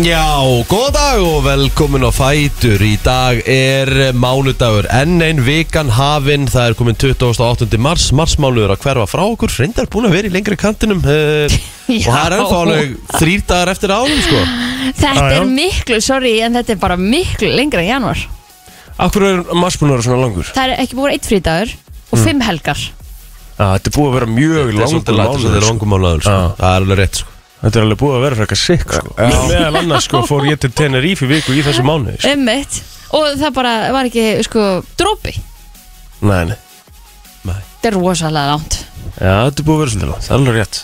Já, góðan dag og velkomin á Fætur Í dag er mánudagur enn ein vikan hafinn Það er komin 28. mars, marsmánuður að hverfa frá okkur Reyndar búin að vera í lengri kantinum uh, Og það Já. er ennþá alveg þrýr dagar eftir árum sko Þetta Já, já. er miklu, sorry, en þetta er bara miklu lengra en januar Akkur er marsbúnaður svona langur? Það er ekki búin einn frídagur og Mm. fimm helgar Ah, þetta er búið að vera mjög Þetta er langur svolítið langt, þetta er mánuður sko. langum mánuður sko. Já. Það er alveg rétt sko Þetta er alveg búið að vera frekar sikk sko. Meðal annars sko, fór ég til Tenerife í viku í þessu mánuði sko. Ummitt Um Og það bara var ekki, sko, drópi Nei, nei Þetta er rosalega langt Já, þetta er búið að vera svolítið langt, það er alveg rétt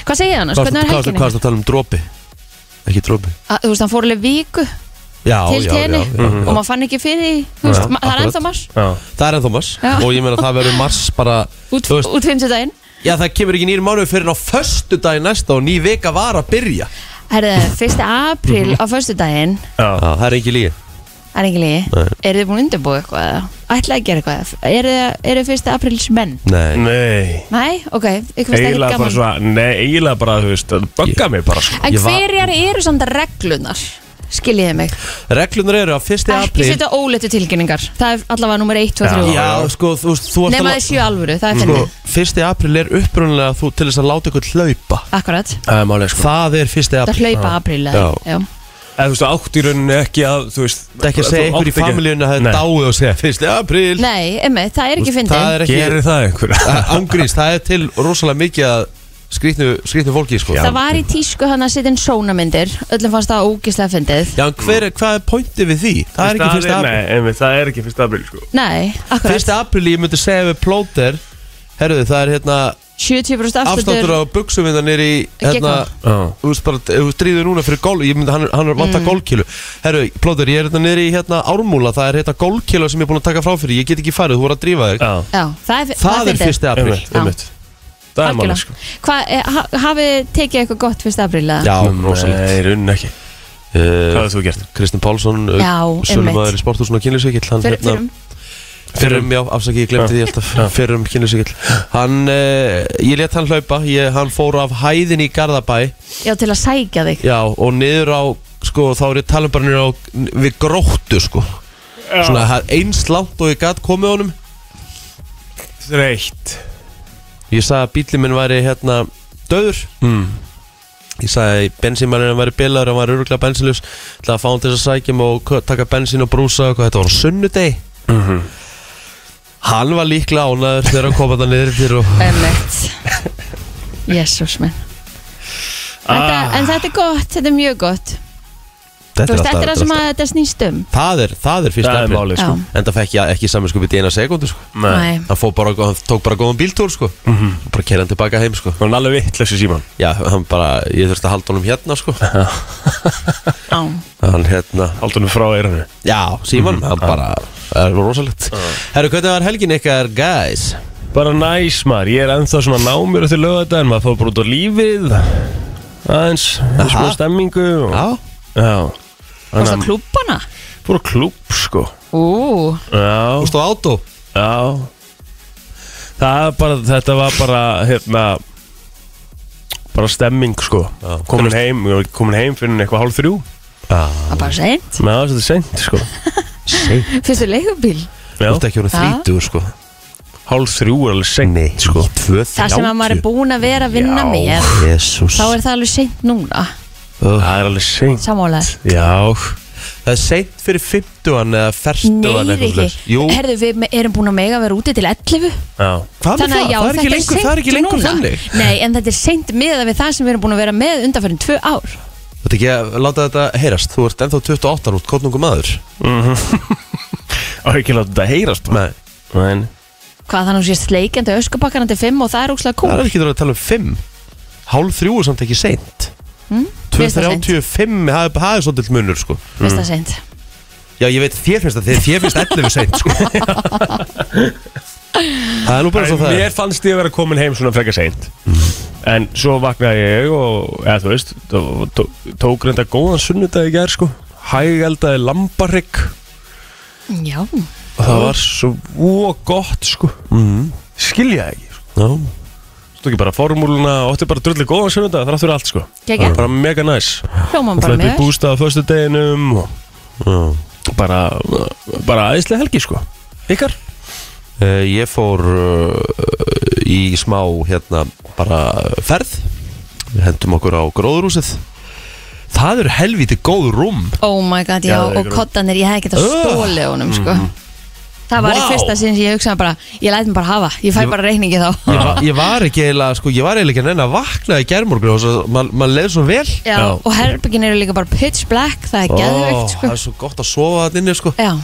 Hvað segir hann? Hvað Hvernig er var það helginni? að tala um dropi? Ekki dropi Að, Þú veist, hann fór alveg viku Já, til já, já, tenni já, já. og maður fann ekki fyrir því Þú veist, ma- það er akkurat. ennþá mars Já, Það er ennþá mars Já. Og ég meina það verður mars bara út, Þú veist- út 50 daginn Já, það kemur ekki nýjum mánuður fyrir en á föstu daginn næsta og ný vika var að byrja Herðu, Mhm. 1. apríl á föstu daginn já, Það er ekki lígi Er ekki lígi? Nei. Eru þið búin að undirbúa eitthvað eða? Ætlaði að gera eitthvað? Eru þið- Eru þið 1. apríls menn? Nei, nei Nei, ok, ykkur finnst ekkert Eiginlega bara gaman svona, nei, eiginlega bara, þú veist, það bugga mig bara sko En Ég var- hverjar eru samt reglunar? Skiljiði mig reglunar eru að 1. Ekki apríl setja óleitu tilkynningar Það er allavega nummer 1, 2, Já. 3 Já, sko, þú veist, þú ert Nefna þið alveg séu alvöru, það er Sko, þenni 1. apríl er upprunnilega þú til þess að láta ykkur hlaupa Akkurat, Það er málið sko Það er 1. það apríl hlaupa apríl eða- Já. Já. Eða þú veist, átt í rauninni ekki að, þú veist Það er ekki að segja ykkur í familíunni að það er dáið og segja 1. apríl Nei, emmi, það er ekki Það fyndið er ekki Gerir það einhver Ángrís, það er til rosalega mikið að skrýtnu, skrýtnu fólki, sko Já. Það var í tísku hann að setja inn sónamyndir Öllum fannst það ógislega fyndið Já, en hver, er- hvað er pointið við því? Það er ekki 1. apríl Nei, einmitt, það er ekki fyrsta april sko Nei, akkurat 1. apríl, ég myndi segja við plóter Herðu, það er hérna 70% afstáttur á afslutur buksum hérna nýri Ekki hérna, Já. þú veist bara, ef þú stríður núna fyrir gól ég myndi, hann, er- hann er vant að gólkilu herru, plóður, ég er hérna nýri í hérna ármúla það er hérna gólkila sem ég er búin að taka frá fyrir ég get ekki farið, þú voru að drífa þig Já, Já, það er, það er fyndið. 1. apríl einmitt, einmitt Það er málið sko Algjörlega. Hvað, eh, ha- hafið tekið eitthvað gott fyrst apríl eða? já, rosalegt Nei, rauninni ekki Hvað Eh, hefur þú gert? Kristinn Pálsson Já, sölumæður í sporthúsun og kynlýsvíkil hann Fyr, hérna fyrum, Fyrrum, já, afsaki, ég glemti því alltaf Fyrrum kynlýsvíkil Hann, uh, ég let hann hlaupa ég, Hann fór af hæðin í Garðabæ já, til að sækja þig Já, og niður á, sko, þá er ég talað bara niður á, við gróttu, sko Svona það er eins langt og ég gat komið honum Þreitt Ég sagði að bílinn minn væri hérna döður mm. Ég sagði að bensínmælinn væri bilaður, hann væri öruglega bensinljus Það að fá hann til þess að sækja mig og kö- taka bensín og brúsa og hvað þetta var á sunnudegi mhm. Hann var líklega ánæður þegar hann kom að það niður fyrir og Emmett Jésús minn þetta, Ah. En þetta er gott, þetta er mjög gott Þú veist, þetta er það sem að þetta snýst um Það er, það er fyrst Það er málið Já, sko En það fekk ég ekki saminskupið í eina sekundu, sko nei Hann, fór bara, hann tók bara góðan bíltúr, sko Bara kerði hann tilbaka heim, sko Hún er Mhm. alveg vittlösi síman Já, hann bara, ég þurfti að halda honum hérna sko Já, Hann hérna Aldunum frá Mhm. eiranu Já, Símon, hann bara Það er rosalegt Herru, hvernig var helgin ykkar, guys? Bara næs maður, ég er ennþá svona námur eftir lögadaginn Maður fór bara út á lífið Aðeins, Aha. smá stemmingu og, Já Já varst það Þannig klúbana? að fór á klúb sko Ú, Já, Þú stóð átó já Það er bara, þetta var bara, hérna Bara stemming sko Já. Komin heim, ég var komin heim fyrir en eitthvað hálf þrjú það er bara seint Með aðeins þetta er seint sko Seint Fyrstu leigubíl Þú Já, ert ekki voru Já. þrítugur sko hálf þrjú er alveg seint Nei, sko Tvö Það sem að maður er búin að vera að vinna Já. með Jésús Þá er það alveg seint núna Það er alveg seint Samálaður Já, Það er seint fyrir 50 eða ferstugan Nei, ekki Jú, Herðu, við me- erum búin að mega vera úti til 11 já hvað með Þannig það? að já, það er þetta ekki lengur, seint það er ekki lengur núna. þannig Nei, en þetta er seint miða við það sem við erum búin að vera með undanferðin tvö ár Þú ert ekki að láta þetta heyrast Þú ert ennþá 28 út, kotnungum maður Mhm. Á ekki að láta þetta heyrast bara Nei, Nei Hvað þannig að sé sleikjandi öskubakkarna til 5 og það er úkslega það cool er ekki að tala um 5 Hálf þrjú er samt ekki seint Mér finnst það Hm? seint. 2.35, það er- það er svolítið munur sko Veist það seint Já, ég veit þér finnst það, þér, þér finnst 11 seint sko. Það er nú bara svo það Mér er fannst ég að vera komin heim svona frekar seint En svo vaknaði ég og eða þú veist tó- tó- Tók reynda góðan sunnudag í gær sko Hægeldaði lambarrygg Já, Og það var svo gott sko Skilja það ekki sko. Mhm. Já, tók ég bara formúluna og átti bara drullið góðan sunnudag þrátt fyrir allt sko Geggjað. bara mega næs Hljómar bara með vel. bústa á föstu deginum og bara bara aðeinslega helgi sko ykkar Uh, ég fór uh, í smá hérna bara ferð Við hendum okkur á gróðurúsið Það eru helviti góð rúm Oh my god, já, Já, það er og grunn. kottanir, ég hef ekki það Ugh. stólið honum, sko. Mhm. Það var í Vá. fyrsta sinn sem ég hugsaði bara, ég læt mig bara hafa, ég fæ Ég- bara reyningi þá. ég, va ég var ekki eiginlega sko, ég var eiginlega ekki að nenni að vakna í germorgun og svo- maður ma leið svo vel Já, og herbyggin eru líka bara pitch black, það er Ó, geðveikt, sko. Það er svo gott að sofa þarna inni sko Já.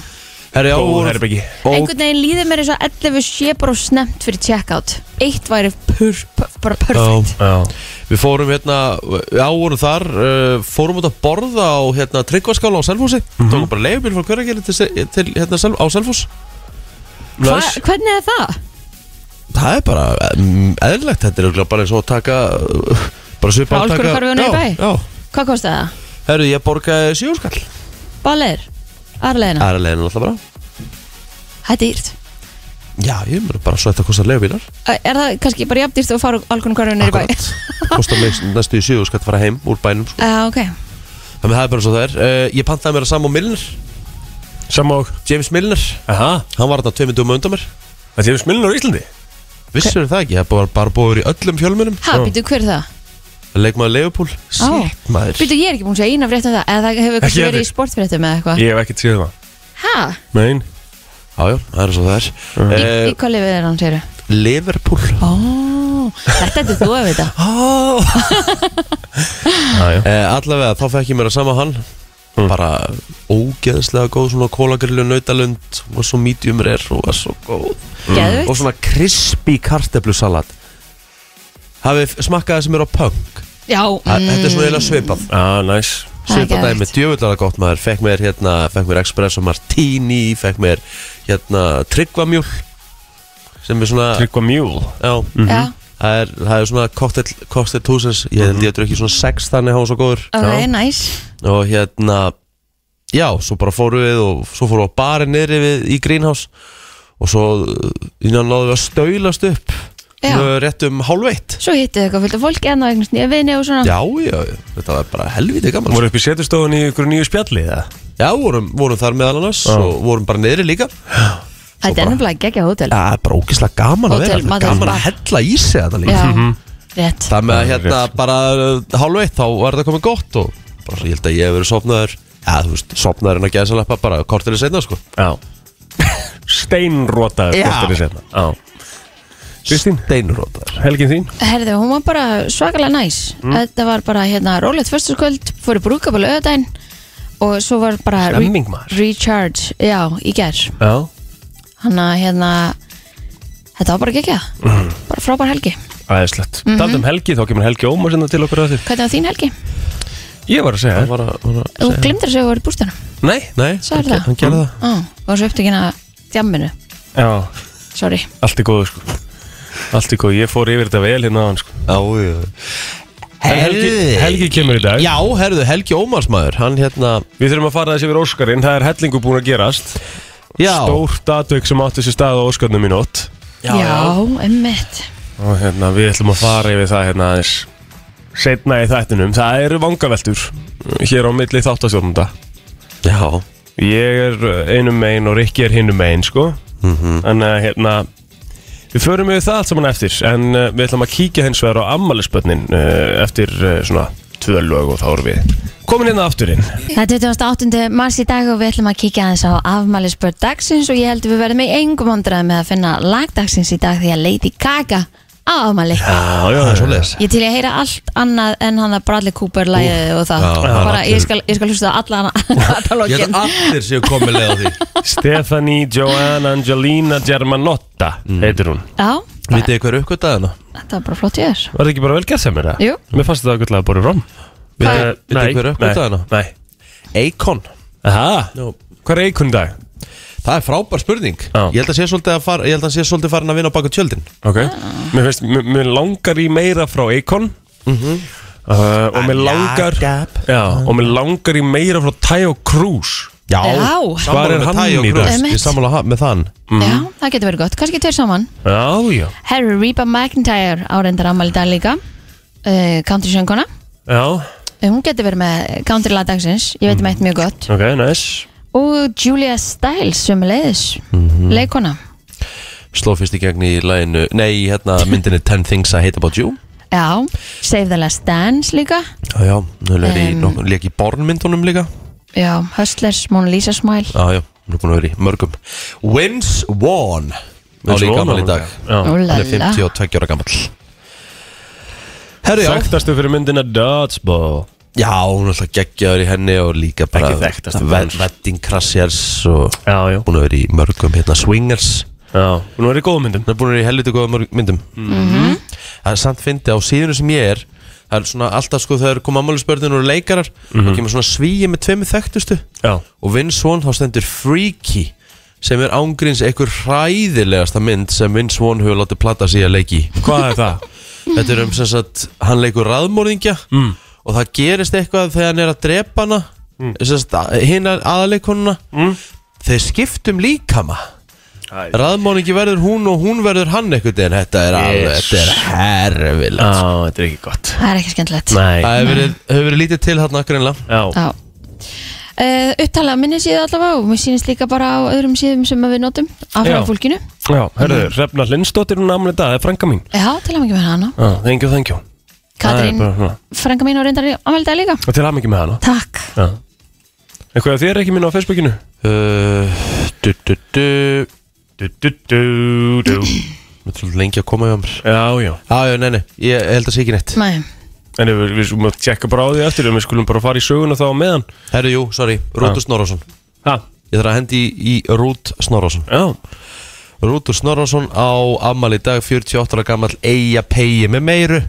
Herri, já, Góð voru- herbergi. ó, Einhvern veginn líður mér eins og 11 sé bara of snemt fyrir checkout. Eitt væri pur, pur, bara perfect. já. Við fórum hérna, já vorum þar uh, Fórum út að borða á hérna, tryggvaskála á Selfossi Mhm. Tókum bara leifubíl frá hverjargeri til, se- til hérna, Sel- á Selfoss Hva, Nice. hvernig er það? Það er bara mm, eðlilegt Þetta er örugglega bara eins og að taka uh, Bara Frá svipa Álfkoruhverfinu í bæ? Já, Hvað kostið það? já Herru, ég borgaði sjóskall Baller? Arleina? Það er leiðin alltaf bara Það er dýrt. Já, ég meni bara svo þetta kostar leifubílar Er það kannski bara jafndýrt að fara algunum hverjunir í bæ? Akkurat Kostar mig næstu í sjóskall fara heim úr bænum sko. Já, ok. Þannig að það er bara svo það er uh, Ég pantaði mér að Sam og Milner Samma og James Milner Aha, Hann var þetta tveimundum undar mér það séum smilnur á Íslandi Vissur það ekki, það var bara búið í öllum fjölmunum Ha, býtu hver er það? Leikmaður Leifupúl Sitt maður Býtu, ég er ekki búin að segja eina frétt af það eða það hefur kannski Ekki verið í heldur. sportfréttum eða eitthvað Ég hef ekkert séð það Hæ? Nein Jájá, það er svo það er Í, uh, í hvað lifið er hann, segir Leifupúl Ó, þetta er þú að vita oh. Já, Mm. já Eh, allavega, þá fekk ég mér að sama hann Bara ógeðslega góð Svona kólagrillu nautalund Var svo medium rare og var svo góð Og Geðvikt svona crispy karteflusalat Hafið smakkaði sem er á punk Já, Þa- Þetta er mm, svona eiginlega svipað Já, næs Það er Svipað geðveikt. dæmi, djöfullega gott maður Fekk mér hérna, fekk mér espresso martini Fekk mér hérna tryggvamjúl Sem er svona Tryggva mjúl já, já, það, er, það er svona cocktail, cocktail túsins Ég held ég að drukki svona sex þannig hann var svo góður ok, Mhm. Já. næs og hérna já, svo bara fórum við og svo fórum við á barinn niðri við í Greenhouse og svo innan náðum við að stöylast upp Já. Nú, rétt um hálfveitt Svo hittið eitthvað fullt af fólki enn og eignast nýja vini og svona já, já, þetta var bara helviti gaman sko. Voru upp í setustofun í ykkur nýju spjalli það? já, vorum, vorum þar meðal annars Já. og vorum bara niðri líka já, Þetta er nefnilega geggja hótel það er bara ógeðslega gaman að Hótel vera þarna, Madrid gaman Bar. að hella í sig þetta líka Já, Mhm. rétt það með að Já, hérna bara hálfveitt þá var þetta komið gott og bara, ég held að ég hef verið sopnaður já, þú veist, sopnaður en að geða sérlega bara kortileg setna sko Já Steinrotaður Já. kortir í setna Já Kristín, steinrótaður helgin þín Herðu, hún var bara svakalega næs Þetta var bara hérna rólegt fyrstaskvöld Fóru brúkabal auðdæn Og svo var bara re- Stemming, maður. Recharge, já, í gerð Já Þannig að hérna Þetta var bara gekkja Bara frábær helgi Æðislegt Mhm. mm um helgi, þá kemur helgi ómar sinna til okkur að þér Hvernig var þín helgi? Ég var að segja var að, var að Þú glimtir að þú voru í bústanum Nei Nei, Sagði hann, það? hann gerði það Á, var svo upptökin að djamminu Mm. Já Sorry Allt er góð sko Allt er góð, ég fór yfir þetta vel hérna á hann sko Já, já En helgi, helgi kemur í dag Já, herðu, Helgi Ómarsmaður Hann hérna Við þurfum að fara þessi yfir Óskarinn, það er hellingu búin að gerast Já, Stórt atvik sem átti sér stað á Óskarnum í nótt emmitt Og hérna, við ætlum að fara yfir það hérna aðeins Setna í þættinum, það eru vangaveltur Hér á milli þáttastjórnunda já. Ég er uh, einum megin og Rikki er hinum megin, sko Mhm. Mhm. Þannig að hérna Við förum yfir það allt saman eftir En uh, við ætlum að kíkja hins vegar á ammælisbönnin uh, Eftir uh, svona tvö lög og þá erum við Komin hérna aftur inn Það er 28. mars í dag og við ætlum að kíkja aðeins á afmælisbörn dagsins og ég held að við verðum í engum andræði með að finna lagdagsins í dag því að Lady Gaga á afmæli Já, já, Það er svoleiðis Ég til ég að heyra allt annað en hann að Bradley Cooper lægið og það já, bara, allir- ég, skal, ég skal hlusta á alla hana Ég held katalógin að allir séu komið leið á því Stephanie Joanne Angelina Germanotta heitir hún Já, Mm. Vitið þið hverju uppkvæmt að hana? þetta var bara flott ég er Var það ekki bara vel gert sem er það? Jú. Mér fannst þetta okkurlega að bóra rom Vitið vitið þið hverju uppkvæmt að hana? Nei Eikon Aha, hvað er eikun í dag? Það er frábær spurning Já. Ég held að sé svolítið, að far, ég held að hann sé svolítið farin að vinna á baka tjöldin Ok Mér finnst, mér- mér langar í meira frá eikon Mhm. uh, Og mér langar Adab. Já, og mér langar í meira frá Tayo Cruz Já, Já. Hvar Sammála er með hann Tæ og í dag? Gröfs. Ég Einmitt. sammála ha- með þann Já, það getur verið gott, kannski tveir saman Mhm. Já, já, Harry Reba McIntyre áreindar afmæli í dag líka uh, Country sjönguna já, Hún getur verið með country lag dagsins Ég veit um eitt mjög gott ok, nice Og Julia Stiles sem er leiðis Leikona Sló fyrst í gegn í læginu Nei, í hérna myndinni 10 Things I Hate About You Já, Save the Last Dance líka Já, já, hún er í, Em. um, leik í bornmyndunum líka Já, Hustlers, Mona Lisa Smile Já, já, hún er búin að vera í mörgum Wins Vaughn Á Vince líka Vaughn, gammal í dag Já, Úlala. Hann er 52 ára gammal Herru, já Þekktastu fyrir myndina Dodgeball Já, hún er alltaf geggjaður í henni og líka bara Ekki þekktast. Ve- Wedding Crashers og Já, já, búin að vera í mörgum hérna Swingers já Nú er í góðum myndum Hún er búin að vera í helviti góða mörg myndum Það er samt fyndi á síðunum sem ég er Það er svona alltaf sko þegar koma ammálspörðin og eru leikarar þá kemur svona svíi með tveimur þekktustu Mhm. Já, og Vince Vaughn þá stendur Freaky sem er ángríns einhver hræðilegasta mynd sem Vince Vaughn hefur látið platta sig að leiki í. hvað er það? Þetta er um sem sagt, hann leikur raðmóringja mm. og það gerist eitthvað þegar hann er að drepa hana mm. sagt, hinn aðaleikonuna mm. þeir skiptum líkama Æ. raðmóringi verður hún og hún verður hann einhvern veginn þetta er alveg, Yes. þetta er herfilegt Já, þetta er ekki gott Það er ekki skemmtilegt Nei, Það hefur verið, hefur verið lítið til hérna greinlega já, Já Uh, upptalað minni síðu allavega og mér sýnist líka bara á öðrum síðum sem við notum af Já. fólkinu. já, herðu, Hrefna Lindsdóttir hún amlið dag, það er frænka mín Já, til að mikið með hana. Já, thank you, thank you Katrín, Það er bara svona. frænga mín og reyndar ámelda líka. Og til aðmyggjum með hana Takk. Já Eitthvað þér ekki minna á Facebookinu? uh, du, du, du. Du, du, du, du Mér er svolítið lengi að koma hjá mér Já, já Já, já, nei, nei, ég held að sé ekki neitt Nei, En við, við skulum að tjekka bara á því eftir en Við skulum bara fara í söguna þá á meðan Herru, jú, sorry, Rútur Snorrásson Ha, Ég þarf að hendi í, í Rút Snorrásson já Rútur Snorrásson á afmæli í dag 48 ára gammal eiga pegi með meiru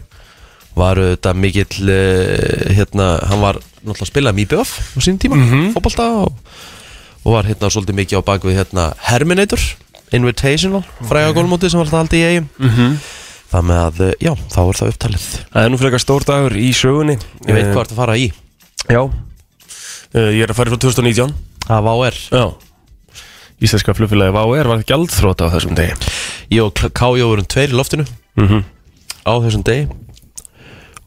Var auðvitað mikill eh, hérna, hann var náttúrulega að spila um MIBF á sín tíma, mm fótbolta og, og var hérna svolítið mikið á bakvið hérna Herminator, Invitational fræga gólmóti sem var alltaf haldið í eigum Það með að, eh, já, þá er það upptalið Það er nú frekar stór dagur í sögunni Eh, Ég veit hvað ertu að fara í Já Eh, Ég er að fara frá 2019 Það var er Já Íslenska flugfélagi VAR var gjaldþróta á þessum degi Ég og Kájó vorum tveir í loftinu mm á þessum degi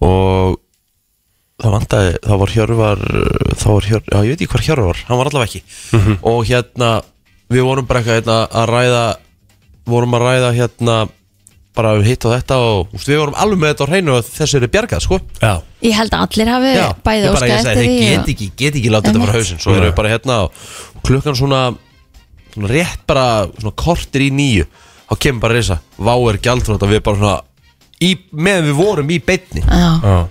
og það vantaði, þá var Hjörvar þá var Hjörvar, já ég veit ekki hvar Hjörvar var hann var allavega ekki Mhm. og hérna við vorum bara eitthvað hérna, að ræða vorum að ræða hérna bara um hitt og þetta og úst, við vorum alveg með þetta á hreinu að þessu eru bjargað sko Já ég held að allir hafi já, bæði ég bara, óska ég eftir sagði, því. þeir og- get ekki, get ekki láta þetta Einmitt. fara hausinn svo erum við bara hérna og klukkan svona, svona rétt bara svona kortir í nýju þá kemur bara reysa, vá er gjaldfrátt og við bara svona í, meðan við vorum í beinni Já, Já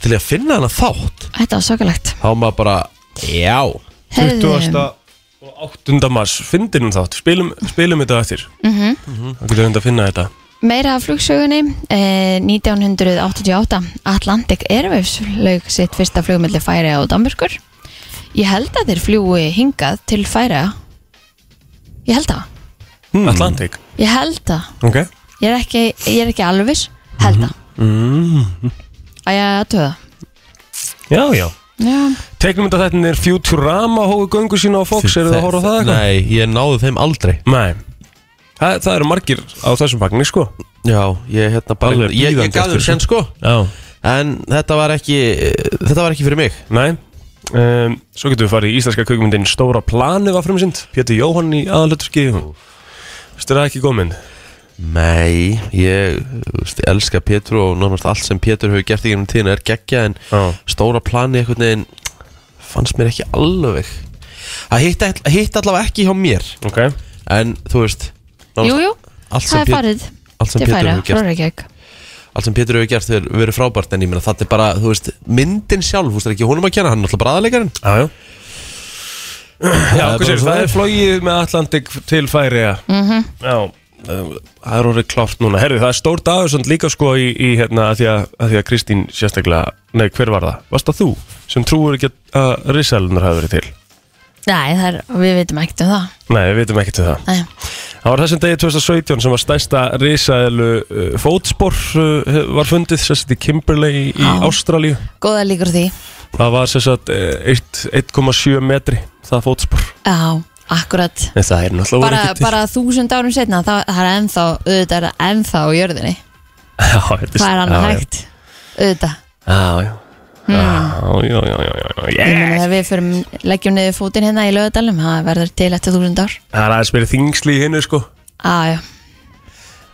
til að finna hana þátt þetta var svakalegt. þá er maður bara, já 20. og 8. mars Fyndin um þátt, spilum, spilum þetta eftir mm Mhm. -hmm. Það getur reynd að finna þetta Meira af flugsögunni, eh, 1988, Atlantic Airwaves laug sitt fyrsta flugmilli færiða og Danmörkur. Ég held að þeir fljúi hingað til færiða. Ég held það. hmm. Atlantic Ég held það. Ok Ég er ekki, ég er ekki alveg viss, held það. Æ, ég aðtöða. Mhm. Já, já Já, Tegnum þetta þetta er Futurama hóðu göngu sína á Fox Eru það að horfa á það eitthvað? Nei, ég náði þeim aldrei Nei Það, það eru margir á þessum fagni sko Já, ég hérna bara Alveg Ég, ég bíðandi gaf eftir þeim sen sko Já En þetta var ekki Þetta var ekki fyrir mig Nei um, Svo getum við farið í íslenska kvikmyndin Stóra planið var frumsynd Pétur Jóhann í aðalöturki Veistu það ekki góð mynd? Nei, ég þú veist, ég elska Pétur og náttúrulega allt sem Pétur hefur gert í gennum tíðin er geggja en Já. stóra plani einhvern veginn fannst mér ekki alveg Það hitt, hitt allavega ekki hjá mér Ok En þú veist jú, nánast jú, allt sem það er Pét- farið. allt sem Til Pétur færiða, frá hefur gert Reykjavík. allt sem Pétur hefur gert þegar verið frábært en ég meina þetta er bara, þú veist, myndin sjálf þú veist, það er ekki honum að kenna, hann er alltaf bara aðleikarinn Já, já Já, bara hvað sér, svo það það er. er flogið með Atlantik til færiða Mhm. -hmm. Já um, Það er orðið klárt núna Herðu, það er stór dagur samt líka sko í, í hérna að því að, að því að Kristín sérstaklega Nei, hver var það? Varst það þú sem trúur ekki að- að risalunar hafi verið til? Nei, það er, við veitum ekkert um það. Nei, við vitum ekkert til það Nei. Það var þessum degi 2017 sem var stærsta risaðilu uh, fótspor uh, var fundið sérst í Kimberley í Já. Ástralíu. Góða líkur á því. eh, Það var sérst uh, eitt- 1,7 metri það fótspor Já, akkurat En það er náttúrulega voru bara, ekki til bara þúsund árum setna það, það er ennþá, auðvitað er það ennþá á jörðinni Já, þetta Það er annað já, já. hægt Hmm. auðvitað Já, já Já, já, já, já, já, já Ég yeah. meina þegar við förum, leggjum niður fótinn hérna í lögadalum, það verður til eftir þúsund ár. Það er aðeins verið þingsli í hennu sko Á, já,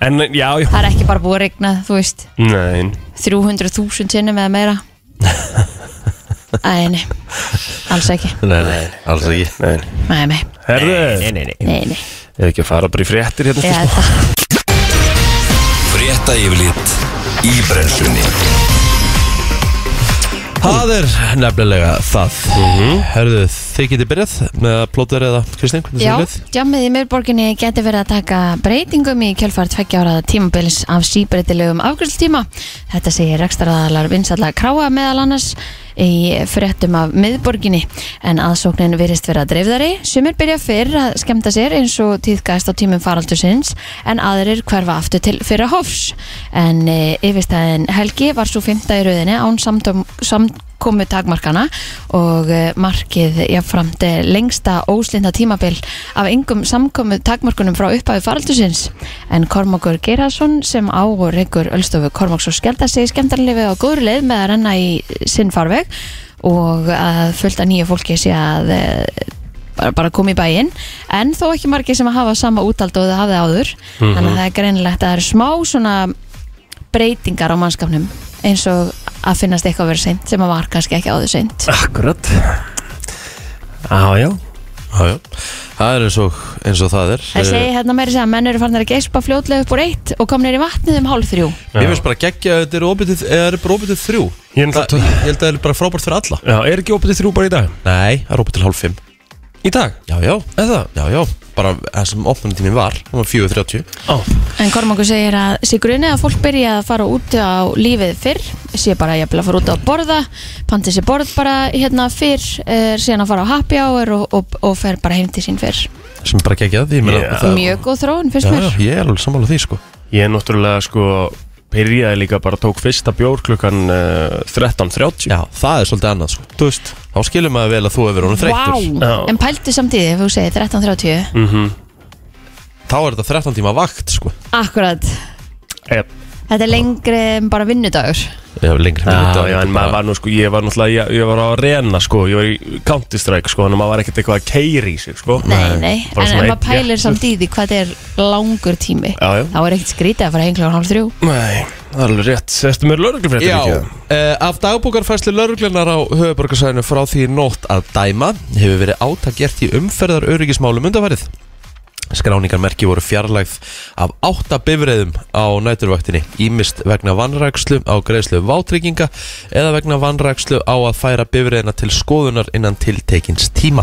En já, já það er ekki bara búið að regna, þú veist, Nein 300.000 sinnum eða meira. Æ, nei, alls ekki. Nei, nei, alls ekki Nein Nei, nei, Herðu nei, nei nei, nei. Eða ekki að fara bara í fréttir hérna Ég, eftir smá? það, Frétta yfirlit í brennslunni Það er nefnilega það Mhm. Herðu, þið getið byrjað með að plóta eða Kristín, hvernig já, sem lið? jammið í miðborginni geti verið að taka breytingum í kjölfar tveggja áraða tímabils af síbreytilegum afgjörstíma. Þetta segir rekstaraðalar vinsalla kráa meðal annars í fréttum af miðborginni en aðsóknin virðist vera dreifðari sumir byrja fyrr að skemmta sér eins og tíðgæst á tímum faraldursins en aðrir hverfa aftur til fyrra hofs en e, yfirstæðin Helgi var svo fymta í rauðinni án samtum, samkomu takmarkana og e, markið jafnframt eh, lengsta óslinda tímabil af engum samkomu takmarkunum frá upphæðu faraldursins en Kormokur Geirarsson sem á og reykur Ölstofu Kormoks og Skelda segir skemmtarlefið á góður leið með að renna í sinn farveg og að fullta nýju fólki sé að eh, bara, bara koma í bæinn en þó ekki margir sem að hafa sama útald og það hafði áður þannig að það er greinilegt að það eru smá svona breytingar á mannskapnum eins og að finnast eitthvað að vera seint sem að var kannski ekki áður seint Akkurat Já, já Já, já Það er eins og, eins og það er Það segi hérna meiri segja að menn eru farnir að geispa fljótlega upp úr eitt og komnir í vatnið um hálf þrjú Eh, Ég finnst bara geggja að þetta er opið til, eða er bara opið til þrjú Ég er Það- náttúrulega- Ég held að það er bara frábært fyrir alla Já, er ekki opið til þrjú bara í dag? Nei, það er opið til hálf fimm Í dag? Já, já, eða? Já, já, bara það sem opnunatíminn var, það var 4.30 Ó, En Kormangur segir að sé grunni að fólk byrja að fara út á lífið fyrr sé bara jafnvel að fara út að borða pantið sér borð bara hérna fyrr er síðan að fara á happy hour og, og, og fer bara heim til sín fyrr sem bara geggjað, ég meina Já. það- Mjög góð þróun finnst Já, mér já, ég er alveg sammála því, sko Ég er náttúrulega sko Byrjaði líka bara tók fyrsta bjór klukkan uh, 13.30 Já, það er svolítið annað, sko Þú veist Þá skilur maður vel að þú hefur honum þreyttur Já. En pælti samtíði, ef þú segir 13.30 mm -hmm. Þá er þetta 13 tíma vakt, sko Akkurat, yep. þetta er lengri en bara vinnudagur Já, lengri Já, já, en maður var nú sko, ég var náttúrulega, ég, ég var á arena sko, ég var í Counter-Strike sko, en maður var ekkert eitthvað að keiri í sig sko. Nei, nei, Bara en svona ef einn maður pælir réttur. samtíði hvað þetta er langur tími Já, já. Þá er ekkert skrítið að fara heim klokkan hálf þrjú Nei, það er alveg rétt, ertu með lögreglufréttir Já, ekki? eh, af dagbókarfærslu lauruglunar á höfuborgarsæðinu frá því í nótt að dæma hefur verið átak gert í umferðar öryggismálum undanfærið. Skráningarmerki voru fjarlægð af átta bifreiðum á næturvaktinni, ímist vegna vanrækslu á greiðslu vátrygginga eða vegna vanrækslu á að færa bifreiðina til skoðunar innan tiltekins tíma.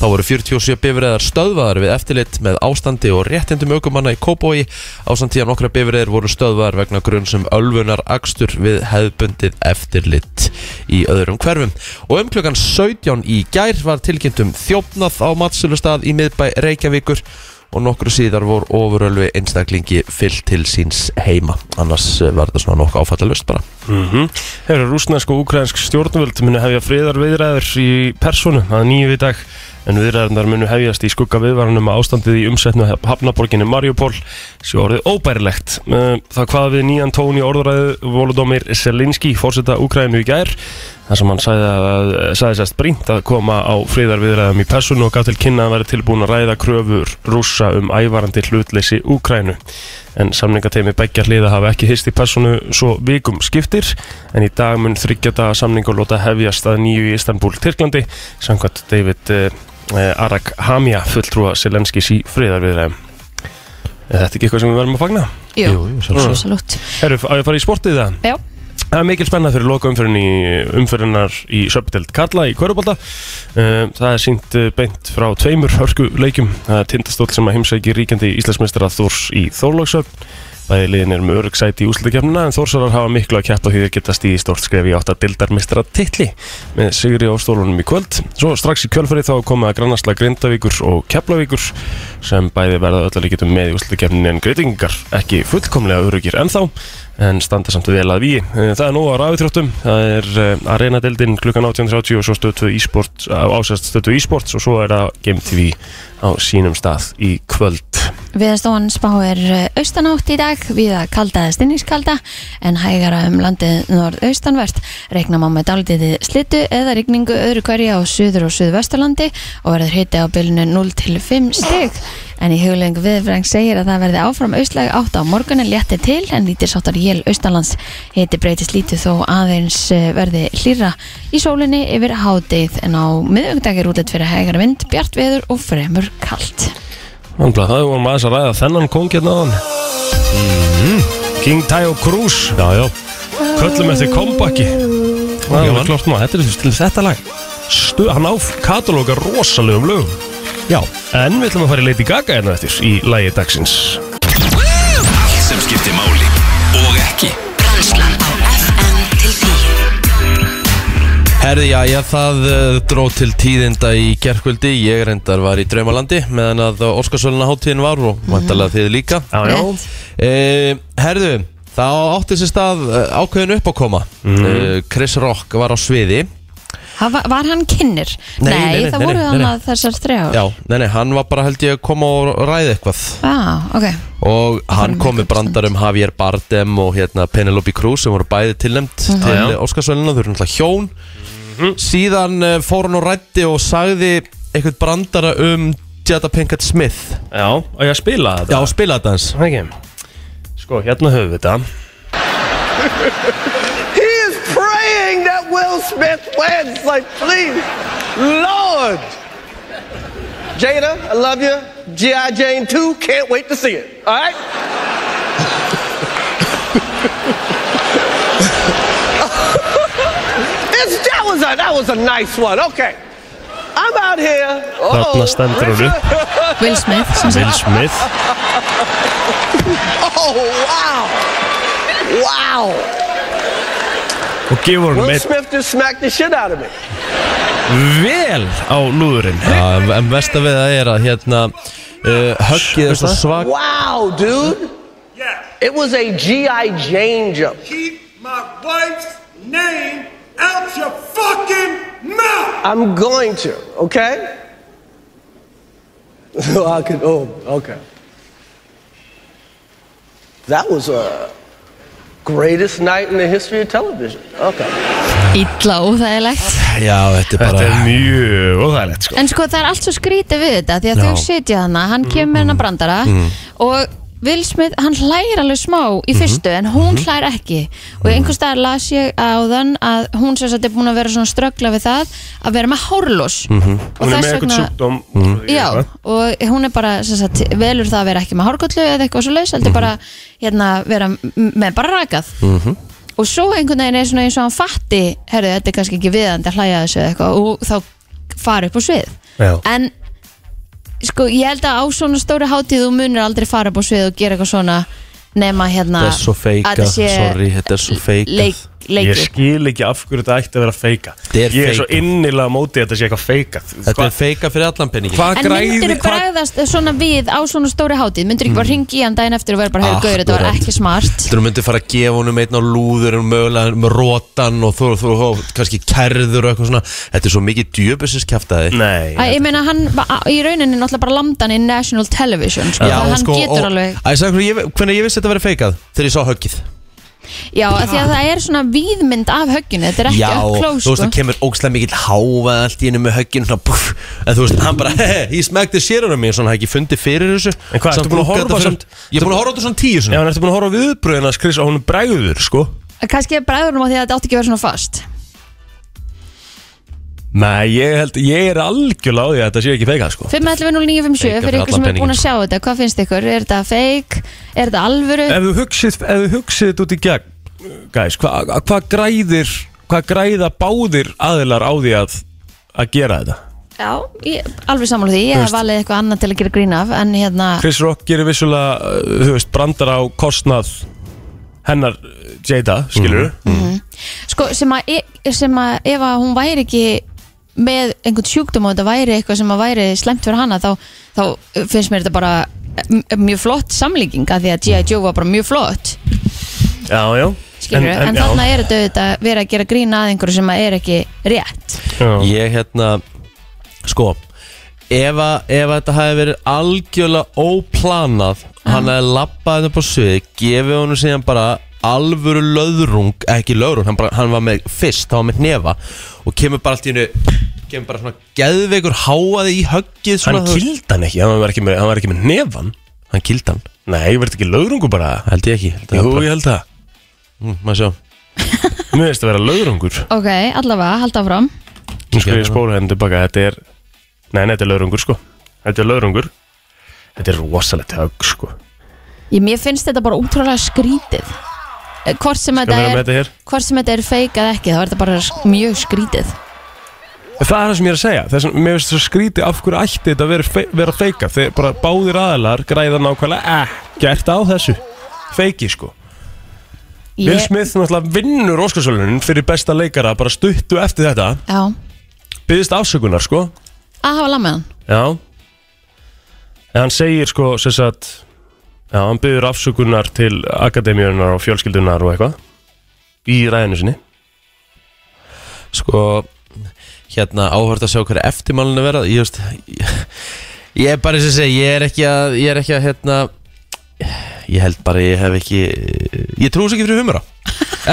Þá voru 47 bifreiðar stöðvaðar við eftirlit með ástandi og réttindum aukumanna í Kóbói ásamt því að nokkra bifreiðar voru stöðvaðar vegna grunnsum ölfunar akstur við hefðbundið eftirlit í öðrum hverfum. Og um klukkan 17 í gær var tilkynntum þjófnað á matsölustad í miðbæ Reykjavíkur og nokkru síðar vor ofurölvi einstaklingi fyllt til síns heima annars eh, var þetta svona nokkuð áfallalust bara Mm -hmm. Hefur rúsnæsk og ukrainsk stjórnvöld munu hefja friðar viðræður í persónu að nýju í dag en viðræðarnar munu hefjast í skugga viðvaranum að ástandið í umsetnu hafnaborginni Mariupol sé orðið óbærilegt. Eh, Það hvað við nýjan tón í orðræðu Volodómir Selinski, fórseta Ukraínu í gær þar sem hann sagði, að, sagði sérst brínt að koma á friðar viðræðum í persónu og gaf til kynna að vera tilbúin að ræða kröfur rússa um ævarandi hlutleysi Ukraínu en samningateimi beggja hliða hafa ekki hist í personu svo vikum skiptir en í dag mun þryggja daga samningur lóta hefjast að nýju í Istanbul, Tyrklandi samkvæmt David uh, Arak Hamja fulltrúa Selenskis í friðarviðræðum Er þetta ekki eitthvað sem við verðum að fagna? Jú, jú, svo sjálfsagt. salútt Herru, á ég að fara í sportið það? Já, Það er mikil spennað fyrir loka umfyrinni umfyrinnar í söpdelt Karla í Körubalda Það er sínt beint frá tveimur hörku leikjum Það er tindastóll sem að heimsæki ríkjandi íslensmestara Þórs í Þórlóksöfn Bæði liðin er með örug sæti í úslutakefnuna en Þórsarar hafa miklu að keppa því þeir geta stíði stórt skref í átt að dildarmistra titli með sigri á stólunum í kvöld. Svo strax í kvölfari þá komið að grannasla Grindavíkur og Keflavíkur sem bæði verða öllalikitum með í úslutakefninu en greitingar ekki fullkomlega örugir ennþá en standa samt vel að víi. Eh, Það er nú á rafutróttum, það er eh, Arena-deldin klukkan 18.30 og svo stötu e-sport, ásæst stötu e-sports og svo er það Game TV á sínum stað í kvöld. Viðastofan spáir eh, austanátt í dag viða kalda eða stinningskalda en hægara um landið norðaustanvert reikna má með dálitiði slitu eða rigningu öðru hverja á suður og suðvesturlandi og verður hiti á bylunu 0 til 5 stig en í hugleng viðfreng segir að það verði áfram austlæg átt á morgunin létti til en lítir sáttar jél austalands hiti breytist lítið þó aðeins eh, verði hlýra í sólinni yfir hádegið en á miðugdag er útlætt fyrir hægara vind, bjart veður og fremur kalt Þannig að það vorum aðeins að ræða þennan kong hérna á hann King Tayo Cruz Já, já Köllum eftir kompaki Það er Gaman. alveg klart maður, þetta er fyrst til þetta lag Stu, Hann á katalóga rosalegum lögum Já En við ætlum að fara í Lady Gaga hérna eftir í lagi dagsins Allt sem skiptir máli og ekki Brennslan á FM til 10 Herði, já, já, það uh, dró til tíðinda í gerkvöldi Ég reyndar var í draumalandi meðan að Óskarsvöluna hátíðin var og vantarlega þið líka Mhm. Já, já Rétt. e, Herðu, þá átti sér stað uh, ákveðin upp að koma Mhm. Chris Rock var á sviði Ha, va- var hann kynir? Nei, nei, nei, það nei, voru nei, hann nei. að þessar þrjá Já, nei, nei, hann var bara held ég að koma og ræða eitthvað ah, ok og hann Þannig kom með brandar um Javier Bardem og hérna Penelope Cruz sem voru bæði tilnæmt Já, til já. Óskarsvölinu, þau eru náttúrulega hjón Mhm. síðan uh, fór hann og rætti og sagði eitthvað brandara um Jada Pinkett Smith Já, og ég að spila Já, þetta spila þetta hans ekki Sko, hérna höfum við þetta He is praying that Will Smith wins. Like, please, Lord. Jada, I love you. G.I. Jane 2, can't wait to see it. All right? it's, that, was a, that was a nice one. Okay. I'm out here. Þarna stendur hún upp Will Smith sem Will sagt. Smith Oh, wow. Wow. og gefur hann Will með Smith just smacked the shit out of me. vel á lúðurinn Já, en- en vest að við það er að hérna uh, höggið er svo svag Wow, dude. Yeah. It was a G.I. Jane jump. Keep my wife's name out your fucking mouth. I'm going to, okay? So I could, oh, okay. That was a greatest night in the history of television. Okay. Ítla óþægilegt Já, þetta er Þetta bara er mjög óþægilegt sko En sko það er allt svo skrítið við þetta því að Já. Mm, þau sitja hana, hann kemur með hennar brandara Mm. og Will Smith, hann hlægir alveg smá í Mhm. fyrstu en hún hlægir ekki og einhvers staðar las ég á þann að hún sem sagt er búin að vera svona ströggla við það að vera með hárlós og Mhm. Hún er með þess eitthvað vegna sjúkdóm Já, og hún er bara sem sagt, velur það að vera ekki með hárgöllu eða eitthvað svo laus, Mhm. heldur bara hérna, vera m- með bara rakað og svo einhvern veginn er svona eins og hann fatti herru, þetta er kannski ekki viðandi að hlæja að þessu eða eitthvað og þá fara upp á svið Já. en sko, ég held að á svona stóri hátíð þú munir aldrei fara upp á svið og gera eitthvað svona nema hérna Þetta er svo feikað, að þetta sé sorry, þetta er svo feikað. leik, Ég leikið. skil ekki af hverju þetta ætti að vera feika Þetta er Ég er svo feikað. innilega á móti að þetta sé eitthvað feika Þetta er feika fyrir allan penningin Hvað En myndir græði þú hvað, bregðast svona við á svona stóri hátíð? Myndir ekki bara ringi í hann daginn eftir og vera bara hefur gauður, þetta var Akkurat. ekki smart Þú myndir fara að gefa honum einn á lúður og mögulega með rótan og þú, þú, þú, kannski kærður og eitthvað svona Þetta er svo mikið djöbusins kjaftaði Nei Æ, ég meina hann, va- á- í rauninni náttúrulega bara landa hann í National Television sko, já, hann getur alveg Æ, sagði, hvernig, ég, hvernig ég vissi þetta verið feikað þegar ég sá höggið Já, af því að það er svona víðmynd af högginu Þetta er ekki Já, upp close þú veist sko. það kemur ógslega mikill háfa allt í hennu með höggin svona, puff, En þú veist, hann bara, hehe, ég smekti sérunum mér Svona, hann ekki fundið fyrir þessu En hvað, Samt ertu búin að lúkkaði horfa þetta fyrir- samt- Ég er búin að horfa á þetta svona tíu Já, svona en ertu búin að horfa á viðbröðina Chris og hún bregður, sko Kannski er bræðurum á því að þetta átti ekki að vera svona fast Nei, ég held, ég er algjörlega á því að þetta sé ekki feika, sko 5.11.09.57 Feika fyrir fyrir ykkur sem allan er búin að peninginn, sjá þetta Hvað finnst ykkur? Er þetta fake? Er þetta alvöru? Ef þú hugsið, ef þú hugsið þetta út í gegn Gæs, hvað hva græðir Hvað græða báðir aðilar á því að að gera þetta? Já, ég, alveg sammála því, ég hef valið eitthvað annað til að gera grín af En hérna, Ah. Chris Rock gerir vissulega uh, þú veist, brandar á kostnað hennar uh, Jada, skilur Mhm. sko, sem að, e- sem að ef að hún væri ekki með einhvern sjúkdóm og þetta væri eitthvað sem að væri slemt fyrir hana þá, þá finnst mér þetta bara m- mjög flott samlíking af því að G.I. Joe var bara mjög flott Já, já skilur, en, en, já. þarna er þetta auðvitað verið að gera grín að einhverju sem að er ekki rétt Já. Ég hérna Sko Ef, að, ef að þetta hefði verið algjörlega óplanað Hann hefði labbað þetta på svið Gefið honum síðan bara alvöru löðrung Ekki löðrung, hann, bara, hann var með fyrst Hann var með hnefa Og kemur bara allt í hennu Kemur bara svona geðveikur háaði í höggið svona, Hann þú veist. kildi hann ekki, hann var ekki með, hann var ekki með nefan Hann kildi hann Nei, verður ekki lögrungu bara Held ég ekki Held ég Jú, bara- ég held það Mm, Maður sjá Mér veist að vera lögrungur ok, allavega, halda áfram Nú skal ég spóla henni tilbaka, þetta er Nei, nei, þetta er lögrungur sko Þetta er lögrungur Þetta er rosalegt högg sko ég, mér finnst þetta bara útrúlega skrítið Eh, hvort sem Skal þetta vera með er þetta hér hvort sem þetta er feik eða ekki þá er þetta bara s- mjög skrítið Það er það sem ég er að segja Þess að mér veist það skríti af hverju ætti þetta að vera, fe vera feika Þegar bara báðir aðalar græða nákvæmlega ekkert á þessu Feiki sko Will ég, Smith náttúrulega vinnur Óskarsölunin fyrir besta leikara bara stuttu eftir þetta já, byggðist afsökunar sko að hafa lamið hann Já En hann segir sko sem sagt Já, hann byggður afsökunar til akademíunar og fjölskyldunar og eitthvað í ræðinu sinni sko hérna áhört að sjá hverja eftirmálinu verða ég veist ég, ég er bara eins og segi, ég er ekki að ég er ekki að hérna ég held bara ég hef ekki ég trúi þessu ekki fyrir humra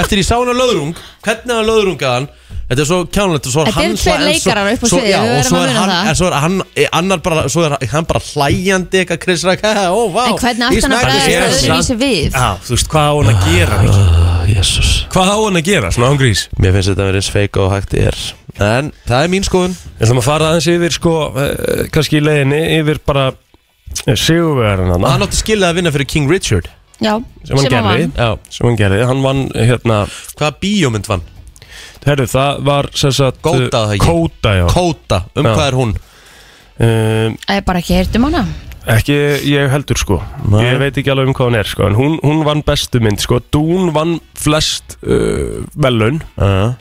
eftir ég sá hann að löðrung, hvernig hann löðrungaði hann þetta er svo kjánlegt og svo er Þetta eru hann tveir hlæ- en svo- leikarar upp á svo- sviði, já, við og verðum svo að er muna hann, það. en svo er hann eh, annar bara, svo er hann bara hlæjandi eitthvað Chris Rock, haha, ó, vá En hvernig átti hann að bregðast öðruvísi við? Já, þú veist, hvað á hann að Ah, gera? Mikki? Jésús Hvað á hann að gera, svona ángrís? Mér finnst þetta að vera eins feika og hægt er En það er mín skoðun Ég ætlum að fara aðeins yfir sko, eh, kannski í leiðinni, yfir bara eh, sigurverðan hann Hann átti skilja að vinna fyrir King Richard Já, sem hann hann gerði, vann. Já sem hann gerði, hann vann hérna Hvaða bíómynd vann? Herru, það var sem sagt Góta, það ekki? Kóta, já Kóta, um Já. hvað er hún? um, Það er bara ekki heyrt um hana Ekki, ég heldur sko Nei. Ég veit ekki alveg um hvað hún er sko En hún, hún vann bestu mynd sko Dún vann flest uh, velun Uh,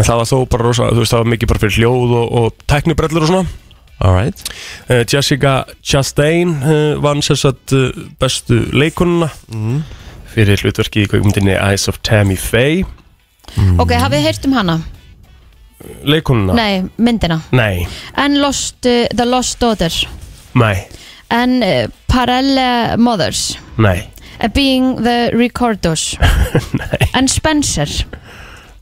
En það var þó bara rosa Þú veist, það var mikið bara fyrir hljóð og, og teknibrellur og svona Alright uh, Jessica Chastain uh, vann sem sagt uh, bestu leikununa Fyrir hlutverki í kveikmyndinni Eyes of Tammy Faye Ok, hafið heyrt um hana? Leikununa? Nei, myndina Nei, En Lost, uh, The Lost Daughter nei, En uh, Parallel Mothers nei, uh, Being the Ricardos nei, En Spencer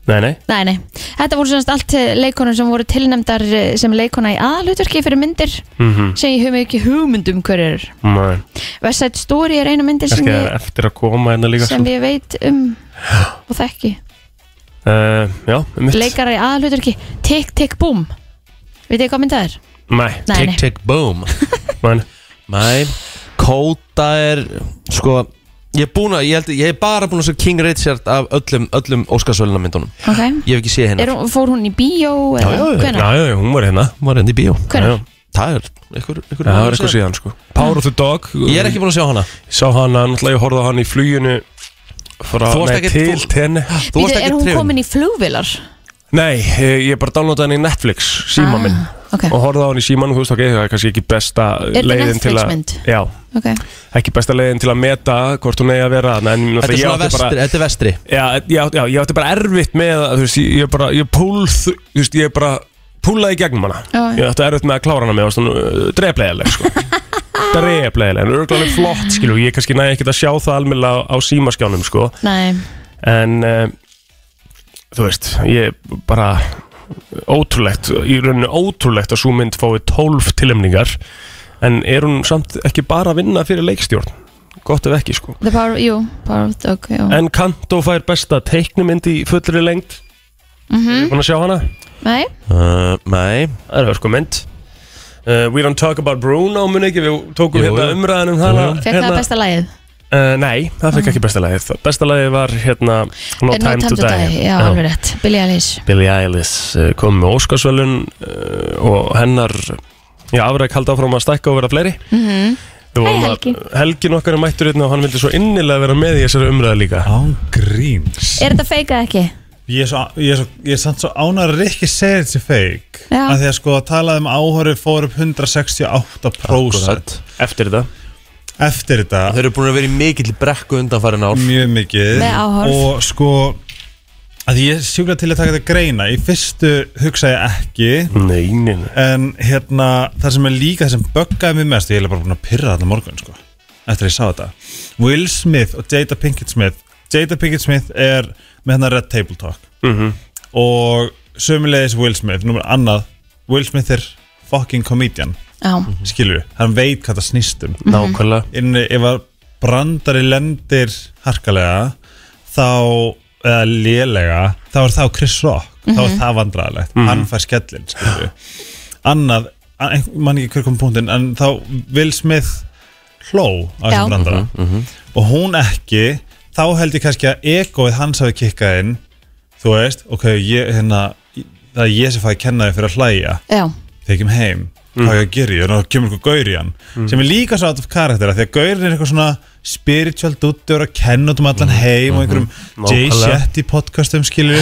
nei, nei. Nei, nei Þetta voru semst allt leikonur sem voru tilnæmdar eh, sem leikona í aðalutverki fyrir myndir Mm -hmm. sem ég hef mig ekki hugmyndum hverjur nei. West Side Story er eina myndir sem Kannski ég, eftir að koma hérna líka sem ég veit um og þekki Uh, já, mitt leikara í aðalhutverki Tick Tick Boom veit þið hvað mynda er? Nei, Nei, Tick nei. tick boom man, Nei Kóta er Sko Ég er búin að Ég, held, ég er bara búin að segja King Richard af öllum Öllum Óskarsvölina myndunum ok Ég hef ekki séð hennar er, hún- fór hún í bíó? eða hvenær? já, já, hún var hérna Hún var henni í bíó Hvenær? Já, já. Það er Ykkur, ykkur Já, það var eitthvað síðan sko Power of the Dog Ég er ekki búin að sjá hana Ég Sá hana, náttúrulega ég horfði á hana í fluginu frá, Þú varst nei, ekkert- til þú- tenni Þú varst Býtu, er ekki hún trefn komin í flugvilar? Nei, ég ég bara downloadaði hana í Netflix síma minn Ah, ok, og horfði á hana í síman og þú veist ok, það er kannski ekki besta þetta leiðin til að Netflix-mynd? Já, ok ekki besta leiðin til að meta hvort hún eigi að vera þarna, en Þetta náttúrulega er ég átti svona vestri bara Þetta er vestri Já, já, já, ég átti bara erfitt með að, þú veist, ég, ég bara, ég púlð þú veist, ég bara púlaði í gegnum hana Já, já. ég átti erfitt með að klára hana með, þú veist, dreflegileg sko. dreflegileg, en örglanlega flott skilur, ég kannski næði ekkert að sjá það almennilega á, á símaskjánum, sko nei, en, uh, þú veist ég bara ótrúlegt, í rauninu ótrúlegt að svo mynd fái 12 tilhemningar en er hún samt ekki bara að vinna fyrir leikstjórn, gott ef ekki, sko The Power of, jú, Power of the Dog jú. En Kanto fær besta teiknumynd í fullri lengd mm Mhm. -hmm. að sjá hana nei, uh, Nei Það er hörku mynd Eh, uh, We don't talk about Bruno muni ekki Við tókum Jú, hérna jú. umræðan um hana fekk það besta lagið Uh, nei, það fekk ekki besta lagið Besta lagið var hérna No, Er Eh, No Time to Die, já, alveg rétt Billie Eilish Billie Eilish uh, kom með Óskarsvölun uh, og hennar já, afræk haldi áfram að stækka og vera fleiri mm -hmm. Hæ, Helgi. Helgin okkar er mættur hérna og hann vildi svo innilega vera með í þessari umræðu líka Án gríns Er þetta fake eða ekki? Ég er, svo, ég, er svo, ég er samt svo ánar að Rikki segja þessi feik Já. að því að sko að talað um áhorið fór upp 168% Eftir þetta eftir þetta Þeir eru búin að vera í mikill brekku undanfærin ár mjög mikið Með áhorf. og sko að ég er sjúklega til að taka þetta greina í fyrstu hugsa ég ekki Nei, nei, nei en hérna það sem er líka það sem böggaði mig mest ég er bara búin að pyrra þarna morgun sko eftir að ég sá þetta Will Smith og Jada Pinkett Smith Jada Pinkett Smith er með hennar Red Table Talk Mhm. -hmm. og sömulegis Will Smith nummer annað Will Smith er fucking comedian Já, skilur hann veit hvað það snýst um Nákvæmlega inn, ef að brandari lendir harkalega þá, eða lélega þá er það Chris Rock þá er það vandræðilegt, hann fær skellin skilju. annað an- ein- man ekki hver kom punktin, en þá Will Smith hló á Já. þessum brandara Mhm, og hún ekki þá held ég kannski að egoið hans hafi kikkað inn þú veist, ok, ég, hérna það er ég sem fæði kennaði fyrir að hlæja já, tekjum heim hvað ég að gera, ég er að kemur eitthvað gaur í hann sem er líka svo out of character af því að gaur er eitthvað svona spiritual dúttur að kenna út um allan heim og einhverjum Jay Nákvæmlega. Shetty podcastum skilur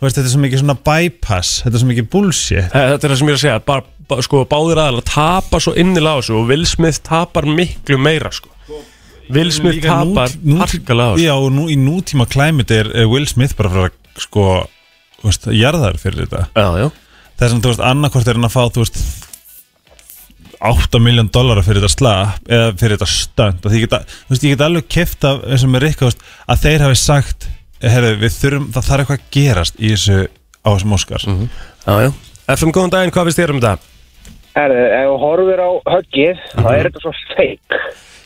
þú veist, þetta er svo mikið svona bypass þetta er svo mikið bullshit Eh, Þetta er það sem ég er að segja bara, bara, sko, Báðir aðalega tapa svo innilega á þessu og Will Smith tapar miklu meira sko. Will Smith Líka nú- tapar nú- harkalega á þessu Já, og nú, í nútíma klæmit er er Will Smith bara fyrir að sko, þú veist, jarðar fyrir þetta Já, já þess að þú veist, annarkvort er hann að fá þú veist 8 miljón dollara fyrir þetta slag eða fyrir þetta stönd og því geta, þú veist, ég get alveg keft af eins og með Rikka, þú veist, að þeir hafi sagt herru, við þurfum, það þarf eitthvað að gerast í þessu á þessum Óskars Mhm. Já, já. FM, góðan daginn, hvað finnst þér um þetta? Herðu, ef þú horfir á höggið, þá er þetta svo feik.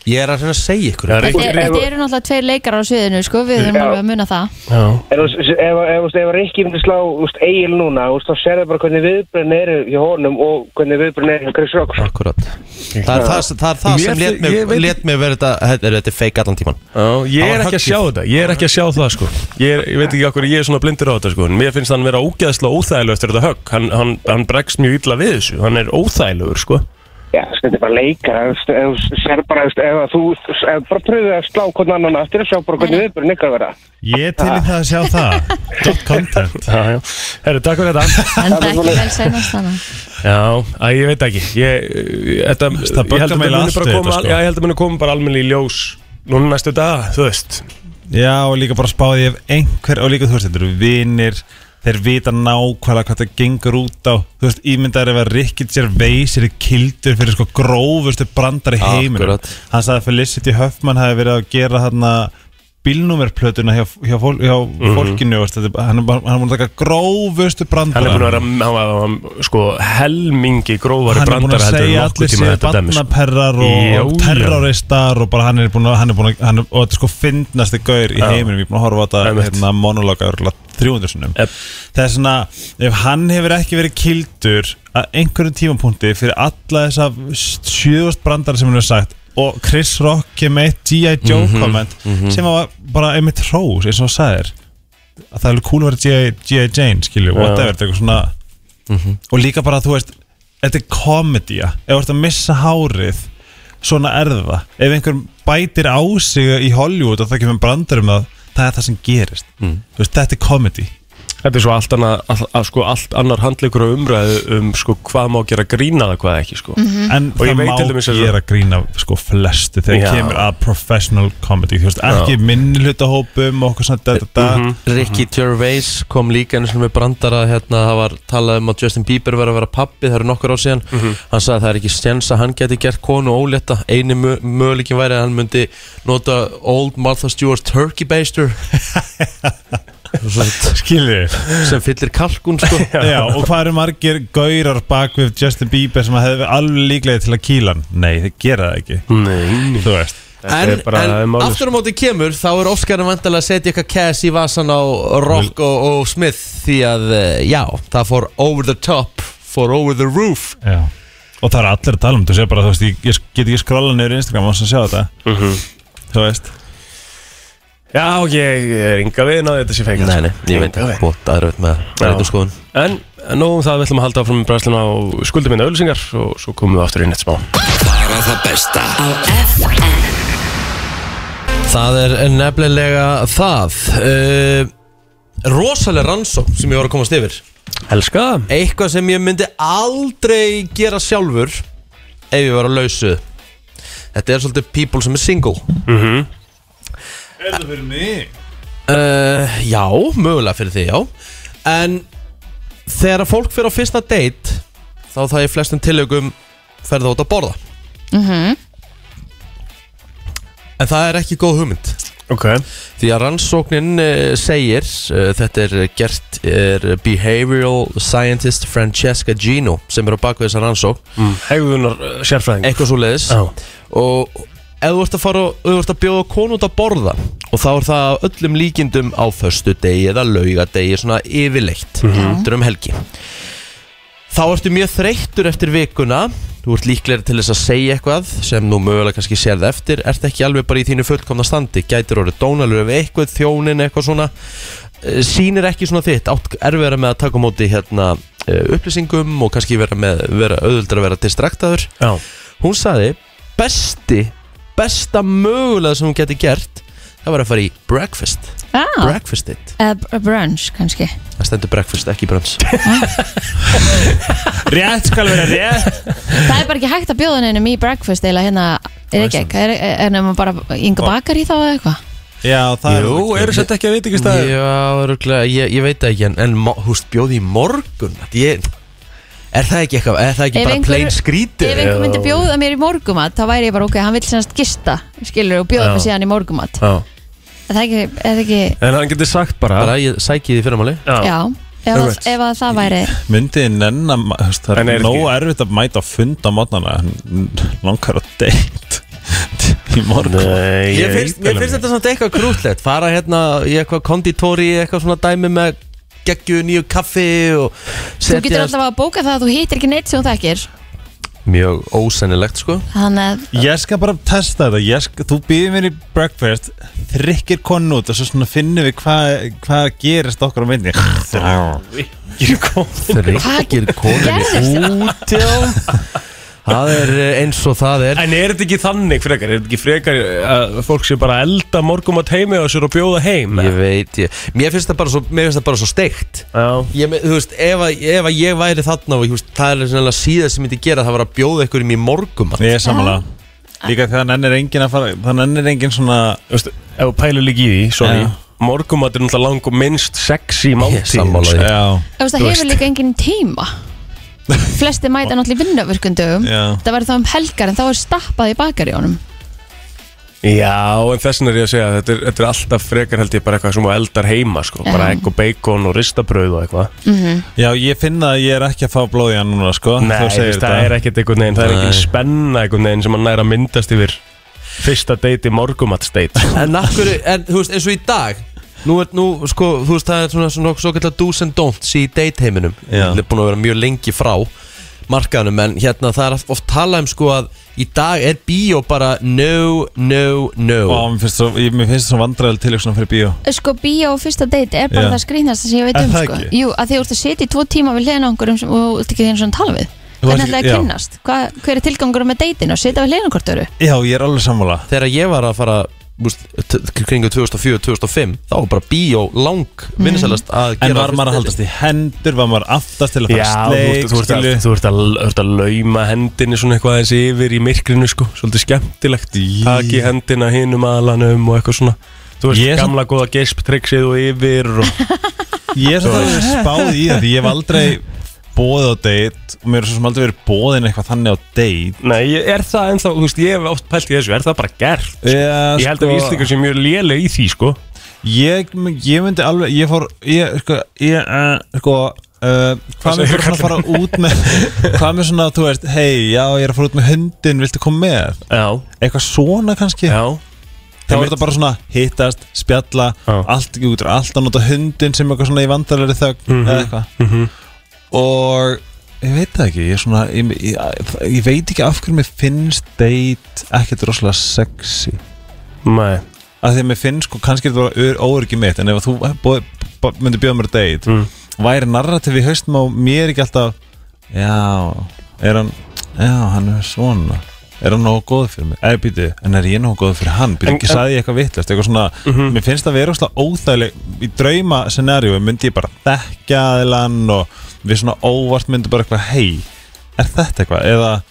Ég er að reyna að segja ykkur Já, Rikki- þetta er- þetta eru náttúrulega tveir leikar á sviðinu, sko Við erum alveg að muna það Já. En þú veist, ef, ef, ef, ef Rikki myndi slá úst, eigil núna, úst, þá serðu bara hvernig viðbröðin eru hjá honum og hvernig viðbröðin eru hjá Chris Rock. Akkurat Það er það, það, er það Mér sem þi- let mig, ég veit- let mig verið þetta Þetta er- þetta er fake allan tíman Já, ég Það er ekki að var höggið. sjá þetta, ég er ekki að sjá það sko Ég, er, ég veit ekki okkur, ég er svona blindur á þetta sko en Mér finnst hann vera ógæðslega óþægilegur eftir þetta högg Hann, hann, hann bregst mjög illa við þessu, hann er óþægilegur sko Já, þú veist, þetta er bara leikar. þú veist, Ef þú serðu bara, þú veist, ef þú ef bara pröfið að slá hvernig annan aftur og sjá bara hvernig viðbröðin ykkar verða. Ég er til í það að sjá það Dot content Já, já, herru, takk fyrir þetta En það er ekki vel seinast þannig Já, að, ég veit ekki Ég, ég, þetta, Það ég held böggar að mig muni allt bara við koma þetta, sko. al- Já, ég held að muni koma bara almenni í ljós Núna næstu dag, þú veist Já, og líka bara spáði ég ef einhver og líka þú veist, þetta eru vinir þeir vita nákvæmlega hvað það gengur út á þú veist, ímyndaður ef að Ricky Gervais er kildur fyrir sko grófustu brandar í heiminum Akkurat. hann sagði að Felicity Huffman hafi verið að gera hann bílnúmerplötuna hjá, hjá, fól, hjá Mhm. fólkinu veist, þetta, er- hann er bara- hann er búin að taka grófustu brandara Hann er búin að vera, hann var, hann, sko, helmingi grófari hann er búin að brandara heldur en segja allir nokkuð tíma séu þetta dæmis barnaperrar Já, og, og já. terroristar og bara hann er búin að, hann er búin að, hann er, og þetta er sko fyndnasti gaur í heiminum, ég er búin að horfa á þetta Einmitt. hérna monologa örgulega 300 sinnum Ep. það er svona, ef hann hefur ekki verið kildur að einhverjum tímapunkti fyrir alla þessa sjöðust brandar sem hann hefur sagt og Chris Rock kemur með eitt G.I. Joe Mhm, comment sem var bara einmitt hrós eins og hann sagðir að það er alveg cool að vera G.I. G.I. Jane skilju, whatever, þetta er eitthvað svona Mhm. og líka bara þú veist þetta er komedía, ef þú ert að missa hárið svona er það ef einhver bætir á sig í Hollywood og það kemur brandar um það það er það sem gerist, Mm. þú veist, þetta er komedi Þetta er svo allt, anna, all, all, sko, allt annar handleikur og umræðu um sko, hvað má gera grínað og hvað ekki sko. Mhm. en Og ég það veit til má dæmis að- gera grín af sko flestu þegar Já. kemur að professional comedy, þú veist, ekki minnilutahópum og okkur svona da, da, da. Mhm. Ricky Gervais kom líka einu sinni með brandara hérna, það var talað um að Justin Bieber var að vera pappi, það eru nokkur ár síðan hann sagði að það er ekki stjens að hann geti gert konu ólétta, eini mö- möguleikin væri að hann myndi nota Old Martha Stewart Turkey Baster Svo- skilju, sem fyllir kalkun sko já, og hvað eru margir gaurar bak við Justin Bieber sem að hefði alveg líklega til að kýla hann nei, þeir gera það ekki, Nei þú veist Þetta En, er bara- það er en málið, sko. aftur á móti kemur þá er Óskarinn vantilega að setja eitthvað cash í vasan á Rock og, og Smith því að eh, já, það fór over the top fór over the roof Já. Og það er allir að tala um þetta, þú sé bara, þú veist, ég, ég get ekki skrolla niður í Instagram og þess að sjá þetta. þú veist Mhm. Já, ég er ynga við náðu þetta sé feikast Nei, nei, ég veit Enga að veginn. bótt aðröð með Já. rætum skoðun En nóg um það, við ætlum að halda áfram með bræðsluna á skuldumina auðlýsingar og svo komum við aftur inn eftir smá. Bara það besta á FM Það er nefnilega það uh, Rosalega rannsókn sem ég var að komast yfir Elska það. Eitthvað sem ég myndi aldrei gera sjálfur Ef ég var að lausu Þetta er svolítið people sem er single Mhm. Er það fyrir mig? uh, Já, mögulega fyrir því, já En þegar að fólk fyrir á fyrsta date Þá það ég flestum tilögum ferða út að borða En það er ekki góð hugmynd Ok. Því að rannsóknin uh, segir, uh, þetta er gert er behavioral scientist Francesca Gino sem er á bakvið þessa rannsókn, Mm. Hegðunar uh, sérfræðing. eitthvað svo leiðis Já. og ef þú ert að fara og ef þú ert að bjóða konu út að borða og þá er það að öllum líkindum á föstu degi eða laugadegi svona yfirleitt Mhm. mm um helgi þá ertu mjög þreyttur eftir vikuna þú ert líklegri til þess að segja eitthvað sem nú mögulega kannski sér það eftir ert ekki alveg bara í þínu fullkomna standi gætir orðið dónalur ef eitthvað þjónin eitthvað svona Eh, sýnir ekki svona þitt átt erfiðara með að taka á móti hérna eh, upplýsingum og kannski vera, með, vera auðvöldra að vera distraktaður Já. hún saði besti, besta mögulega sem hún geti gert það var að fara í breakfast ah, breakfast date, eða br- brunch kannski það stendur breakfast ekki brunch Rétt skal vera rétt það er bara ekki hægt að bjóða neinum í breakfast eða hérna, er ekki ekki er, er nema bara ynga bakar í þá eða eitthvað Já, það Jú, er eru þetta ekki að veit ekki Já, öruglega, ég, ég veit það ekki en, en mo- húst bjóði í morgun þetta ég, er það ekki eitthvað, er það ekki Ef bara einhver- plain skrítið ef einhver myndi bjóða mér í morgumat þá væri ég bara ok, hann vil sennast gista skilur og bjóða Já. mér síðan í morgumat Já. er það ekki, er það ekki En hann getur sagt bara. bara ég sæki því fyrirmáli já, ef, að, Alright. ef að það væri Myndið nenn að ma- þú veist, Það En er er nóg ekki- erfitt að mæta að funda á mótnana Langar að deitt Í morgun Nei, Ég finnst, mér finnst þetta samt eitthvað krútlegt fara hérna í eitthvað konditóri eitthvað svona dæmi með geggju nýju kaffi og þú getur setja- alltaf að bóka það að þú hittir ekki neitt sem þú þekkir mjög ósennilegt sko þannig að Ég skal bara testa þetta Ég skal, Þú býðir mér í breakfast Þrykkir konu út og svo svona finnum við hvað hva gerist okkar á myndinni Þrá þryggir konin gerðist? út já það er eh, eins og það er En er þetta ekki þannig frekar? Er þetta ekki frekar eh, að fólk sé bara að elda morgum að heimi og sér að bjóða heim? ég veit ég mér finnst það bara svo, mér finnst það bara svo steikt Já. ég, me- þú veist, ef að, ef að ég væri þarna og ég veist, það er svona síða sem myndi gera það var að bjóða ykkur í mér morgumann Ég er samanlega Líka þegar nenn er engin að fara Það nenn er engin svona Þú veist, ef þú pælur líka í því, sorry. Já. Morgumat er náttúrulega lang og minnst sexy Ég er máltíð sammála því. Já, Þú veist, það sko. Þú hefur veist. líka enginn tíma Flesti mæta náttúrulega í vinnavirkundum Já. Það verður þá um helgar en þá er stappað í bakarjónum Já, en þessin er ég að segja að þetta er, þetta er alltaf frekar held ég bara eitthvað sem þú eldar heima sko, bara Já. egg og bacon og ristabrauð og eitthvað Mhm. já ég finna að ég er ekki að fá blóð í hann núna sko Nei, Þú segir þess, það þetta. er ekkert einhvern veginn, það er Nei. ekki spenna einhvern veginn sem að næra myndast yfir fyrsta deiti morgumat date en af hverju, en þú veist, eins og í dag nú er, nú, sko, þú veist, það er svona svona svo kallar do's and don'ts í dateheiminum Já. það er búin að vera mjög lengi frá markaðanum, en hérna það er oft talað um sko að í dag er bíó bara no, no, no Ó, mér finnst svo, ég, mér finnst svo vandræðil til ykkur fyrir bíó Sko, bíó og fyrsta date er bara Já. það skrýtnasta sem ég veit Er um það sko. ekki? Jú, að því þú ert að sitja í tvo tíma við hliðina á einhverjum sem, og þú ert ekki þeim svona að tala við Þú Hvernig ert ætlaði ekki- að já. kynnast? Hva, hver er tilgangur með deitinu? Sitja við hliðina á hvort öru? Já, ég er alveg sammála þegar ég var að fara úst, kringu 2004-2005 þá var bara bíó lang Mhm. vinsælast að gera En var maður fyrst að date. haldast í hendur, var maður aftast til að fara Já, þú ert- sleik þú ert að- skilju? þú ert að þú ert að lauma hendinni svona eitthvað aðeins yfir í myrkrinu sko, svolítið skemmtilegt Í. Taki hendina hinum aðlanum og eitthvað svona Þú veist, Ég- gamla góða gesp tryggsið og yfir og Ég er svo það að spáði í það því ég hef aldrei bóðið á date og mér er svo sem aldrei verið bóðin eitthvað þannig á date Nei, ég- er það ennþá, þú veist, ég hef oft pælt í þessu, er það bara gert? Já, Ég held að við Íslingar séum mjög léleg í því, sko sko- Ég, ég myndi alveg, ég fór, ég, sko, ég, uh, sko, uh, hvað með segir svona að fara út með, hvað með svona, þú veist, hei, já, ég er að fara út með hundin, viltu koma með? Já, Eitthvað svona kannski? já Þá er þetta bara svona hittast, spjalla, Já. allt, ég út, allt að nota hundin sem eitthvað svona í vandarlegri þögn Mhm. eða eitthvað. Og ég veit það ekki, ég er svona, ég, ég, ég veit ekki af hverju mér finnst date ekkert rosalega sexy. Nei, að því að mér finnst sko kannski er þetta óöryggi mitt en ef þú bóð, bó, myndi bjóða mér að date Mm. væri narratífi í haustum á mér ekki alltaf já, er hann já, hann er svona er hann nógu góð fyrir mig, eða býtu en er ég nógu góð fyrir hann, býtu En- ekki en- sagði ég eitthvað vittlust eitthvað svona, Mhm. mér finnst það vera óslega óþægileg í drauma scenarió myndi ég bara þekkja aðilann og við svona óvart myndi bara eitthvað hei, er þetta eitthvað eða,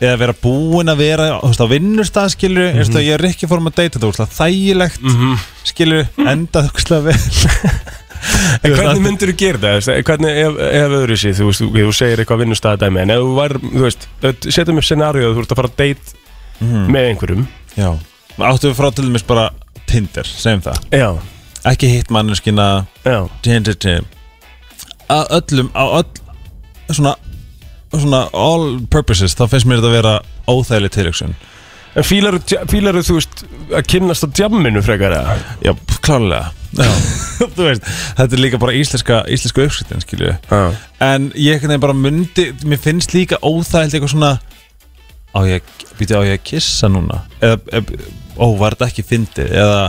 eða vera búin að vera þú veist, á vinnustafskilju mm Mhm. -hmm. ég er ekki fórum að deyta þetta úrslega þægilegt mm -hmm. skilju, enda úrslega vel En hvernig myndur þú gera það? þú veist, Hvernig, ef, ef öðru sér, þú veist, þú- þú segir eitthvað vinnustæðadæmi En ef þú var, þú veist, öll- setjum upp scenarióð Þú ert að fara að date með einhverjum Mhm. já, áttu við frá til dæmis bara Tinder, segjum það Já, ekki hitt manneskina já, Tinder, Tinder að öllum, á öll svona, svona all purposes, þá finnst mér þetta að vera óþægileg tilöksun en fílaru, fílaru, þú veist, að kynnast á djamminu frekar eða? já, klárlega Þú veist, þetta er líka bara íslenska, íslenska uppskriftin, skilju Já En ég einhvern veginn bara myndi Mér finnst líka óþægild eitthvað svona Á ég, býti á ég að kissa núna Eða, eð, ó, var þetta ekki fyndið Eða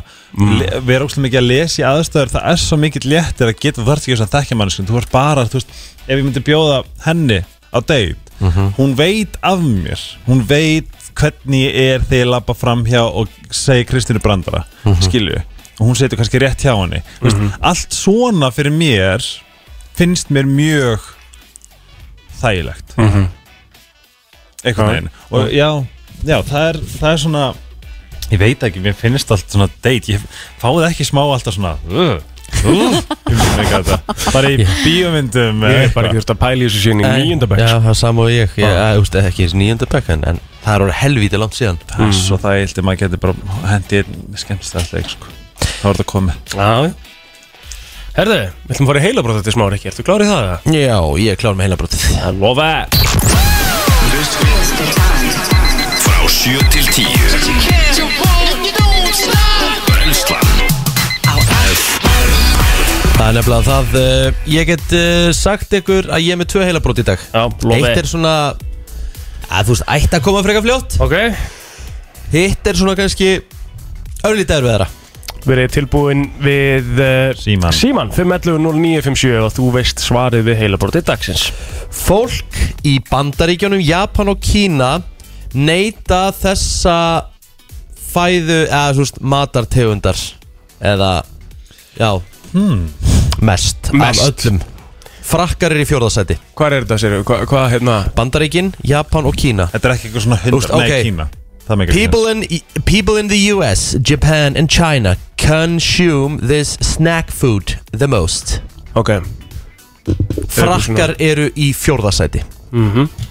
le, vera óslega mikið að lesa í aðstöður Það er svo mikið léttir að geta Þú þarft ekki þess að þekkja mannskjum Þú ert bara, þú veist, ef ég myndi bjóða henni Á deit, hún veit af mér Hún veit hvernig ég er Þegar ég labba fram hjá og segi Kristínu Brandara, mm Og hún setur kannski rétt hjá henni mm Mhm. veist, Allt svona fyrir mér finnst mér mjög þægilegt einhvern Mhm. Já. veginn og já, já það, er, það er svona ég veit ekki, mér finnst allt svona deit ég fáið ekki smá alltaf svona uh, uh, ég veit ekki hvað þetta. bara í bíómyndum Ég eða er bara ekki eitthvað. þurft að pæla í þessu síðan í sko. nýjöndabæk Já, það er sama og ég, ég Ah. að, úst, ekki eins nýjönda bekk en, en það er orðið helvítið langt síðan það er svo þægilt ef maður getur bara hendið skemmst alltaf sko. þá er þetta komið Já Herðu, við ætlum að fara í heilabrót þetta smári ekki, ertu klárið það? eða? Já, ég er klár með heilabrótið Það lofa Frá 7 til 10 Brennslan á Það er nefnilega það, uh, ég get uh, sagt ykkur að ég er með tvö heilabrót í dag Já, lofa Eitt er svona, að þú veist, ætti að koma freka fljótt Ok, Hitt er svona kannski örlítið erfiðara við erum tilbúin við uh, Síman. Síman, 511-0957 og þú veist svarið við heilabrótið dagsins Fólk í bandaríkjónum, Japan og Kína neyta þessa fæðu, eða þú veist, matartegundar Eða, já, hmm. mest, Mest. af öllum Frakkar er í fjórðasæti Hvað er þetta, sér? Hvað, hvað hérna? Bandaríkin, Japan og Kína þetta er ekki eitthvað svona hundar, Úst, ok. nei Kína það er mikið People in, people in the US, Japan and China consume this snack food the most. Ok, Frakkar eru í fjórðasæti. Mm Mhm. -hmm.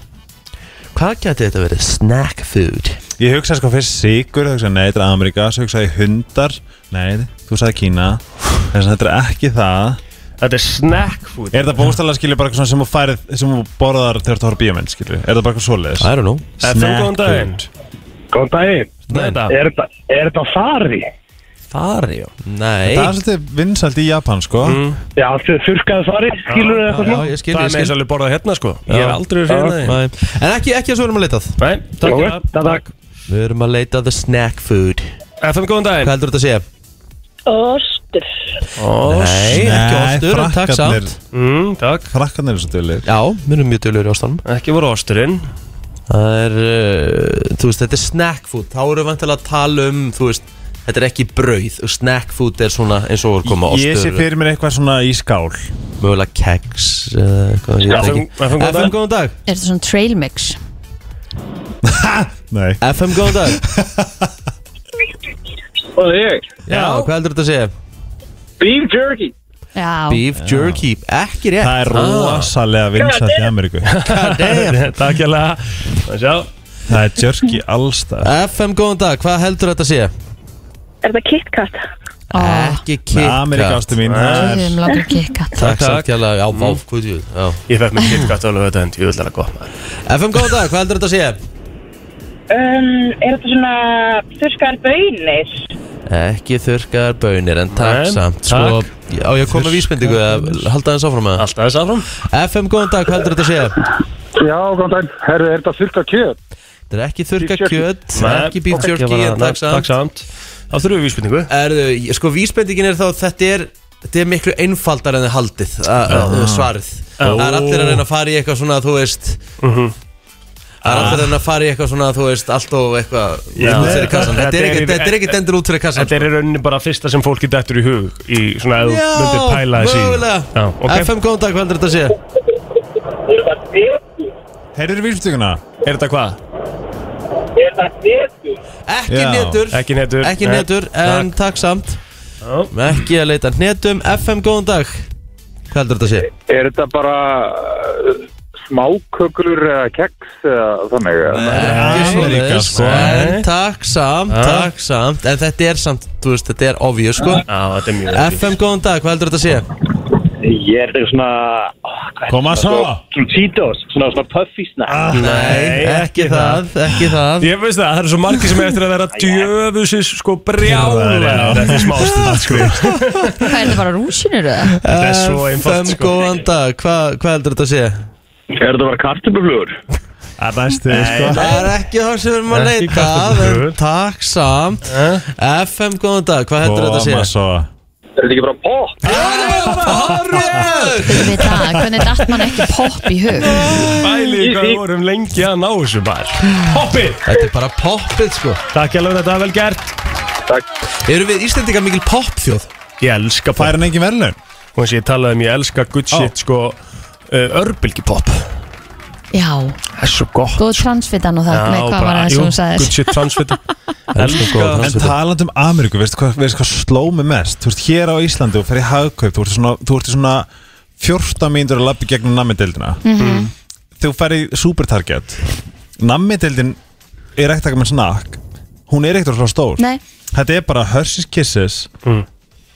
Hvað geti þetta verið? Snack food. Ég hugsaði sko fyrst sigur, þú hugsaði nei, þetta er Amerika, svo hugsaði ég hundar, nei, þú sagði Kína, þess að þetta er ekki það. þetta er snack food Er þetta bóstalega skilju bara eitthvað svona sem þú færið, sem þú borðar þegar þú horfður bíómynd, skilju? Er þetta bara eitthvað svoleiðis? I don't know. Þetta er góðan daginn Góðan daginn. Þetta, Er þetta- er þetta fari? Fari, já. Nei. Það er svolítið vinsælt í Japan, sko. Mm. Já, þau þurrkaði fari, skilur þau eitthvað Já, svona? ég skil, það ég er með skil. þess alveg borðað hérna sko Ég hef aldrei verið hérna Nei. En ekki, ekki að svo erum að leitað. Nei, takk Ok, fyrir það takk, takk. Við erum að leita the snack food. FM, góðan Hvað daginn heldur þetta að segja? Ostur. Nei, ekki ostur, en takk frakkarnir, samt. mm, Takk frakkarnir er svo dölir. Já, við erum mjög dölur í ástæðum. Ekki voru osturinn Það er, uh, þú veist, þetta er snack food Þá erum við vantilega að tala um, þú veist Þetta er ekki brauð og snack food er svona eins og er koma Ég sé ostur, fyrir mér eitthvað svona í skál. mögulega keks eða eitthvað, ég veit FM, ekki FM, góðan FM daginn góðan dag Er þetta svona trail mix? Nei. FM góðan dag Og ég, Já, hvað heldur þetta að segja? beef jerky. Já, Beef jerky, ekki rétt Það Ah. er rosalega vinsælt í Ameríku. Takk hjá Það sjá Það er jerky allstað. FM góðan dag, hvað heldur þetta að segja? Er þetta KitKat? Ekki Ameríka kikka ástu mín, það við er... erum langar KitKat Takk Takk. Mm. samt kjærlega, já, váf, hvað er þetta? Ég fekk mér kitkat alveg þetta en ég vil að gott maður FM góðan dag, hvað heldur þetta að segja? Um, er þetta svona þurrkaðar bönir? Ekki þurrkar baunir, en takk Nei, samt Svo, takk. á ég að koma með vísbendingu eða halda hans áfram með það? Alltaf þess áfram FM góðan dag, hvað heldur þetta að segja? Já, góðan daginn. Herru, er þetta þurrkað kjöt? Þetta er ekki þurka Beef jerky. kjöt, Nei, ekki beef ok. jerky Ekki en bara- takk takksamt Þá þurfum við vísbendingu Erðu, sko vísbendingin er þá að þetta er Þetta er miklu einfaldar en þið haldið að, að, Já. svarið Já. Mhm. Það er allir að reyna að fara í eitthvað svona þú veist Það er allir að reyna að fara í eitthvað svona þú veist allt og eitthvað Ah. Já. út fyrir kassan Þetta er ekkert- þetta er ekkert endur út fyrir kassan Þetta er í rauninni bara fyrsta sem fólki dettur í hug Í svona að þú Já, myndir pæla þessi mögulega. Já, okay. FM, góðan dag, hvað heldur þetta að sé? Heyrður vilfstuguna? Er þetta hvað? Er það netur? Ekki Já. netur Ekki hnetur, Ekki nei. netur, en takk samt Ekki að leita að netum FM, góðan dag Hvað heldur þetta að sé? Er þetta bara uh, smákökur eða keks eða þannig? Ekki líka, svoleiðis, sko. En takk samt, Ja. takk samt En þetta er samt, þú veist, þetta er obvious sko þetta er mjög FM, góðan dag, hvað heldur þetta að sé? Ég er þetta svona Koma svo svo. Svona Cheetos, svona, svona puffy snack ah, Nei, ekki það, ekki það Ég veist það, það eru svo margir sem er eftir að vera djöfusis sko brjála Já, Þetta er smá sko. stíl Hvað er þetta bara rúsinur eða? Þetta er svo einfalt, FM, sko. góðan dag, hvað, hvað heldur þetta að sé? Er þetta bara kartöfluflugur? Það er næstu, sko. Það er ekki það sem við erum að Ekki leita kasta en blöð. Takk samt FM, góðan dag, hvað heldur þetta að sé? Koma svo Er þetta ekki bara pop? Við það, hvernig datt mann ekki popp í hug? Bæli hvað við vorum lengi að ná þessu bara Poppið Þetta er bara poppið sko Takk ég alveg þetta var vel gert Takk Eru við Íslendingar mikil poppþjóð? Ég elska popp Fær hann engin verðlaun? Og eins og ég talaði um ég elska good shit sko uh, Örbylgipopp Já, Það er svo gott góð transfitan og það Nei, hvað var bara, það jú, sem hún sagði? Good shit transfitta En taland um Ameríku, veistu hvað, veistu hvað sló mig mest? Þú ert hér á Íslandi og fer í hagkaup Þú ert í svona, þú ert í svona 14 mínútur að labba í gegnum nammideildina Mhm. Þú fer í supertarget Nammideildin er ekkert ekki með snakk Hún er ekkert frá stór Nei. Þetta er bara Hershey's Kisses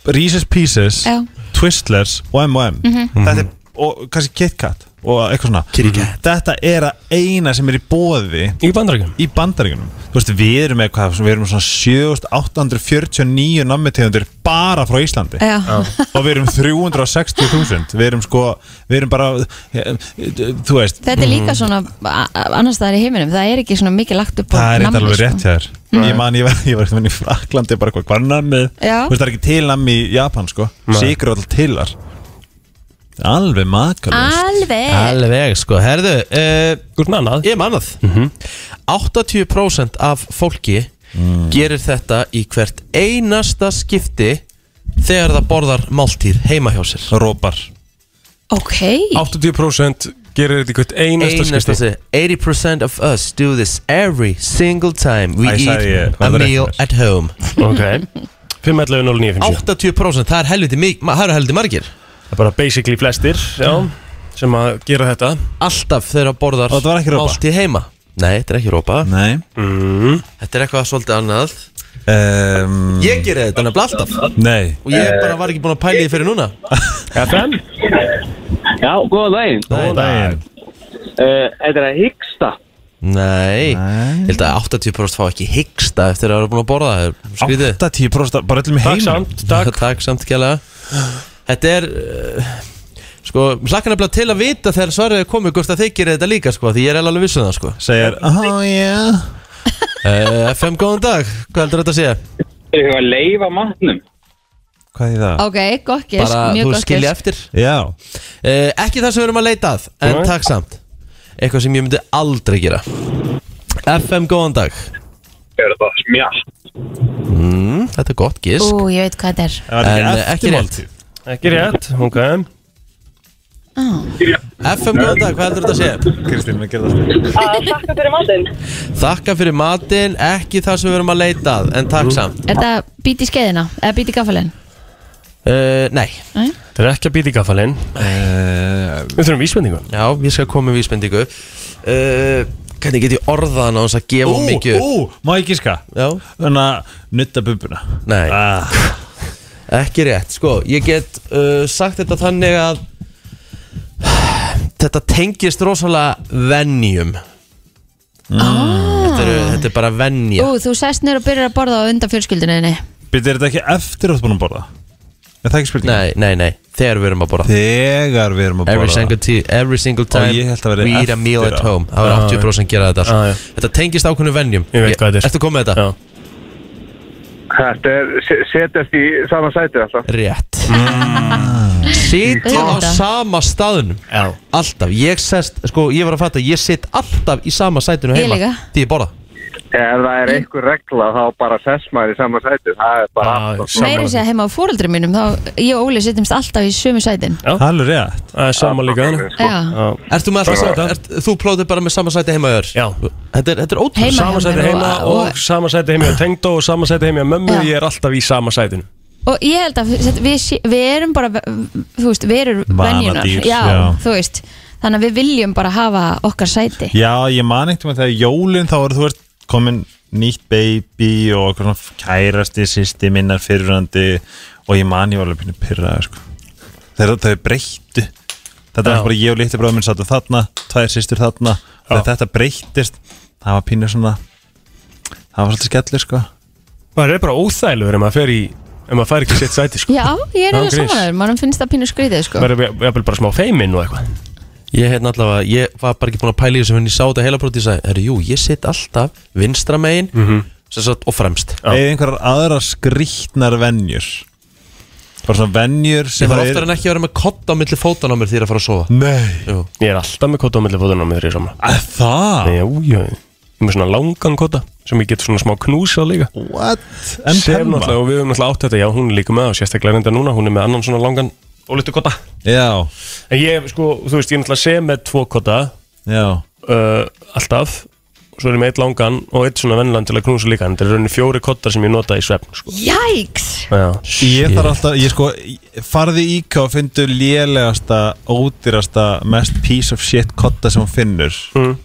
Reese's Pieces Já. Twistlers og M&M Mhm. Þetta er, og kannski Kit Kat og eitthvað svona Mhm. Kitty Kat Þetta er að eina sem er í bóði Í bandaríkjunum Í bandaríkjunum Þú veist, við erum með hvað, við erum með svona 7849 nammetegundir bara frá Íslandi Já. Já. Og við erum 360.000 Við erum sko, við erum bara eh, eh, Þú veist Þetta er Mhm. Mm. líka svona a- a- annars staðar í heiminum, það er ekki svona mikið lagt upp á Það er nammi, eitthvað alveg sko. rétt hjá þér Mhm. Ég man, ég var, ég var eitthvað í Fraklandi bara eitthvað, hvað er nammið? Já. Þú veist, það er ekki til nammi í Japan, sko Nei. Sigur alltaf til þar Alveg makalust Alveg Alveg sko, herðu uh, Þú ert mannað Ég er mannað Mhm. 80% af fólki Mm. gerir þetta í hvert einasta skipti þegar það borðar máltíð heima hjá sér Rópar Ok, 80% gerir þetta í hvert einasta Einasta skipti skipti 80% of us do this every single time we Æ, eat sagði ég, var a það rétt meal mér? at home Ok 511 0957 80% það er helviti, mik- ma- það eru helviti margir Mm. Það er bara basically flestir já, sem að gera þetta Alltaf þeirra borðar Og þetta var ekki rópa? Máltíð heima Nei, þetta er ekki rópa Nei mm. Þetta er eitthvað svolítið annað um, Ég gerði þetta nefnilega alltaf Nei Og ég bara var ekki búin að pæla því fyrir núna FM Já, góðan daginn Góðan daginn uh, Þetta er að hyggsta Nei, ég held að 80% fá ekki hyggsta eftir að vera búin að borða það er skrítið. 80% bara öllum í Takk heiminn samt, takk Takk samt kjælega Þetta er uh, Sko, hlakka nefnilega til að vita þegar svarið er komið hvort að þið gerir þetta líka, sko, því ég er alveg viss um það, sko Segir, oh yeah uh, FM, góðan dag, hvað heldur þetta að segja? Er þetta að leifa matnum? Hvað er það? ok, gott gisk, Bara, mjög þú gott skilja gisk eftir Já uh, Ekki það sem við erum að leita að, en Nei. takk samt Eitthvað sem ég myndi aldrei gera FM, góðan dag Er þetta smjall? mm, Þetta er gott gisk Ú, ég veit hvað þetta er var ekki En, eh, ekki rétt. Ekki rétt, ok FM, góðan dag, hvað heldur þetta að segja? Kristín, maður gerði það alltaf. Að þakka fyrir matinn. Þakka fyrir matinn, ekki það sem við erum að leita að, en takk samt Er það bít í skeiðina, eða bít í gafalinn? uh, Nei Nei. Það er ekki að býta í gafalinn Við þurfum vísbendingu Já, ég skal koma með vísbendingu uh, Hvernig get ég orðað hann á þess að gefa Ú, of mikið upp? ú, má ég gíska? Já Þannig að nutta bubbuna Nei, ah. ekki rétt Sko, ég get uh, sagt þetta þannig að Þetta tengist rosalega venjum þetta, eru, þetta er bara venja Ú, þú sest nýr og byrjar að borða á undan fjölskyldinu þinni Býttu, er þetta ekki eftir að þú ert búin að borða? Er það ekki spurning? Nei, nei, nei Þegar við erum að borða Þegar við erum að Every borða. single, ti- every single Og time ég held að það væri we eat a eftir meal á. at Ah, home Það Já, var 80% gera þetta já, já. allt. Þetta tengist ákveðinu venjum Ah, Ég veit hvað þetta er Ertu komið með þetta? Já Þetta er se- setjast í sama sæti alltaf Rétt Sitja á Auðvitað. sama staðnum Já Alltaf, ég sest, sko, ég var að fatta Ég sit alltaf í sama sætinu Ég heima líka. Því ég borða Ef það er einhver regla þá bara sess maður í sama sæti Það er bara Ah, alltaf Meiri sé að heima á fóreldri mínum þá ég og Óli sittumst alltaf í sömu sætin Hallu rétt Það er sama líka Sko, Já. sko. Ertu með alltaf Bara- sama ert, Þú plóðir bara með sama sæti heima þér Já Þetta er, þetta er ótrúlega Heima hjá Sama sæti mér heima og- og- og sama sæti heima hjá tengdó og sama sæti heima hjá mömmu Já. Ég er alltaf í sama sætinu Og ég held að við, sé- við erum bara þú veist, við erum Vanadýr, venjunar já, já. þú veist Þannig að við viljum bara hafa okkar sæti Já, ég man ekkert með þegar jólin þá voru þú veist komin nýtt baby og eitthvað svona kærasti sýsti minnar fyrrandi og ég man ég var alveg pínu pyrraði sko. þegar þau breyttu þetta Já. var bara ég og litli bróðum minn sattu þarna tvær sýstur þarna og þegar þetta breyttist það var pínu svona það var svolítið skellir sko Maður er bara óþægilegur ef maður fer í ef maður fær ekki sitt sæti sko Já, ég er Án alveg gríns. samanlegur, mannum finnst það pínu skrítið sko. Maður er jafnvel bara smá feiminn og eitthvað Ég hef allavega, ég var bara ekki búin að pæla í þessu en ég sá þetta heila brot, ég sagði, herru, jú, ég sitt alltaf vinstra megin Mhm. sem sagt, og fremst eða einhverjar aðra skrýtnar venjur bara svona venjur Ég sem var að oftar eru- en ekki að vera með kott á milli fótan á mér því að fara að sofa Nei Jú. Ég er alltaf með kota á milli fótunum með þeirri saman Að það? Já, já Ég er með svona langan kota sem ég get svona smá knúsa líka What? En En sem Thelma? náttúrulega og við höfum náttúrulega átt þetta Já, hún er líka með og sérstaklega reynda núna Hún er með annan svona langan og litur kota Já En ég, sko, þú veist, ég er náttúrulega sem með tvo kota Já uh, Alltaf Svo er ég með eitt langan og eitt svona vennlan til að knúsa líka En þetta er rauninni fjóri kottar sem ég nota í svefn sko. Jæks Já Ég þarf alltaf, ég sko, farði í IK og fyndu lélegasta, ódýrasta, mest piece of shit kotta sem hún finnur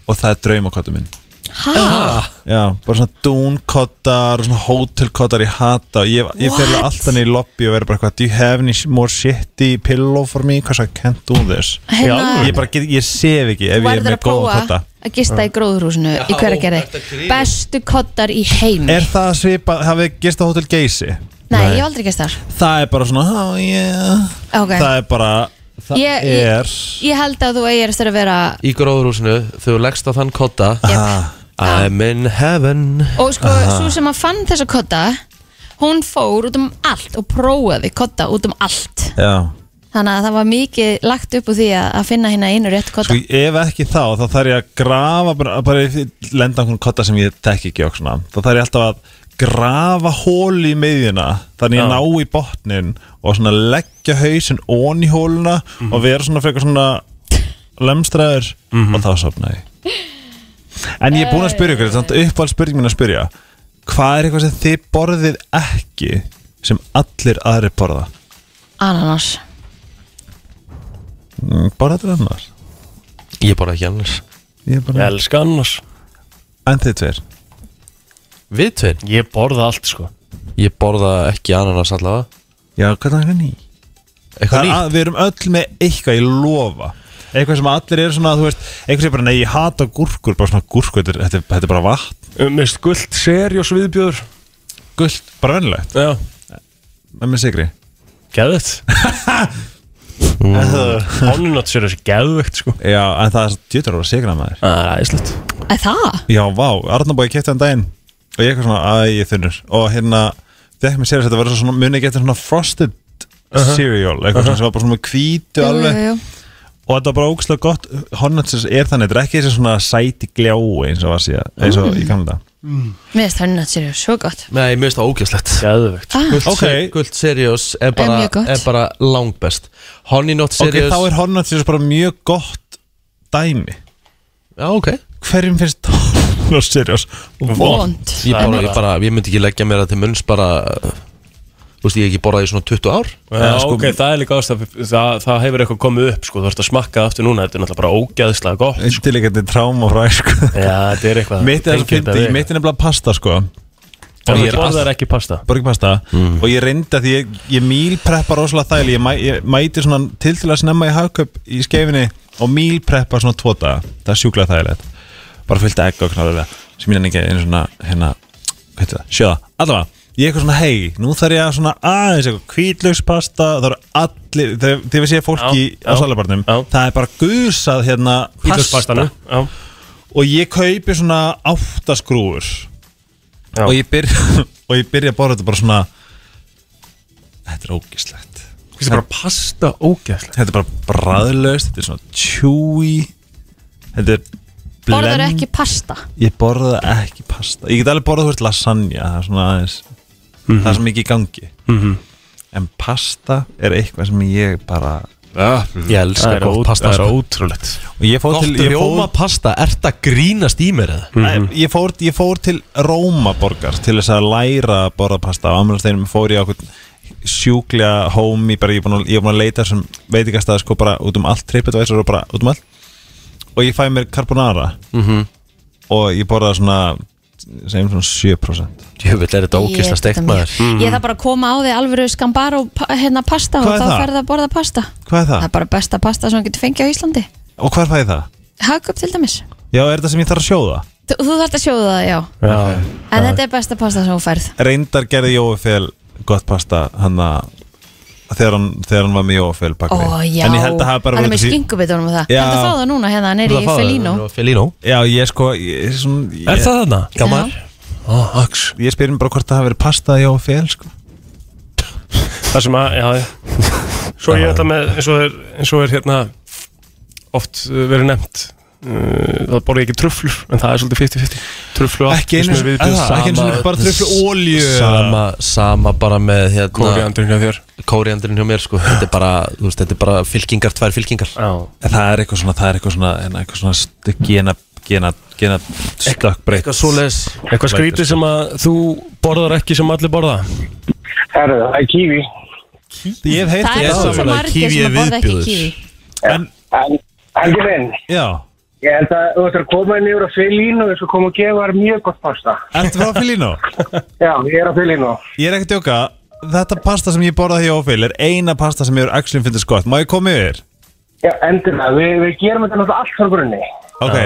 og það er draumakotta minn. Ha? Já, bara svona dúnkottar og svona hótelkottar ég hata og ég, ég fyrir What? alltaf niður í lobby og verður bara eitthvað, do you have any more shitty pillow for me, because I can't do this. Hérna- Ég bara, get, ég sef ekki Þú ef ég er verður með að góða prófa kotta. að gista í gróðurhúsinu í hverja ertu að gerði grínast? Bestu kottar í heimi Er það svipað, hafið gist á Hotel Geysi? Nei, ég hef aldrei gist þar Það er bara svona, oh yeah, Ok. það er bara, það Ég- ég- er... Ég held að þú eigir eftir að vera Í gróðurúsinu, þú leggst á þann kotta I'm in heaven Ah. Og sko, svo sem að fann þessa kotta Hún fór út um allt og prófaði kotta út um allt Já Þannig að það var mikið lagt upp úr því að, að finna hérna einu rétt kotta Sko ef ekki þá, þá þarf ég að grafa bara, bara ef ég lenda einhvern kotta sem ég tek ekki og svona, þá þarf ég alltaf að grafa hól í miðjuna þannig ég Já. ná í botnin og svona leggja hausinn ón í hóluna og vera svona frekar svona lemstraður og þá sopna ég En ég er búin að spyrja ykkur, þetta er uppáhald spurning mín að spyrja Hvað er eitthvað sem þið borðið ekki sem allir aðrir borða? Ananas Mm, Borða þetta annars? Ég borða ekki annars Ég borða elska annars En þið tveir? Við tveir? Ég borða allt sko Ég borða ekki ananas allavega Já, hvað er það nýtt? Eitthvað nýtt? Við erum öll með eitthvað, ég lofa Eitthvað sem allir eru svona, þú veist Eitthvað sem bara, nei, ég hata gúrkur Bara svona gúrkur, þetta er, þetta er, þetta er bara vatn Mest gullt serjós viðbjöður Gullt, bara vennilegt Já Með með sigri Geðvett Hánunátt sér þessi geðvegt sko Já, en það er svo djötur að vera sigra maður Það er æðislegt Er það? Já, vá, Arnabói kefti hann daginn Og ég eitthvað svona, æ, ég þunnur Og hérna, fekk mér sér þetta verður svona Muni getið svona frosted Uh-huh. cereal Eitthvað Uh-huh. sem var bara svona með hvítu Jú, alveg jú, jú. og þetta var bara ógslag gott Hornets er þannig, þetta er ekki þessi svona sæti gljáu eins og var síðan, eins og í gamla dag Mér finnst það nött sér svo gott Nei, mér finnst það ógæslegt Geðvegt Ah. Gult, Ok. okay. gult seriós er bara, mjög gott. er bara langbest Honey Not Ok, Serious þá er Hornets bara mjög gott dæmi Já, ok Hverjum finnst Hornets seriós? Vond Ég, bara, ég, bara, ég myndi ekki leggja mér það til munns bara uh, Þú veist, ég hef ekki borðað í svona 20 ár Já, sko, ok, það er líka ástaf það, það hefur eitthvað komið upp, sko, þú ert að smakka það aftur núna Þetta er náttúrulega bara ógeðslega gott sko. Undirleikandi tráma frá sko. Já, þetta er eitthvað Mitt er þess að fyndi, ég mitt er nefnilega pasta sko Og Og ég borðar ekki pasta Borgi pasta Og ég reyndi að því ég, ég mílpreppa rosalega þægilega ég, mæ, ég mæti svona til til að snemma í hagköp í skefinni Og mílpreppa svona tvo daga Það er sjúklega þægilegt Bara fyllt egg og knallega Sem ég nenni ekki einu svona hérna Hvað heitir það? Sjöða Allavega ég er eitthvað svona hei, nú þarf ég að svona aðeins eitthvað kvítlökspasta, það eru allir þegar þegar við séum fólki á já, salabarnum það er bara gusað hérna Hvítlaukspastanna, pasta og ég kaupi svona áttaskrúur og ég byrja og ég byrja að borða þetta bara svona þetta er ógislegt Þetta er bara pasta ógæðslega Þetta er bara bræðlaust, þetta er svona chewy Þetta er Borðar blend- ekki pasta Ég borða ekki pasta Ég get alveg borðað þú veist lasagna Það er svona aðeins Það er svo mikið í gangi Mhm. En pasta er eitthvað sem ég bara Ég elska Það er gott ó- pasta, Það er sko. ótrúlegt Og ég fór Gott til ég fór, rjómapasta, ert að grínast í mér eða? Mm. Nei, ég, fór, ég fór til Rómaborgar Til þess að læra að borða pasta Á amalasteginum fór ég á okkur sjúklega homi, bara ég er búin að, ég er búin að leita sem veitingastæð sko bara út um allt TripAdvisor og bara út um allt og ég fæ mér carbonara Mhm. og ég borðaði svona segjum svona 7% Jöfnveld er þetta ógeðslega Ég- steikt, þetta maður. Mhm. Ég þarf bara að koma á því alvöru skambar og hérna pasta Hvað og er þá það? ferð að borða pasta Hvað er það? Það er bara besta pasta sem þú getur fengið á Íslandi Og hvað fæ ég það? Hagkaup til dæmis Já, er þetta sem ég þarf að sjóða? Þú, þú þarft að sjóða það, já Já En þetta er besta pasta sem þú færð Reyndar gerði Jóafél gott pasta hann að þegar hann, þegar hann var með Jóafél Ó, bakvið já En ég held að hafa bara Hann er verið með því- skinkubitunum og það Já. Þetta fá það núna hérna, hann er í Felino Felino Já, ég sko ég, svona, ég, Er það þarna? Gammar? oh, Ég spyr mér bara hvort það hafi verið pasta Jóafél sko Það sem að, já, já Svo ég ætla með, eins og er, eins og er hérna Oft uh, verið nefnt uh, Það borði ekki truflur En það er svolítið 50-50 Truflu og Ekki einu sinni- að, ekki einu sinni bara trufluolíu. Sama, sama bara með hérna, Kóriandurinn hjá þér Kóriandurinn hjá mér sko Þetta er bara, þú veist, þetta er bara fylkingar, tvær fylkingar Já En Það er eitthvað svona, það er eitthvað svona, hérna, eitthvað svona st- gena, gena, gena stökkbreytt Eitthvað svoleiðis sko. Eitthvað skrítið sem að þú borðar ekki sem allir borða Herru, það er kífi Ég hef Það heyrt þetta er áður. svo margir sem að borða ekki kífi En, en Helgi minn, já ég held að þú ættir að koma inn yfir á Felínu og þú koma og gefa þér mjög gott pasta. Ertu frá Filino? Já, ég er á Felínu. Ég er ekki að djóka Þetta pasta sem ég borðaði hjá Ófél er eina pasta sem ég er actually fyndist gott Má ég koma yfir? Já, endilega, við, við gerum þetta náttúrulega allt frá grunni. Ok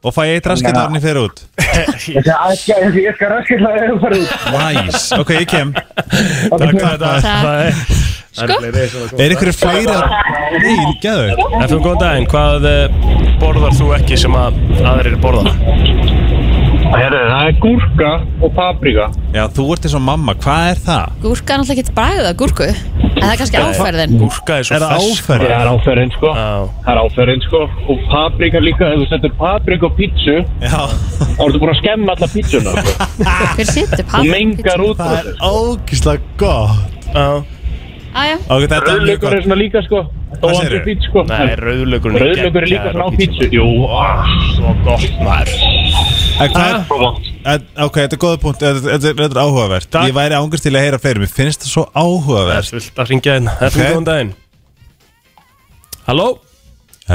Og fæ ég eitt raskitt Já. árin í fyrir út Ég skal- ég skal- ég skal raskilla þér um fyrir út. Nice Ok, ég kem Takk fyrir þetta. Það er- Sko. Er ykkur fleiri að Nei, gæðu FM, um góðan daginn, hvað eh, borðar þú ekki sem að aðrir borða? Herru, það er gúrka og paprika Já, þú ert eins og mamma, hvað er það? Gúrka er náttúrulega ekki bræðið að gúrku En það er kannski áferðin Gúrka er svo Er það fersk. áferðin? Það er áferðin sko Það er áferðin sko Og paprika líka, ef þú setur paprika á pítsu Já Þá ertu búin að skemma alla pítsuna sko. Hver setur Þú paprika? mengar út Það er ógislega gott Já Æja, Ok, þetta er mjög Rauðlaukur er gott svona líka sko Þó Hvað hann segirðu? er pít sko Nei, rauðlaugur Rauðlaukur er líka svona á pítsu Jú, ah, svo gott maður En hvað er- Svo gott en- Ok, þetta er góða punkt, þetta þetta er þetta er áhugavert Ég væri ángurst til að heyra fleiri, mér finnst það svo áhugavert Það er vilt að ringja inn FM, Ok. góðan daginn Halló?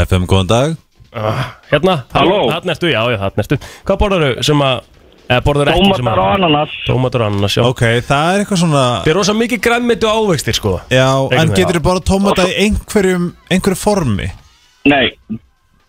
FM, góðan dag Hérna? Halló? Hann ertu, já, já, hann ertu Hvað borðar þú sem að eða borðar ekki sem að Tómatar og ananas Tómatar og ananas, já Ok, það er eitthvað svona Það er rosa mikið græmmiti og ávextir, sko Já, en veginn. getur þú bara tómata í einhverjum, einhverju formi? Nei,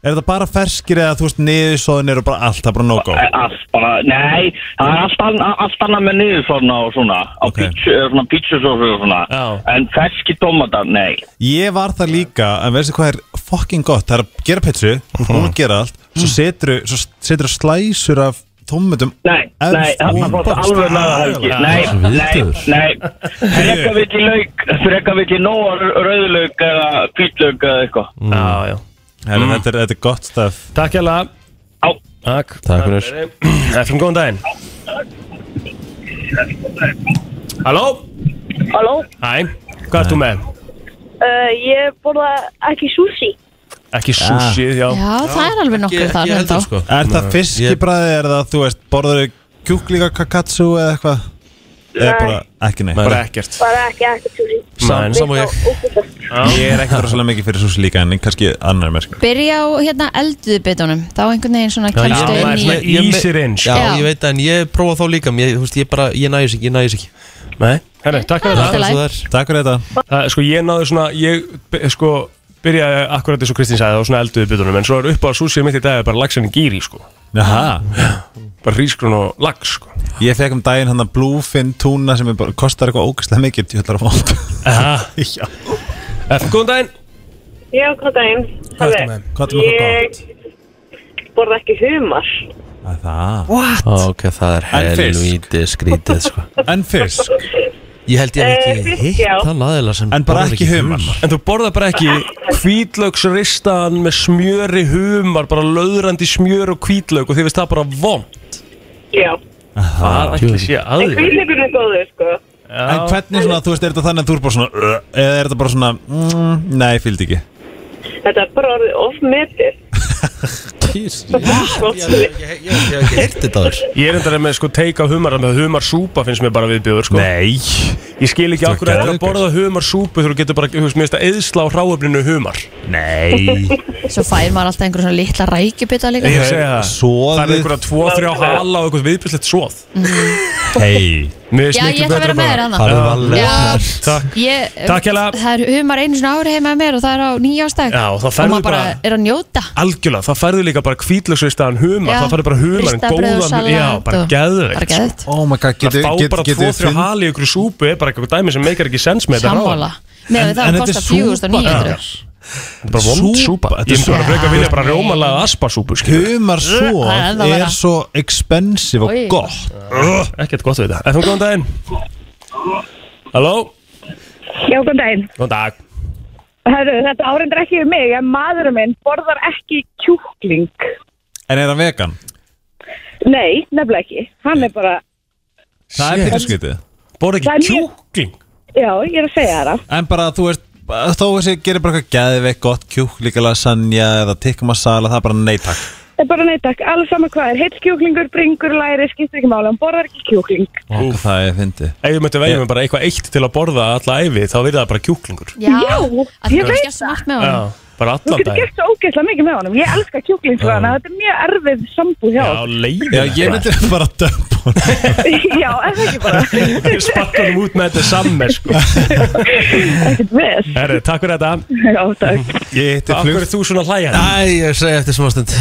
Er þetta bara ferskir eða þú veist niðursóðinir og bara allt, það er bara no-go? allt bara, nei Það er allt anna- allt annað með niður svona og svona Á Ok. pítsu, eða svona pítsusósu og svona Já. En ferski tómatar, nei Ég var það líka, en veistu hvað er fucking gott, það er að gera pizzu, þú er Mhm. búin að gera allt, Mm. svo setur svo setur slæsur af tómutum Nei, nei, þarna fórst alveg laga helgi Nei, nei, nei Freka vill í lauk, freka vill í nóa rauðlauk eða kvítlauk eða eitthvað Mm. Já, já Herra, þetta, er, þetta er gott staf Takk hjá Á, Takk Takk fyrir FM, góðan daginn Halló? Halló, Hæ, hvað ertu með? uh, ég borða ekki sushi. Ekki Ah. sushi, já já, það er alveg nokkuð þar ennþá. Sko, Er það fiskibræði, er það, þú veist, borður kjúklinga kakatsu eða eitthvað? Eða Nei. bara, ekki nei Bara ekkert Bara ekki ekki sushi. Sam- Mér sama og ég. þá ógeðslegt. Ég er ekki rosalega mikið fyrir súsi líka, en kannski annar sko. merk Byrja á hérna elduðu bitunum Þá einhvern veginn svona Já, kemstu ég- inn í ég- ég- Ísir inn, sko. Já, Já. ég veit það, en ég prófa þá líka mér- Þú veist, ég bara, ég næs ekki, ég næs ekki Nei, herru, takk fyrir Það er það allt í lagi. Svo það er Takk fyrir þetta Það, sko, ég náði svona, ég, be- sko, byrjaði akkurat eins og Kristín sagði á svona elduðu bytunum en svo er upp á súsið mitt í dag er bara laxan í gýri sko Jaha. bara hrísgrun og lax sko. Ég fekk um daginn hann að bluefin túna sem er bara, kostar eitthvað ógæslega mikið Ég ætlar að fá hann Já Eftir góðan daginn Já, góðan daginn. Hvað ertu með? Hvað ertu með fyrir Ég borða ekki humar. Það What? Ok, það er En fisk. helvítið skrítið sko. En fisk Ég held ég Eh, hef fisk, ekki já. hitt þann aðeila sem En bara borðar ekki humar. En þú borðar bara ekki hvítlaugsristaðan með smjöri humar, bara löðrandi smjör og hvítlaug og þið veist það bara vond. Já. Það ætli sé að En þér. kvíðleikur er góður, sko. En hvernig svona, þú veist, er þetta þannig að þú er bara svona "Ugh", Eða er þetta bara svona, mm, nei, fylgdi ekki Þetta er bara orðið of metið. Ég hef ekki hirt þetta þurr. Ég er endara með sko teika á humar, með humarsúpa finnst mér bara viðbjöður sko. Nei. Ég skil ekki okkur að það er að borða humarsúpu þegar þú getur bara, þú veist, mér finnst að eðsla á hráöfninu humar. Nei. Svo fær maður alltaf einhver svona litla rækjubita líka Ég segi það. Soðið. Það er einhverja tvo, þrjá hala og eitthvað viðbjöðslegt soð. Mhm. Hei. Já, ég ætla að vera með þér annað. Takk. Ég, Takk hérlega. Það er humar einu svona ári heima með mér og það er á nýjástæk Já, og það Og ferðu maður bara bara- er að njóta Algjörlega, það færðu líka bara kvítlöksvistaðan humar, Já, það færðu bara humarinn ristað brauð og góðan, salat já, bara og- geðveikt. bara sko. geðveikt. Oh my god, Að getur fá bara getur- tvo, getur þrjá hali í ykkur súpu er bara eitthvað dæmi sem meikar ekki sens með þetta Sammála. Með það að kosta 4900 Þetta er bara vond súpa Ég myndi bara frekar vilja bara rjómalega aspasúpu Humarsóð Það er ennþá er verra. svo expensive Oj. og gott Ekkert gott við þetta FM, góðan daginn Halló Já, góðan daginn. Góðan dag Herru, þetta áreindar ekki við mig, en maðurinn minn borðar ekki kjúkling. En er hann vegan? Nei, nefnilega ekki. Hann er bara... Það er pítur skytið Borð Það er mjög- kjúkling? Já, ég er að segja þér það. En bara þú veist bara Þó þessi gerir bara eitthvað geðveik gott kjúklíka lasagna eða tikka masala, það er bara nei takk Það er bara neittak, alveg sama hvað er. Heill kjúklingur, bringur, læri, skiptir ekki mála. Hann borðar ekki kjúkling. Ó, hvað Það er fyndið Ef ég myndi velja mig bara eitthvað eitt til að borða alla æfi þá verði það bara kjúklingur Já, að ég þú veit gerst margt með Já, honum Þú bara allan getur dag gert svo ógeðslega mikið með honum. Ég elska kjúkling frá hann, þetta er mjög erfið sambúð hjá. Já, okkur. leiðin Já, ég myndi bara að dömpa Já, er það ekki bara Ég sparka hann út með þetta samme sko. ekkert ves? Herri, takk fyrir þetta Já, takk. Ég hitti Akkur er þú svona hlæjan Æ, ég segi eftir smá stund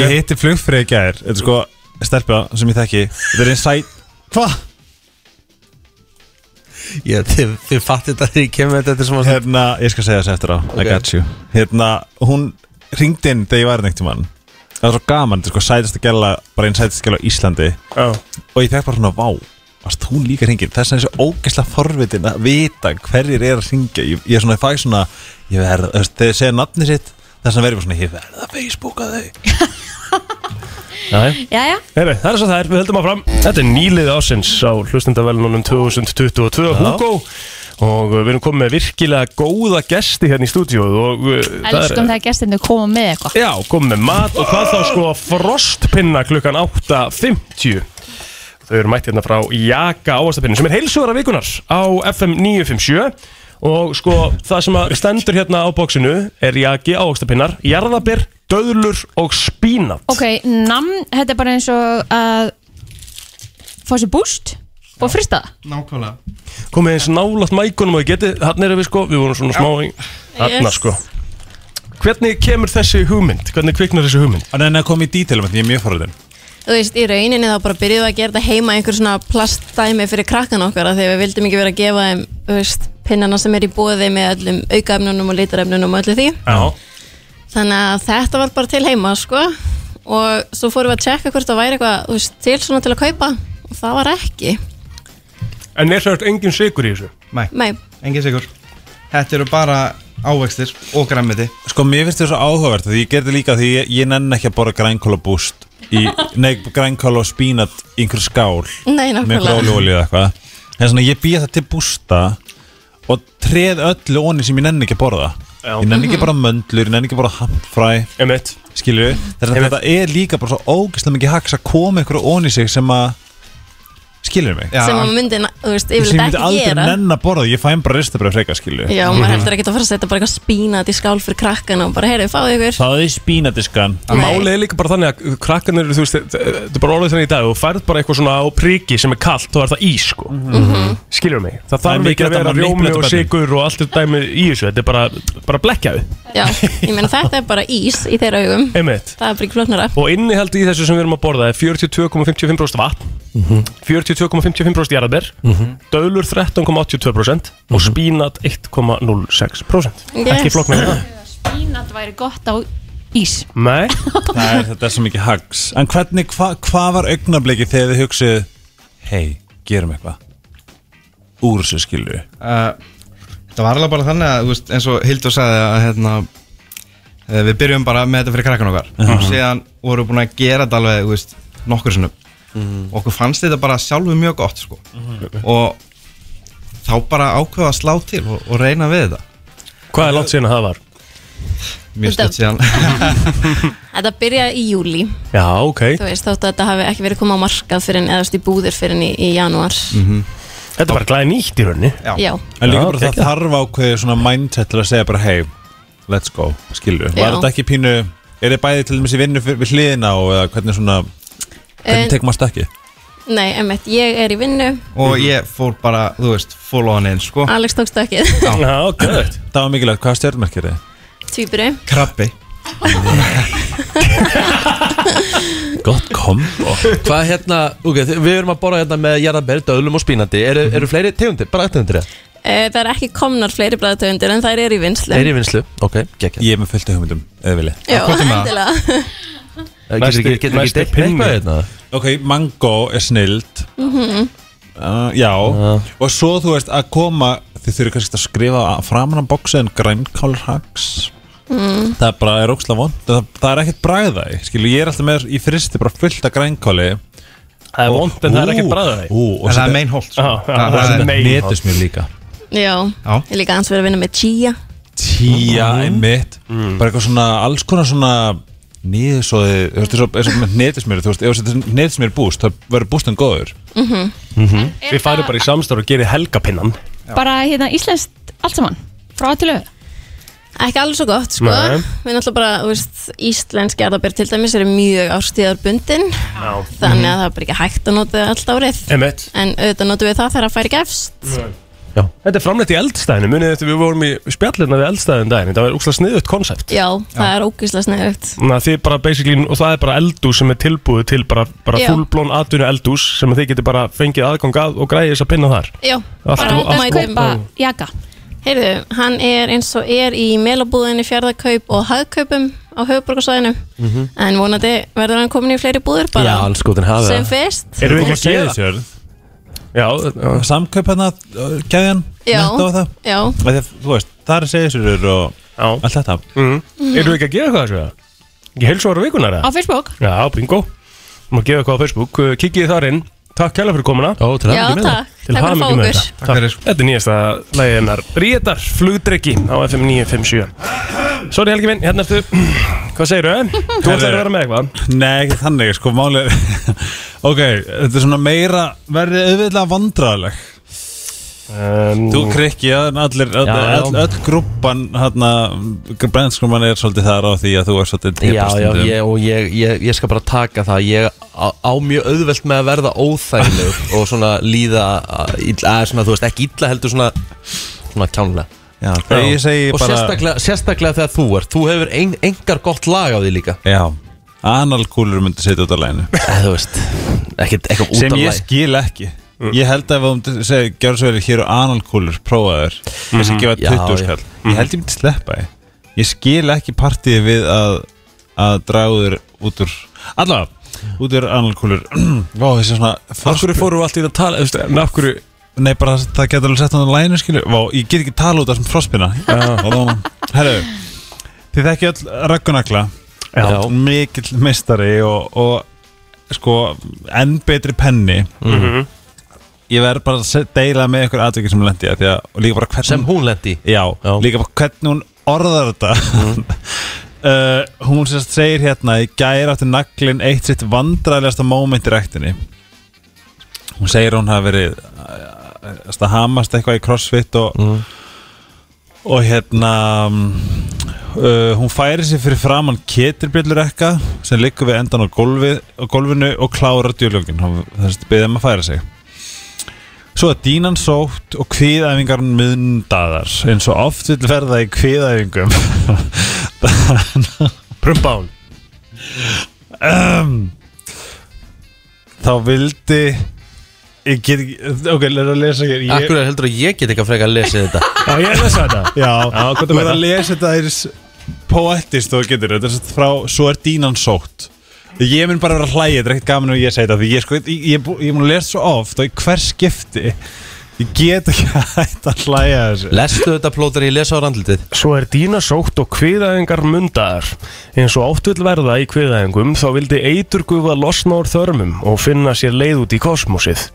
Ég hitti flugfrið í gær Þetta er sko stelpa sem ég þekki Þetta er einn sæt Hva? Ég, þið, þið fattir þetta þegar ég kemur með þetta eftir smá stund Hérna, ég skal segja þessu eftir á I got you Hérna, hún ringdi inn þegar ég var neitt í mann Það var svo gaman, þetta er sko sætast að gæla Bara einn sætast að gæla á Íslandi oh. Og ég fekk bara svona, vá Varst hún líka hringin? Þess að þessu ógeðslega forvitin að vita hverjir er að hringja Ég, ég er svona, ég fæ svona Ég verð, þú veist, þegar ég segja nafni sitt Þess að verður bara svona, ég verð að Facebooka þau Jæja. Jæja, Heyri, það er svo það er, við höldum áfram Þetta er nýlið ásins á hlustendavelunum 2022 Hugo og uh, við erum komið með virkilega góða gesti hérna í stúdíóð og uh, elskum þegar gestinni koma með eitthvað Já, komið með mat og hvað þá sko frostpinna klukkan 8.50 Þau eru mætt hérna frá Jaka ávastapinni sem er heilsugara vikunar á FM 957 og sko það sem að stendur hérna á bóksinu er Jaki ávastapinnar, jarðabir, döðlur og spínat Ok, namn, þetta er bara eins og að fá sér búst og frista það Nákvæmlega komið eins nálat mækunum og ég geti hann erum við sko, við vorum svona smá hann Yes. sko hvernig kemur þessi hugmynd, hvernig kviknar þessi hugmynd En en að koma í dítilum, ég er mjög forðin Þú veist, í rauninni þá bara byrjuðum við að gera þetta heima einhver svona plastdæmi fyrir krakkan okkar af því að við vildum ekki vera að gefa þeim þú veist, pinnana sem er í bóði með öllum aukaefnunum og litarefnunum og öllu því Já. þannig að þetta var bara til heima sko og svo fórum við að tjekka hvort það væri eitthvað þú veist, til svona til að kaupa og það var ekki en er það engin sigur í þessu Nei, Nei. engin sigur Þetta eru bara ávextir og græmiti Sko, mér finnst þetta svo áhugavert því ég gerði líka því ég, ég nenn ekki að borða grænkóla búst í, nei, grænkóla og spínat í einhver skál Nei, nákvæmlega. með einhver ólíu eða eitthvað en svona ég býja það til bústa og treð öllu onni sem ég nenn ekki að borða Já. ég nenn ekki Mhm. bara möndlur, ég nenn ekki bara hamfræ Emmett skilju, þess að þetta er líka bara svo ógeðslega mikið haks að koma einhverju onni sig sem að skilur mig sem að maður myndi, na- þú veist, Sem yfirleitt myndi ekki aldrei gera nenn að borða, ég fæ bara ristabröð freka skilur Já, maður heldur ekki að fara að setja bara eitthvað spínat í skál fyrir krakkana og bara, heyrðu, fáðu ykkur Það er spínadiskan Nei. Málið er líka bara þannig að krakkarnir eru, þú veist, þetta þetta er bara orðið þannig í dag Þú færð bara eitthvað svona á priki sem er kallt og er það í, sko Skilur mig Það Það er þarf ekki mikilvægt að að vera maður rjómi manipulate og börnin. sigur og allt er dæmi í þessu Þetta er bara, bara blekkjaðu Já, ég meina þetta er bara ís í þeirra augum Einmitt Það er bara ekki flóknara Og innihald í þessu sem við erum að borða er 42,55% vatn Mhm. 42,55% jarðber Dölur 13,82% Og Mhm. spínat 1,06% Ekki flokknar það Spínat væri gott á ís Nei Nei, þetta er svo mikið hags En hvernig, hva- hvað var augnablikið þegar þið hugsið Hei, gerum eitthvað Úr þessu skilur uh, Þetta var alveg bara þannig að þú veist, eins og Hildur sagði að hérna, eh, við byrjum bara með þetta fyrir krakkan okkar Mhm. og síðan vorum við búin að gera þetta alveg þú veist, nokkur sinnum Mhm. og okkur fannst þetta bara sjálfu mjög gott sko. Mhm. og þá bara ákveða að slá til og, og reyna við þetta Hvað er langt síðan að það var? Mjög Þetta- stutt síðan Þetta byrjaði í júli Já, ok Þú veist, þótt að þetta hafi ekki verið koma á markað fyrir en eðast í búðir fyrir en í, í janúar Þetta er bara glæði nýtt í rauninni Já. En líka Já, bara það geggjað. þarf ákveðið svona mindset til að segja bara Hei, let's go, skilur Já. Var þetta ekki pínu, er þið bæði til dæmis í vinnu fyr- við hliðina og eða hvernig svona En- Hvernig tekum maður stakki? Nei, emmitt, ég er í vinnu og ég fór bara, þú veist, full on in Oh. sko. Alex tók stökkið Já, gæðið Það var mikilvægt, hvaða stjörnmerkir þið? Tvíburi Krabbi Gott kombo Hvað hérna, ok, þi- við erum að borða hérna með jarðabær, döðlum og spínandi Eru, eru fleiri tegundir, bara tegundir það? Eh, Það er ekki komnar fleiri bræðatöfundir en þær eru í vinslu Er í vinslu, ok, gekkja Ég er með fullt af hugmyndum, eða vilji Já, endilega Eh, Getur ekki, getur ekki deitt með eitthvað hérna? Ok, mango er snild Mhm. Uh, já, og svo þú veist að koma þið þurfið kannski að skrifa framan á bóksi en grænkálhags Mm. það bara er óksla vond það, það er ekkert bragða í, skilu, ég er alltaf með í fristi bara fullt af grænkáli Það er vont en það er ekkert bragð af því. En það er meinholt, sko. Já, já, það er meinholt. netus mér líka Já, Já. ég líka hans verið að vinna með Gia tía Mhm. einmitt bara eitthvað svona alls konar svona niðursóði, þú veist, eins og- eins og með netusmjöri þú veist, ef þú setur netusmjöri búst þá verður bústum góður Mhm. Við færum bara í samstarf og gerir helgapinnan Bara hérna íslenskt allt saman Frá til auð Ekki alveg svo gott, sko Nei. Við náttúrulega bara, þú veist, íslensk jarðabér til dæmis eru mjög árstíðarbundin Já. Þannig að það er bara ekki hægt að nota þau allt árið Mhm. Einmitt. En auðvitað notum við það þegar að færi gefst Já. Þetta er framleitt í eldstæðinu Munið þetta við vorum í spjallirna við eldstæðinu daginn Þetta var úkslega sniðut konsept Já, það er ógislega sniðugt Þannig að þið bara basically, og það er bara eldús sem er tilbúið til bara, bara Já. fullblón atvinnu eldús sem að þið getur bara fengið aðgang að og græði þess að pinna þar Já, Allt- bara allt- mæta upp kaupa jaka Heyrðu, hann er eins og er í melabúðinni fjárðakaup og hagkaupum á höfuborgarsvæðinu Mhm. En vonandi verður hann komin í fleiri búður bara Mhm. Já, alls góðin hafi Sem það. fyrst Erum við ekki að gera Já, samkaup hérna, gæðjan Já, já Af því að, Þú veist, það er segjusur og Já. allt þetta mm. Erum við ekki að gefa eitthvað þessu? Ekki heilsuara vikunar Mhm. Á Facebook Já, bingo Má gefa eitthvað á Facebook Uh, Kikið þar inn Takk kæla fyrir komuna Ó, til hamingju Já, með takk. það. Til Takk fyrir að hamingju fá með okkur. þetta Takk fyrir Þetta er nýjasta lagið hennar Ríðar flugdryggi á FM 957 Sorry Helgi minn, hérna ertu Hvað segirðu? eh? Þú ætlar að vera með eitthvað Nei, ekki þannig, sko, máli er Ok, þetta er svona meira verið auðvitað vandræðaleg um, Þú krikki að allir, Já, allir já. öll, öll grúppan hérna, brennskrumman er svolítið þar á því að þú er svolítið Já, depur já, stundum. ég, og ég, ég, ég skal bara taka það Ég á, á mjög auðvelt með að verða óþægileg og svona líða uh, ill- að, svona, þú veist, ekki illa heldur svona svona kjánlega Já, þegar ég segi Og bara- sérstaklega, sérstaklega þegar þú ert Þú hefur ein, engar gott lag á því líka Já, analkúlur myndi setja út af læginu Þú veist, ekkert eitthvað út Sem af ég lagi. skil ekki Mm. Ég held að ef þú myndir segja, gjör svo verið hér og analkúlur, prófa þér Ég sé Mhm. gefa 20 Já, já. skall Mhm. Ég held ég myndi sleppa þið Ég skil ekki partíð við að að draguður út úr allavega, út úr analkúlur Vá, þessi svona hverju fórum við allt í þetta að tala, þú veist, en af hverju Nei, bara það getur alveg sett hann á læginu, skilur Vá, ég get ekki tala út af þessum frospina Herru, þið þekki öll röggunakla Já. Mikill mistari og, og sko, enn betri penni Mhm. Ég verð bara að se- deila með ykkur atviki sem hún lendi að því að og líka bara hvernig Sem hún lendi Já, líka bara hvernig hún orðar þetta uh, Hún sérst segir hérna í gæra átti naglinn eitt sitt vandræðlegasta moment í rektinni hún segir að hún hafi verið eh, að hamast eitthvað í crossfit og, og hérna mm, uh, hún færi sér fyrir framann ketilbrillur ekka sem liggur við endan á, gólfi, á gólfinu og klárar djúljókin þess að beðið um að færa sig Svo að dínan sótt og kviðæfingar myndaðar eins og oft vil verða í kviðæfingum Prumbán um, Þá vildi Ég get ekki Ok, leður að lesa hér Akkur er heldur að ég get ekki að freka að lesa þetta Já, ég er að lesa þetta Já, hvað er þú er meira? að lesa þetta Það er s- poetist og þú getur Þetta er satt frá Svo er dínan sótt Ég mun bara vera að hlæja, þetta er ekkert gaman ef ég segi þetta Því ég sko, ég, ég, er bú- ég mun að lesa svo oft Og í hver skipti Ég get ekki að hætta að hlæja að þessu Lestu þetta plótar ég lesa á randlitið Svo er dína sótt og kviðæðingar mundaðar. Eins og oft vil verða í kviðæðingum þá vildi eiturgufa losna úr þörmum og finna sér leið út í kosmosið.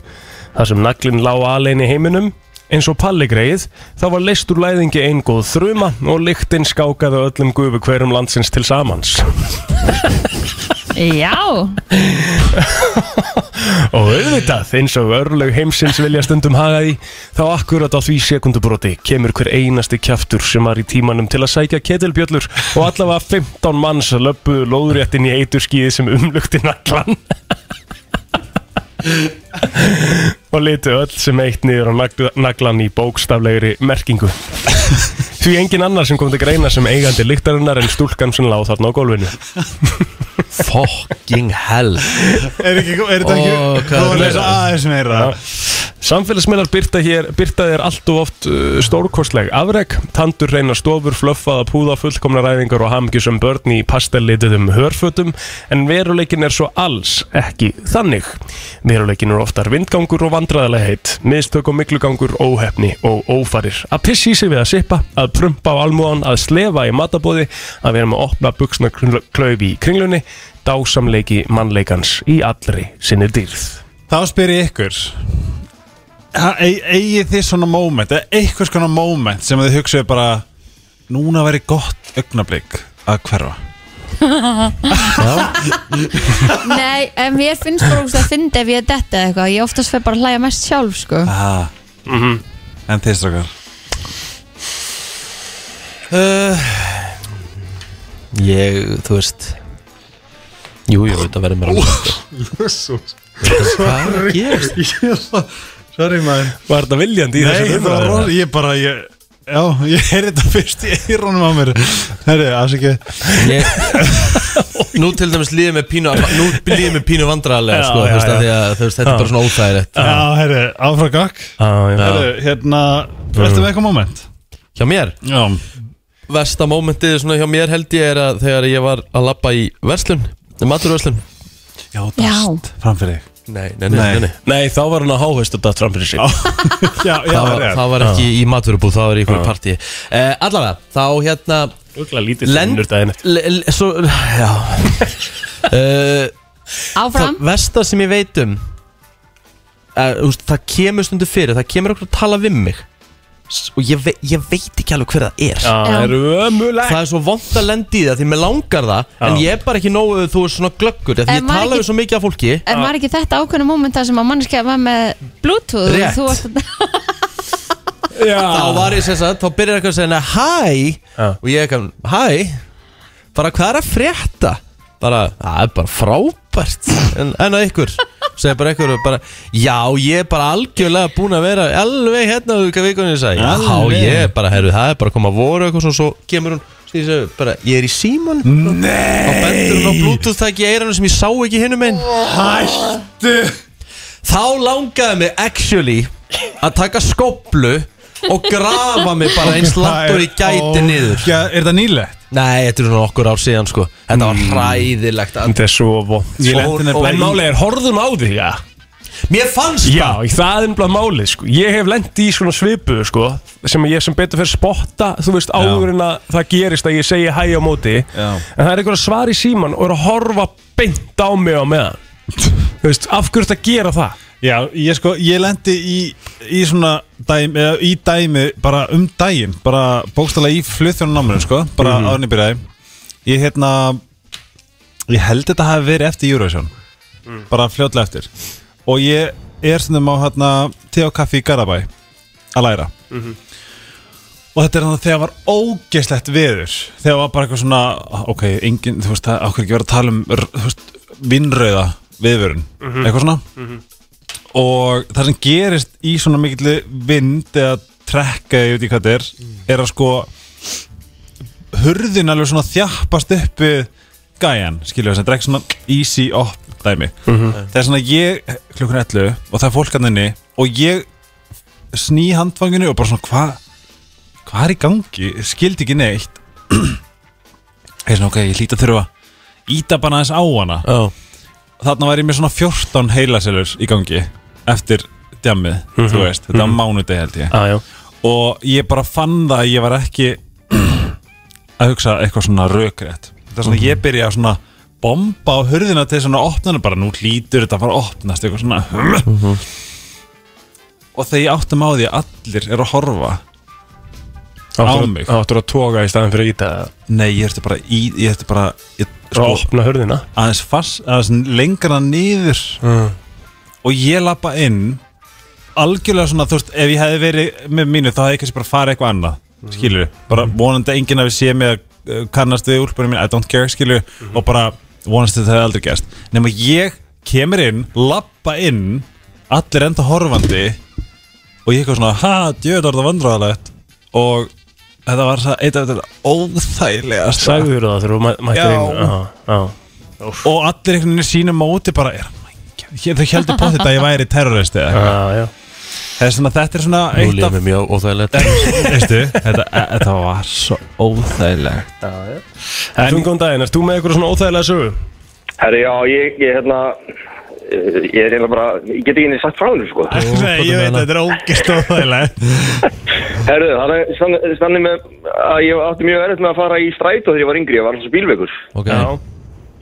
Þar sem naglinn lá alein í heiminum, eins og palligreið, þá var leist úr læðingi ein góð þruma og lyktinn skákaði öllum gufu hverjum landsins til samans. Já, Og auðvitað, eins og örlög heimsins vilja stundum haga því, þá akkurat á því sekundubróti kemur hver einasti kjaftur sem var í tímanum til að sækja ketilbjöllur og allavega 15 manns löppuðu lóðréttin í eiturskíði sem umlukti naglan. og litu öll sem eitt niður á nagl- naglan í bókstaflegri merkingu. Því engin annar sem kom til greina sem eigandi lyktarinnar en stúlkan sem láð þarna á gólfinu. Fucking hell Er, ekki, er þetta ekki Ó, hvað Þú er að er lesa meira? aðeins meira Samfélagsmiðlar byrta hér, byrta þér allt of oft uh, stórkostleg afreg, tandur reyna stofur, flöffaða púða, fullkomna ræðingar og hamgjusum börn í pastellituðum hörfötum, en veruleikin er svo alls ekki þannig. Veruleikin er oftar vindgangur og vandræðalegheit, mistök og miklugangur, óhefni og ófarir. Að pissi sig við að sippa, að prumpa á almúan, að slefa í matabóði, að vera með að opna buksna klaufi í kringlunni, dásamleiki mannleikans í allri sinni dýrð. Þá spyr ég ykkur ha- e- Eigið þið svona moment eða eitthvað skona moment sem þið hugsaðu bara Núna væri gott augnablík að hverfa nei, en mér finnst bara úrst að fyndi ef ég detti eða eitthvað Ég oftast fer bara að hlæja mest sjálf, sko ah. mm -hmm. En þið strókar uh, Ég, þú veist Jú, jú, þetta verður mér alveg Jésús Hvað gerist? Sorry maður Var þetta viljandi í Nei, þessu það var orð, ég bara ég, Já, ég heyrði þetta fyrst í eyrunum á mér Herri, afsikið ég, Nú til dæmis líðið með pínu Nú líðið með pínu vandræðarlega Já, sko, já, þú veist, já. af því að, þú veist, Þetta er bara svona óþægilegt Já, herri, áfra gakk já. Herri, hérna, ertu með eitthvað moment? Hjá mér? Já Versta mómentið svona hjá mér held ég er að þegar ég var að labba í verslun Maturverslun Já, dast framfyrir Nei, nei, nei, nei, nei. Nei, þá var hann að háhaust og datt fram fyrir sig já, já, það, var, rétt. það var ekki Já. í maturubúð, það var í einhverju Já. partí uh, Eh, Allavega, þá hérna Ugla lítið finnur daginn eftir. Svo, já uh, Áfram. Það versta sem ég veit um uh, úst, Það kemur stundu fyrir, það kemur okkur að tala við mig S- Og ég, ve ég veit ekki alveg hver það er Já, það er ömulegt Það er svo vond að lendi í það því mér langar það En Já. ég er bara ekki nógu, þú veist, svona glöggur af Því En ég var tala ekki- við svo mikið af fólki En var ekki þetta ákveðna mómenta sem að manneskja var með bluetooth og Rétt. þú varst að þá var ég sem sagt, þá byrjar eitthvað að segja hæ og ég eitthvað, hæ bara hvað er að frétta bara, það er bara frábært en, en að ykkur, segir bara ykkur bara, já, ég er bara algjörlega búin að vera alveg hérna úr hvað vikunni ég sagði, já, Alveg. ég er bara, herru, það er bara að koma að voru eitthvað svona, svo kemur hún snýr sér við, bara, ég er í síman Nei og bendur hún á bluetooth tæki í eirannu sem ég sá ekki hinnum einn Hættu Þá langaði mig actually að taka skóplu og grafa mig bara eins langt og ég gæti niður Já, er þetta nýlegt? Nei, þetta er svona okkur ár síðan sko Þetta var hræðilegt að- Þetta er svo vond Ég lenti nefnilega í- En málið er, horfðum á því, já Mér fannst Já, það er nefnilega málið, sko Ég hef lendi í svona svipu, sko sem ég sem betur fyrir spotta, þú veist, áður en að það gerist að ég segi hæ á móti já. en það er einhver að svara í síman og er að horfa beint á mig á meðan Þú veist, af hverju þetta gera það? Já, ég sko, ég lendi í, í svona dæmi, eða í dæmi bara um daginn, bara bókstælega í flutþjónu náminu, sko, bara mm Mhm. -hmm. áðurinn í byrjaði Ég hérna, Mm. ég held þetta hafi verið eftir Eurovision, bara fljótlega eftir Og ég er stundum á hérna, te og kaffi í Garabæ að læra Mhm. og þetta er þannig þegar var ógeslegt veður þegar var bara eitthvað svona ok, engin, þú veist, það ákveð ekki verið að tala um r- þú veist, vinnröða viðvörun Mhm. eitthvað svona Mhm. og það sem gerist í svona mikill vind eða trekka, ég veit ekki hvað þetta er Mhm. er að sko hurðin alveg svona þjappast upp við gæjan, skilja þess að drekka svona easy up dæmi Mhm. það er svona ég, klukkan 11 og það er fólk hann inni og ég sný handfanginu og bara svona hvað hvað er í gangi, skildi ekki neitt ég er svona ok, ég hlýta þurfa íta bara aðeins á hana oh. þarna var ég með svona 14 heilaselur í gangi eftir djammið, þú Mhm. veist þetta var Mhm. mánudegi held ég ah, og ég bara fann það að ég var ekki að hugsa eitthvað svona rökrétt það er Mhm. svona ég byrja að svona bomba á hurðina til svona opnana bara nú hlýtur þetta að fara að opnast eitthvað svona Mhm. og þegar ég áttum á því að allir eru að horfa á mig Áttur að toga í staðin fyrir að íta Nei, ég ætti bara í, ég ætti bara ég, Að opna hurðina Sko, Mm. Aðeins fast, aðeins lengra niður Og ég lappa inn Algjörlega svona, þú veist, ef ég hefði verið með mínu Þá hefði ég kannski bara farið eitthvað annað mm. Skilur, bara vonandi að enginn að við sé mig að uh, Kannast við úlpunum mín, I don't care, skilur Mm. Og bara vonast að það hefði aldrei gerst Nefn að ég kemur inn, lappa inn Allir enda horfandi Og ég eitthvað svona, ha, djöður það vandræðalegt Og þetta var það, eitt af þetta óþægilega Sagður það þegar þú mæ- mættir inn Já. og allir einhvern veginn sína móti bara er hann mængja- Hér- þau heldur på þetta að ég væri terroristi eða eitthvað. Það er svona, þetta er svona Nú eitt líður af mér mjög óþægilegt veistu, þetta, e, þetta var svo óþægilegt Þú góðan daginn, erst þú með eitthvað svona óþægilega sögu? Herri, já, ég, ég, hérna, eh, ég er hérna bara, ég get ekki henni sagt frá henni, sko. Nei, ég veit, þetta er ógist óþægilegt Herru, þannig, þannig, þannig með að ég átti mjög erfitt með að fara í strætó þegar ég var yngri, ég var hans bílveikur. Ok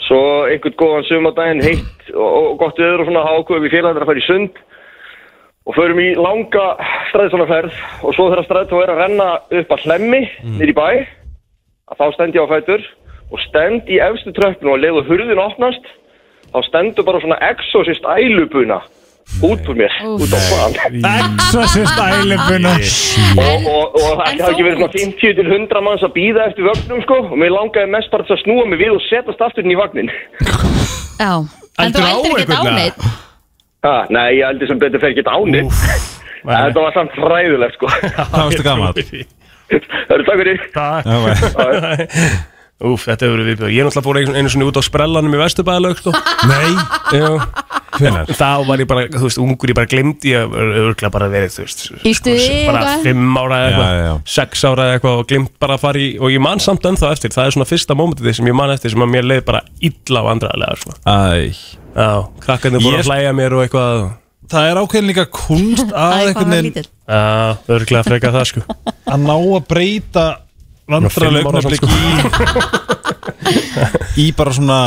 Svo einhvern góðan sömadaginn, heitt og, og gott viður og svona ákveðum við félagarnir að fara í sund og förum í langa stræðsónaferð og svo þegar strætó er að renna upp að hlemmi mm. nýri bæ að þá stend ég á fætur og stend í efstu tröppinu og leiðu hurðin opnast þá stendur bara svona exorcist ælubuna út úr mér, út á hvaðan Exorcist ælubuna og, Mhm. og, og það hafði ekki verið svona 50 til 100 manns að býða eftir vögnum sko og mér langaði mest bara til að snúa mig við og setast aftur inn í vagnin Já, en þú Eldur á eldir ekkert einhvern, áneitt ha, Nei, ég heldur sem betur fer ekki ánir Þetta var samt fræðilegt sko Það varstu gamall. Það eru takk fyrir Takk Úf, þetta hefur verið viðbjörn Ég er náttúrulega fór einu- einu svona út á sprellanum í Vesturbæðalaug sko. Nei Jú Hvenar? Þá var ég bara, þú veist, ungur, ég bara glimti Ég hef örglega bara verið, þú veist Í stuði Bara eitthvað? fimm ára eða Já, eitthvað Sex ára eða eitthvað og glimt bara að fara í Og ég man samt ennþá eftir, það er svona fyrsta mómentið sem ég man eftir sem að mér leið bara illa á andraðlega sko. Æ Já, krakkarnir voru Ég- að hlæja mér og eitthvað Það er ákveðin líka kunst að einhvern veginn Já, örglega freka það sko að ná að breyta Fimm ára samt, vandrarleiknarblik sko. í bara svona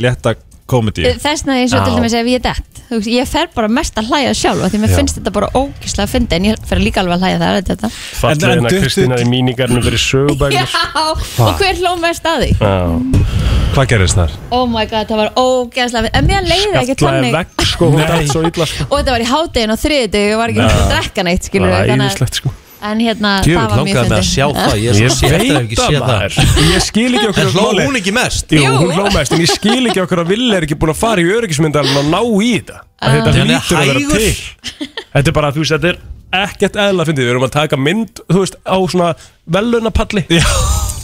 létta komedi Þess vegna eins og til dæmis ef ég er dett þú veist, Ég fer bara mest að hlæja sjálf af Því mér Já. finnst þetta bara ógislega að fyndi En ég fer líka alveg að hlæja það þetta. Fallega en hérna duttu- Kristínar í míningarnum fyrir sko. Já, sögubæknir og hver hló mest að því? Hvað gerist þar? Oh my god, það var ógeðslega fyndið. En mér leiði ekki Skallaði þannig vekk sko, hún er allt svo illa sko Og þetta var í hádegin og þriðið Ég var ekki að Nei. drekka neitt skilur við Það var þannig að- æðislegt, sko. En hérna, það Djöfull, var mjög langaði mig að sjá það, ég er svo sér eftir að hef ekki séð það. Ég skil ekki okkur En að hló máli- hún ekki mest? Jú, Jú. hún hló mest En ég skil ekki okkur að Ville er ekki búin að fara í öryggismyndalinn og ná í þetta Að Þetta Hann er lítur að vera hægur. til Þetta er bara, þú veist, þetta er ekkert eðla fyndið Við erum að taka mynd, þú veist, á svona velunapalli Já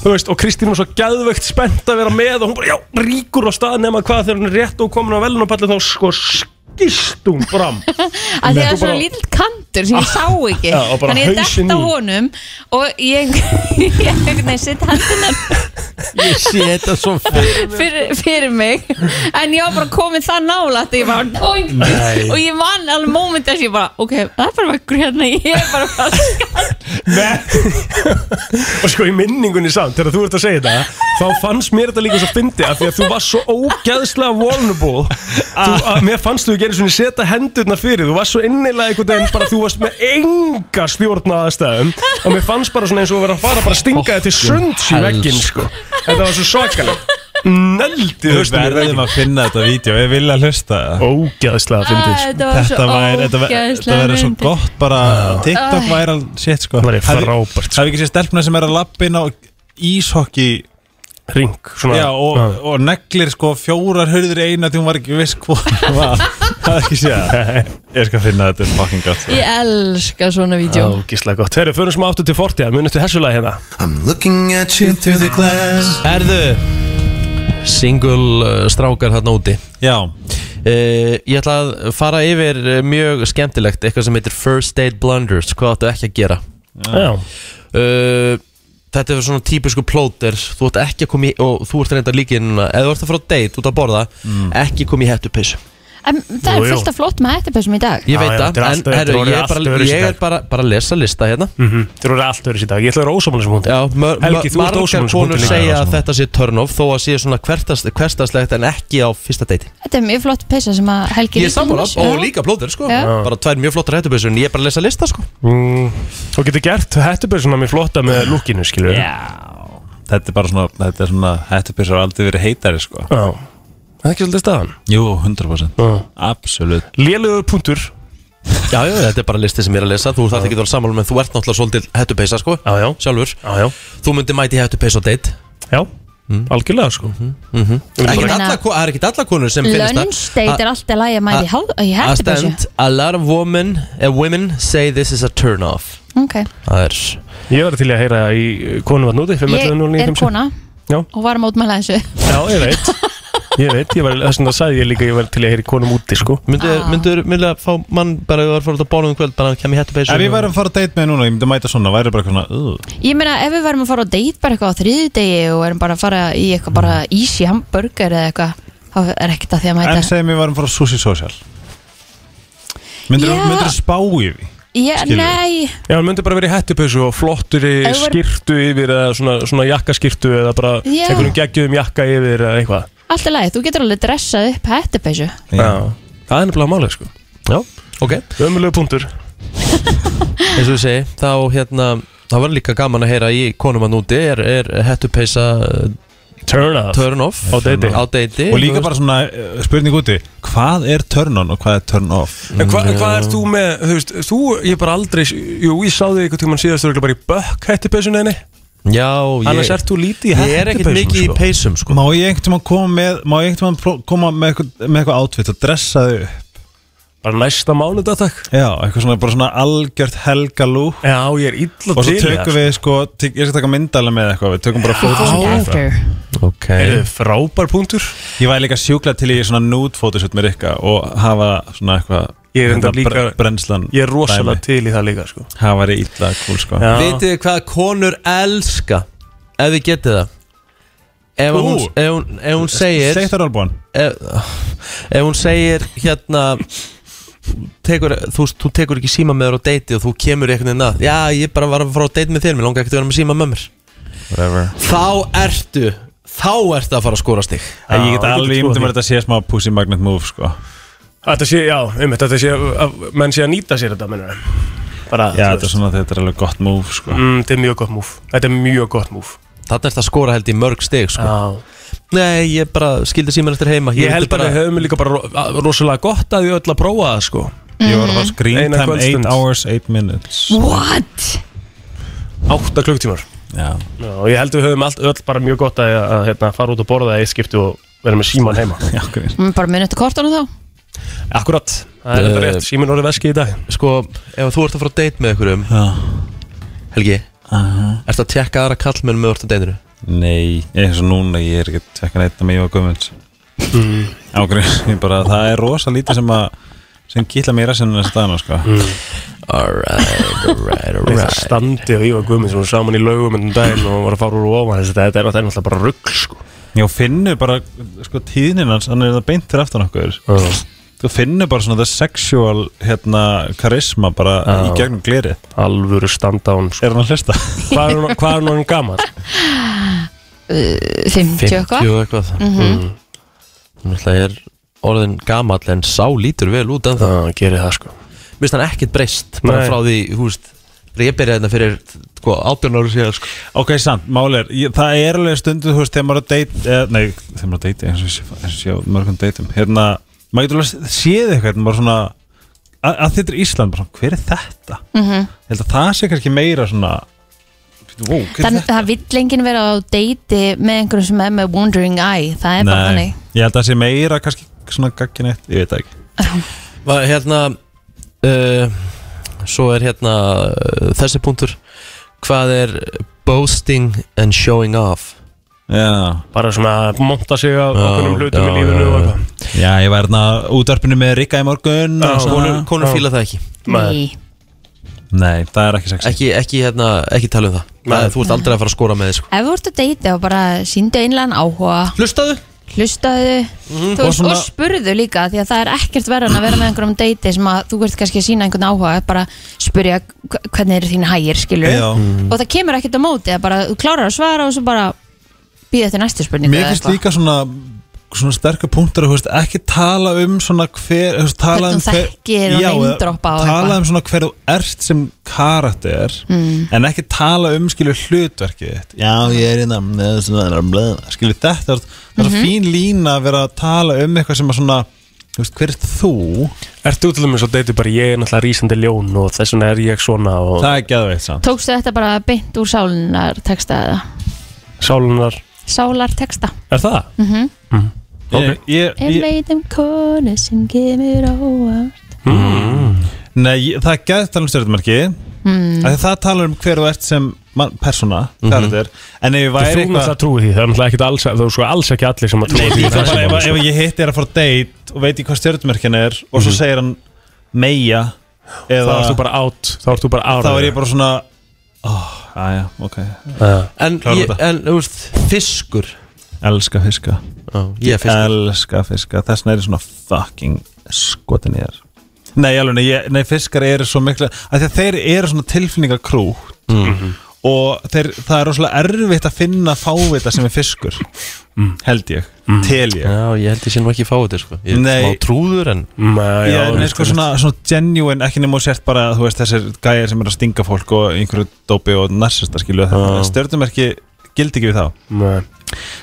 Þú veist, og Kristín var svo gæðvegt spennt að vera með og hún bara, já, ríkur á stað nema hvað þegar hún er rétt og komin á velunapalli þá sko skist hún fram að því að það Eitthvað er svona bara- lítill kantur sem ég sá ekki Já, og bara þannig ég hausinn dætt á í. honum og ég, ég einhvern veginn sitt hendunar Ég sé þetta svo fyrir fyrir, fyrir mig en ég var bara komið það nála að ég bara doink Nei. og ég vann alveg moment þess ég bara ok, það er bara vekkur hérna ég er bara bara og sko í minningunni samt þegar þú ert að segja þetta þá fannst mér þetta líka svo fyndi af því að þú varst svo ógæðslega vulnerable Ah. þú, að, mér fannst þú ekki einu svona setja hendurna fyrir þú varst svo innilega einhvern veginn bara þú varst með enga stjórn á aðstæðum og mér fannst bara svona eins og að vera að fara bara að stinga þetta til sunds í vegginn sko þetta var sko. svo svakalegt Nældi Við verðum að finna þetta vídeo Ég vil að hlusta Ógæðslega fyndið sko. þetta var svo Þetta væri- þetta væri- Þetta ógeðslega væri svo fyndið. gott bara TikTok Æ. væri Shit sko Ah. væri Hafið- frábært, Hafið ekki séð stelpna sem er að lappina og íshokki Ring svona- Ah. Já og, Já. og neglir sko fjórar hurður í eina því hún var ekki viss hvað hún var Það er ekki séð það. Ég skal finna þetta um fucking gott Ég elska svona vídeo Ógæðslega gott Herru, förum smá aftur til fortið Munið til þessu lagi hérna Looking at you through the glass Herðu Single uh, strákar þarna úti Eh, Já Ég ætla að fara yfir eh, mjög skemmtilegt Eitthvað sem heitir First Date Blunders Hvað áttu ekki að gera Já. Eh, Þetta er svona típisku plóter Þú ert ekki að koma í Og þú ert reynda líka inn núna Ef þú ert að fara á date út að borða Mm. Ekki koma í hettupeysu en, Það Jú, er jú. fullt af flott með hettupessum í dag Ég veit það þetta er En alltaf- þetta er herru, orðið ég er allt bara, öðruvísi ég í Mhm. er bara, bara að lesa lista hérna Þú eru allt öðru í dag Ég ætla að vera ósámála sem hún Já, mör- Helgi, þú ert Margar ósámála sem konur hún segja að þetta sé turn off Þó að sé svona hvertast, hverstaslegt En ekki á fyrsta deiti Þetta er mjög flott peysa sem að Helgi Ég er sammála og líka plóður sko Já. Bara tvær mjög flottar hættubössur en ég er bara að lesa lista sko Mm, Þú getur gert hættubörsuna mér flotta með lukkinu, skilur Já Þetta er bara svona Þetta er svona Hættupissar har aldrei verið heitari sko Já Það er ekki svolítið staðan Ah. Jú, 100% Absolutt Lélugur punktur Já, já, þetta er bara listi sem ég er að lesa Þú þarf ekki að vera sammála menn þú ert náttúrulega svolítið hættupeysa sko Já, já Sjálfur Já, já Þú myndir mæti hættupeysa á date Mm. Já, algjörlega sko Mhm. Ég Ekkert hérna- meina- alla ko- Það er ekkert alla konur sem finnist það Lönnsdeit er A- alltaf lægi að mæði a- í að hettupessu stand, A lot of women, uh, women say this is a turn off Ok, Það er Ég var til í að heyra í konu vatn úti ég er kona Já. og var að mótmæla þessu Já, ég veit Ég veit, ég var, þess vegna sagði ég líka Ég var til í að heyra í konum úti sko Myndur, Ah. myndur, myndur að fá mann bara að fara út að bóla um kvöld bara að kemja hættupeysa Ef ég væri að fara að date með núna Ég myndi að mæta svona Væri bara eitthvað svona "Ugh." Ég meina ef við varum að fara á date bara eitthvað á þriðdegi og erum bara að fara í eitthvað bara easy hamburger eða eitthvað þá er ekkert að því að En mæta segjum við varum frá Susi Social Myndur Já. þú spá í því? Ég, skilur. nei, Já, hann myndi bara verið í hættupössu og flottur í Ef þú væri- skirtu yfir eða svona, svona jakkaskirtu eða bara Já. einhverjum geggjum jakka yfir eða eitthvað allt er lægi, þú getur alveg dressað upp hættupeysu Já. Það er nefnilega málið sko Já, ok Ömulegu punktur eins og ég segi, þá hérna það var líka gaman að heyra í konum að núti er, er hettupeysa uh, turn off, á deiti, á deiti Og líka bara svona eh, spurning úti Hvað er turn on og hvað er turn off? En hva, hvað er þú með, þú veist, þú, ég er bara aldrei, jú, ég sá þig einhvern tímann síðast örugglega bara í bökk hættupeysunni henni Já, ég Annars ert þú lítið í Ég er ekkert hettupeysum, mikið sko. í peysum sko Má ég einhvern tímann koma með Má ég einhvern tímann pró- koma með eitthvað, með eitthvað outfit og dressa þau upp Bara næsta mánuð að takk Já, eitthvað svona, bara svona algjört helga lú Já, ég er illa Og svo til í það, tökum við sko tek- Ég skal taka myndalega með eitthvað Við tökum bara fótoshoot Ok Eru frábær punktur Ég væri líka sjúkla til í svona nude fótoshoot með Rikka Og hafa svona eitthvað Ég er enda hérna, líka- bre- Brennslan Ég er rosalega dæmi. til í það líka, sko Það væri illa cool sko Já. Vitið þið hvað konur elska ef þið getið það Ef Ú. hún, ef hún, ef hún segir Sleikt er albúan ef, ef hún segir hérna tekur, þú, veist, þú tekur ekki síma með þér á deiti og þú kemur í einhvern veginn að já, ég bara var að fara á date með þér, mér langar ekkert að vera með síma með mér Whatever þá ertu þá ertu að fara að skora stig Já, ég get alveg ímyndið mér að að þetta sé smá pussy magnet move sko Þetta sé, já, um þetta sé, að menn sé að nýta sér þetta, mennur Bara, Já, Ah, þú þetta er svona, þetta er alveg gott move sko Mm, þetta er mjög gott múf Þetta er mjög gott múf þetta ertu að skora held í mörg stig sko. Já. nei, ég bara skildi síman eftir heima Ég vildi held bara að við höfum líka bara ro- að- rosalega gott að við öll að prófa það sko Ég var að fá screen Eina time 8 kvöldstund. hours 8 minutes What? 8 klukktímar Já Já, og ég held að við höfum allt, öll bara mjög gott að, að hérna, fara út og borða í skipti og vera með síman heima Já, grinn Mm, Bara minnutu kortunum þá Akkurat, það er þetta Eh, rétt, síminn orðið veski í dag sko, ef þú ert að fara á date með einhverjum Já. Helgi, Aha. ertu að tjekka aðra kallmenn með orðið að deitinu Nei, eins og núna ég er ekki að tekka neitt að mig og gummins Mm. Já, grinn, ég bara, það er rosa lítið sem að sem gilla mér að sinna þessi dagana sko Mm. alright, alright, Það alright standi og Ívar Guðmund sem var saman í laugum en daginn og var að fara úr og ofan þess að þetta er þetta er náttúrulega bara rugg sko. Já, finnur bara, sko, tíðnin hans hann er það beint fyrir aftan okkur Þú finnur bara svona the sexual hérna, karisma bara Já. í gegnum glerið alvöru standa hún sko. Er hann að hlusta? Hvað er hún- hvað er hún gammal? Uh, 50 eitthvað 50 og eitthvað Mm. Mhm. Hún ætla er orðin gamall en sá lítur vel út en það Það gerir það sko Mér finnst hann ekkert breyst bara Nei. frá því, hú veist Ég byrjaði þetta fyrir sko, 18 ára síðan sko. Ok, samt, mál er, ég, það er alveg stundu, þú veist, þegar maður er að deyta, eða, nei, þegar maður er að deyta, eins og ég sé- eins og ég sé á mörgum deytum, hérna, maður getur alveg séð eitthvað, maður svona, að, að þetta er Ísland, bara svona, hver er þetta? Mhm. Ég held að það sé kannski meira svona, wow, hver er Þannig þetta? það vill enginn vera á deiti með einhverjum sem er með wandering eye Það er bara þannig ég held að það sé meira kannski svona gaggin eitt, ég veit það ekki. Va, hérna uh, Svo er hérna uh, Þessi punktur Hvað er boasting and showing off Já. Bara svona monta sig af Já, okkurum hlutum já, í lífinu já, og já. eitthvað Já, ég var hérna útvarpinu með Rikka í morgun. Já, og svona. konur- konur fíla það ekki. Nei. Nei, það er ekki sexy. Ekki, ekki, hérna, ekki tala um það, það Þú ert aldrei að fara að skora með þið sko. Ef þú ert að deita og bara síndu einlegan áhuga Hlustaðu Hlustaðu Mhm. Mm, Þú Og veist, svona- og spurðu líka því að það er ekkert verðan að vera með einhverjum deiti sem að þú ert kannski að sína einhvern áhuga bara spurja hv- hvernig eru þín hægir skilur Já. Mhm. og það kemur ekkert á móti að bara þú klárar að svara og svo bara býða eftir næstu spurningu Mér eða finnst eitthvað. líka svona svona sterkur punktur að þú veist, ekki tala um svona hver þú veist, tala Hvern um þú þekkir og Já, eða neindroppa og tala eitthvað. um svona hver þú ert sem karakter Mm. en ekki tala um skilur hlutverkið þitt já ég er innan neða, svona, neða, bleða. skilur þetta er, það Mhm. er svo fín lína að vera að tala um eitthvað sem að svona þú veist, hver er þú Ert þú til dæmis og deytu bara ég er náttúrulega rísandi ljón og þess vegna er ég svona og... Það er geðveitt samt Tókstu þetta bara beint úr sálunar texta eða Sálunar, sálar texta er það? mm okay. ég, Ef ég, leitum konu sem kemur á Mm. Nei, ég- það er gæðt tala um stjórnumarki Mm. mm. Það talar um hver þú ert sem mann, persóna, mm En ef ég Mhm. Þú væri náttúrulega trúi því, það er náttúrulega ekkert alls, það er sko alls ekki allir sem að trúi Nei, því líka bara ef, ef ég hitti þér að fara á date og veit ég hvað stjórnumarkin er og svo segir hann meia Mhm. Þá eða, ert þú bara átt, þá ert þú bara ára Þá er ég bara svona oh, Æja, ok En, Klárum ég, þetta. en þú veist, fiskur Elska fiska ég er fiskar. Elska fiska, þess vegna er ég svona fucking skotin ég er Nei, alveg, nei, ég, nei fiskar eru svo mikla af því að Þeir eru svona tilfinningakrút Mhm. Og þeir, það er rosalega erfitt að finna fávita sem er fiskur Mm. Held ég, tel ég Já, ég held ég sé nú ekki fá þetta sko. Ég Nei. er smá trúður en Nei, Já, nei, sko, svona, svona genuine, ekki nema og sért bara, þú veist, þessir gæjar sem er að stinga fólk og einhverju dópi og narsista skilu Já. það, stjörnumerki gildi ekki við þá Nei.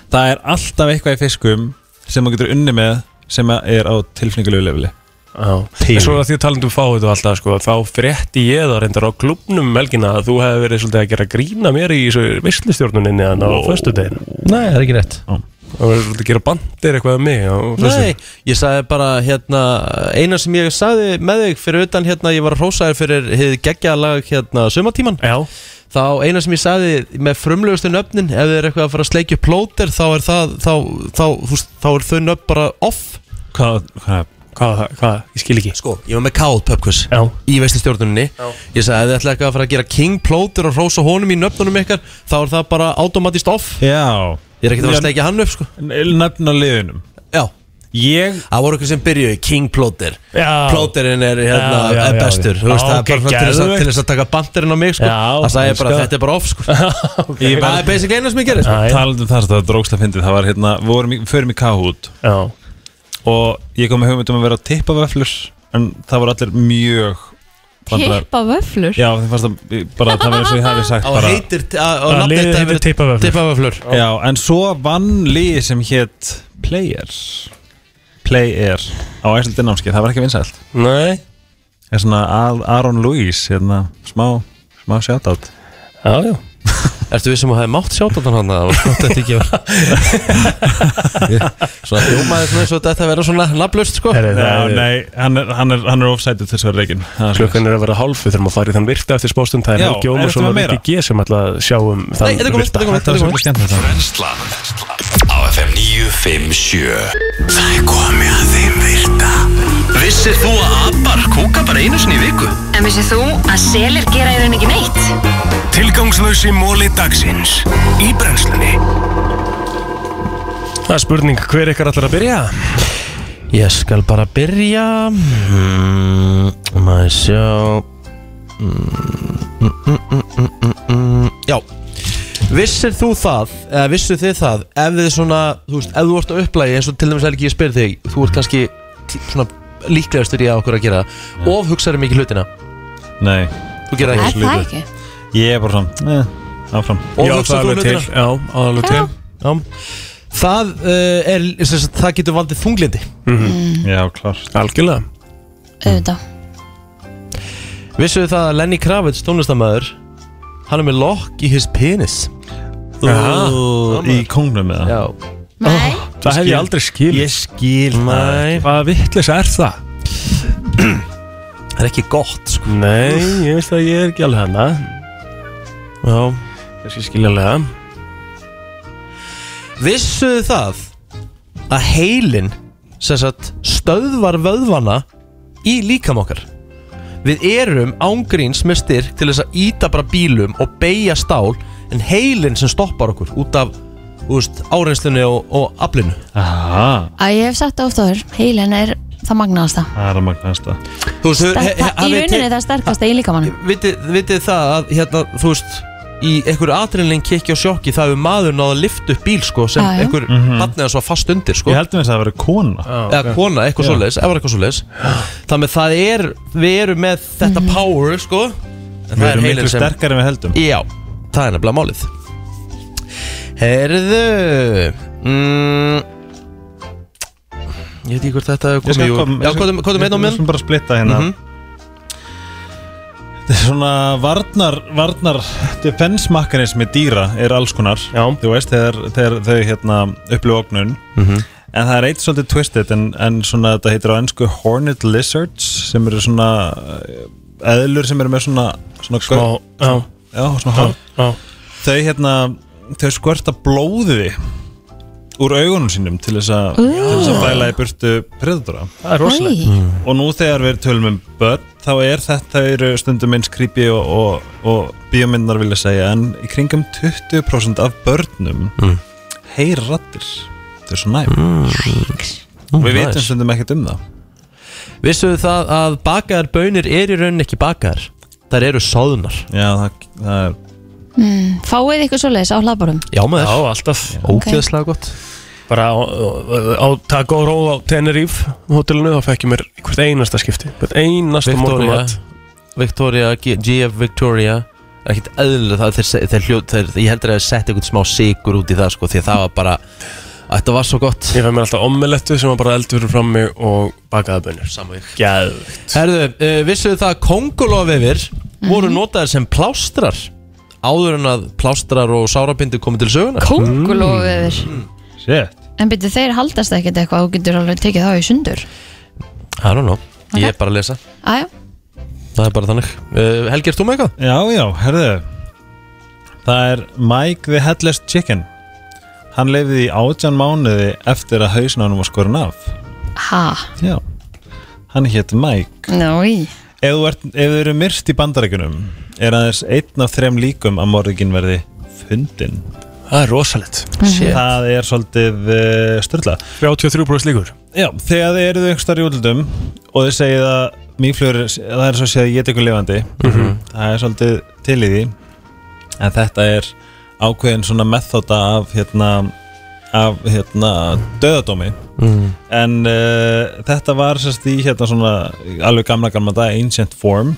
Það er alltaf eitthvað í fiskum sem maður getur unni með sem að er á tilfinningulegu lefli En svo að því að talandum fá þetta og alltaf sko, þá frétti ég það reyndar á klubnum um helgina að þú hefði verið svolítið að gera grína mér í þessu visslistjórnuninni þannig á wow. föstudegin Nei, það er ekki rétt Það var svolítið að gera bandir eitthvað um mig á Nei, ég sagði bara hérna eina sem ég sagði með þig fyrir utan hérna ég var að hrósa þér fyrir hið geggjaða lag hérna sumatíman Já. þá eina sem ég sagði með frumlegustu nöfnin ef þið er eitthvað að fara að sleikja upp plóter þá er það þá, þá, þá, þá er þau nöfn bara off Hvað, hvað, hvað, hvað, ég skil ekki Sko, ég var með káð pöpkus í veistlistjórnunni Ég sagði ef þið ætla eitthvað að fara að gera king plóter og hrósa honum í nöfnunum ykkar þá er það bara automatist off Já Ég er ekkert að fara að sleikja hann upp sko Nöfna liðunum Já Ég Það voru eitthvað sem byrjuði, King Plóter Já. Plóterinn er hérna, Já, já, er já, bestur já. Þú veist, Já, það ok, er bara til þess, að, geðveikt. til þess að taka banderinn á mig sko. Já, Það sagði ég bara, elska. þetta er bara off sko. Ég Það er basic eina sem ég gerir sko. Talandi um það, það var drókslega fyndið Það var hérna, við vorum í, förum í Kahoot Já. Og ég kom með hugmyndum að vera að tippa vöflur En það voru allir mjög vandrar- Tippa vöflur? Já, þeim fannst það bara að það verið svo ég hafi sagt Á bara, heitir, á á nafnið þetta hefur Tippavöflur Já, en svo vann liði sem hétt Players Player á æslandin námskeið, það var ekki vinsælt Nei Það er svona Al- Aaron Lewis, hérna, smá, smá shoutout Já, já Ertu við sem að hafi mátt sjáttáttan hann Það var gott eftir ekki Svona hljómaði svona eins og þetta verður svona nafnlust sko. Já, nei, hann er, hann er, hann er offsætið til þessari reikin Klukkan er að vera hálfu þegar maður farið þann virta eftir spóstund Það er Já, Helgi er Ómarsson þetta og meira? Rikki G sem ætla að sjá um þann þetta er komið, þetta er komið, þetta er komið. Skemmtilegt. Brennslan Á FM 957 Það er komið að þeim virta Vissir þú að abar kúka bara einu sinni í viku? En vissið þú að selir gera í raun ekki neitt? Tilgangslösi móli dagsins Í brennslunni Það er spurning hver ykkar ætlar að byrja Ég skal bara byrja mm, Maður sjá mm, mm, mm, mm, mm, mm, mm. Já Vissir þú það, eða vissir þið það ef þið svona, þú veist, ef þú ert að upplægi eins og til dæmis Helgi ég spyr þig þú ert kannski t- svona líklegastur í að okkur að gera of hugsaður mikið hlutina Nei Þú um Þú gerir það Er ekki. það ekki? Ég er bara svona, eh, áfram Og Ég á það hugsar þú alveg til um hlutina? Já, á það alveg til Já. Það, uh, er, sem sagt, það getur valdið þunglindi Mm. Mhm. Já, klart Algjörlega Auðvitað Vissuðu það að Lenny Kravitz, tónlistamæður Hann er með lokk í his penis Jaha, í kóngnum eða? Já Nei Það hef ég aldrei skil Ég skil Nei Hvað vittlis er það? Það er ekki gott sko Nei, ég veist að ég er ekki alveg hana Já Þessi skiljanlega Vissuðu það að heilin sem sagt stöðvar vöðvana í líkam okkar Við erum ángríns með styrk til þess að íta bara bílum og beigja stál en heilin sem stoppar okkur út af úst, áreinslunni og, og aflinu Aha, Æ, ég hef sagt það oft áður, heilin er það magnaðasta það er að magnast það Þú veist, Það- he- það- he- Í hafið rauninni te- það sterkasta í líkamann vitið, vitið það að hérna, þú veist í einhverju atrinnlein kikki og sjokki það hefur maður náða að lyfta upp bíl sko, sem Já, já. einhver mm -hmm. barnið svo fast undir sko. Mhm. Ég heldur mér að það verið kona eða kona, eitthvað svoleiðis, ef var eitthvað svoleiðis þannig að það er, við erum með þetta Mhm. power sko en Við erum miklu sterkari en við heldum já, það er nefnilega málið heyrðu mm, ég veit ekki hvort þetta hefur Ég skal komið koma- já, hvað er- hvað er með Við nóminn? skulum bara splitta hérna Mhm. Þetta er svona varnar, varnar defense mechanism í dýra er alls konar Já. Þú veist, þegar, þegar þau hérna upplifa opnun Mhm. En það er eitt svolítið twisted en, en svona þetta heitir á ennsku horned lizards sem eru svona eh, eðlur sem eru með svona, svona Smá, já. já, svona Já, hár Þau hérna, þau skvörta blóðiði úr augunum sínum til þess að, til þess að Ú. bæla í burtu predatora Það er rosalegt. Æ. Mm. Og nú þegar við tölum um börn þá er þetta eru stundum eins creepy og, og, og bíómyndar vilja segja en í kringum 20% af börnum Mm. heyra rattir þetta er svo næm Ú, og við nice. vitum stundum ekkert um það Vissuðu það að bakaðar bönir eru í rauninni ekki bakaðar Þær eru sáðunar Já, það, það er mm, Fáið ykkur svoleiðis á hlaðbórum Já maður Já, alltaf Ógeðslega gott Bara á, á, á Taco Roll á Tenerife hótelinu þá fekk ég mér hvert einasta skipti hvert einasta Victoria morgumat Victoria, G- GF Victoria ekkert eðlilega það þeir, se- þeir hljóð þeir, ég heldur að þeir setja einhvern smá sigur út í það sko, því að það var bara þetta var svo gott Ég fæ mér alltaf omelettu sem var bara eldur fram mig og bakaða bönir Samvík Gæðvikt Herðu, uh, vissuðu það að kongulofefir voru notaðir sem plástrar áður en að plástrar og sárabindi komu til söguna Kóngulófur Mm, Mm. Shit En byrju, þeir haldast ekkert eitthvað og getur alveg tekið þá í sundur I don't know, ég er bara að lesa Æja, Það er bara þannig uh, Helgi, erst þú með eitthvað? Já, já, herðu Það er Mike the Headless Chicken Hann lefði í átján mánuði eftir að hausnánum var skorin af ha, Já, hann hétt Mike nái Ef þú, ert, ef þú eru myrst í bandarækjunum er aðeins einn af þrem líkum að morgin verði fundin Það er rosalegt Shit. Það er svolítið uh, styrla 33% líkur Já, þegar þið eruðu einhverstaðar í útlöndum og þið segið að mýflugur það er svo séð að ég tekur lifandi Mhm. það er svolítið til í því en þetta er ákveðin svona methoda af hérna af hérna döðadómi Mhm. en uh, þetta var sérst í hérna svona alveg gamla gamla dag ancient form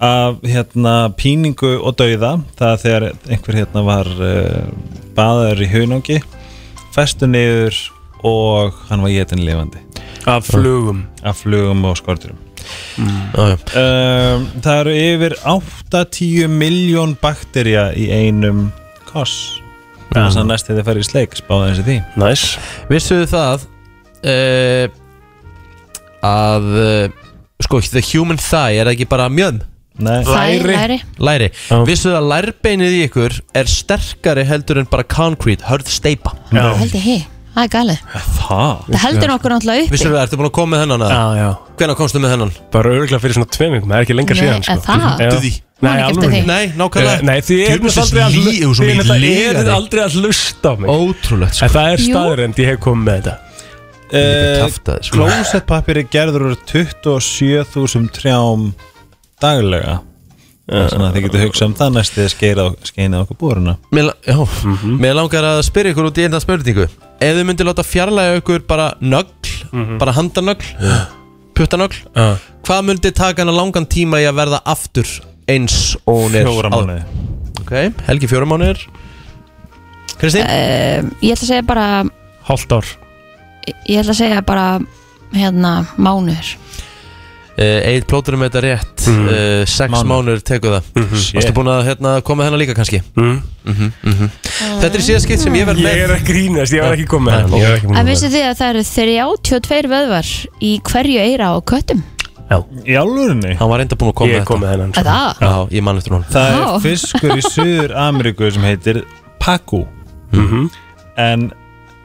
af hérna píningu og dauða það er þegar einhver hérna var uh, baðaður í hunangi festu niður og hann var getin lifandi Af flugum Mm. af flugum og skorturum um, það eru yfir 8-10 miljón bakterja í einum koss þannig að næst þegar þið færi í sleik spáði þessi því Næs Vissuðu það uh, að uh, sko, the human thigh er það ekki bara mjön? Nei. Þær, læri. Læri. Vissuðu að lærbeinið í ykkur er sterkari heldur en bara concrete, hörð steipa Já. held ég hei, það er galið Það, Það heldur okkur náttúrulega uppi Vissuðu það, ertu búin að koma með hennan? eða? Já, já Hvenær komstu með hennan? Bara örgulega fyrir svona tveim vikum, það er ekki lengar Nei, síðan sko. er það? Já. Duddi. Nei, Man ekki eftir alveg því. Nei, nákvæmlega. Eh, Nei, því er Djöfulsins aldrei að lygi, þú sem Þið ég lygar er þig. aldrei að hlusta á mig Ótrúlegt sko. En það er Jú. staðurend ég hef komið með þetta Eh, kjaftaði, sko. Klósettpappír er gerður úr 27.000 trjám daglega þannig að þið getur hugsað um það næst þegar skeina, skeina okkur búruna Mér, la- já, mér langar að spyrja ykkur út í einna spurningu Ef þið myndir láta fjarlæga ykkur bara nögl, Mhm. bara handanögl, puttanögl Hvað myndi taka hana langan tíma í að verða aftur eins og hún er Fjóra áður. mánuði. Ok, Helgi fjóra mánuðir Kristín? Ehm, ég ætla að segja bara Hálft ár ég ætla að segja bara hérna mánuður Uh, Eitt plótur um þetta rétt mm. Mhm. Sex Mánuður. mánuður tekur það mm Shit. Varstu búin að hérna, koma með hennar líka kannski? Mm. -hmm, Þetta er síðan skipt sem ég verð með Ég er að grínast, ég var ekki komið Nei, með nei. það Ég var ekki en komið með vissu þið að það eru 32 vöðvar í hverju eira á köttum Já Í alvörunni? Hann var reynda búin að koma Ég með kom með þetta þennan, sko. Er það? Já, ég man eftir hún Það Vá. er fiskur í Suður Ameríku sem heitir Paku Mhm. En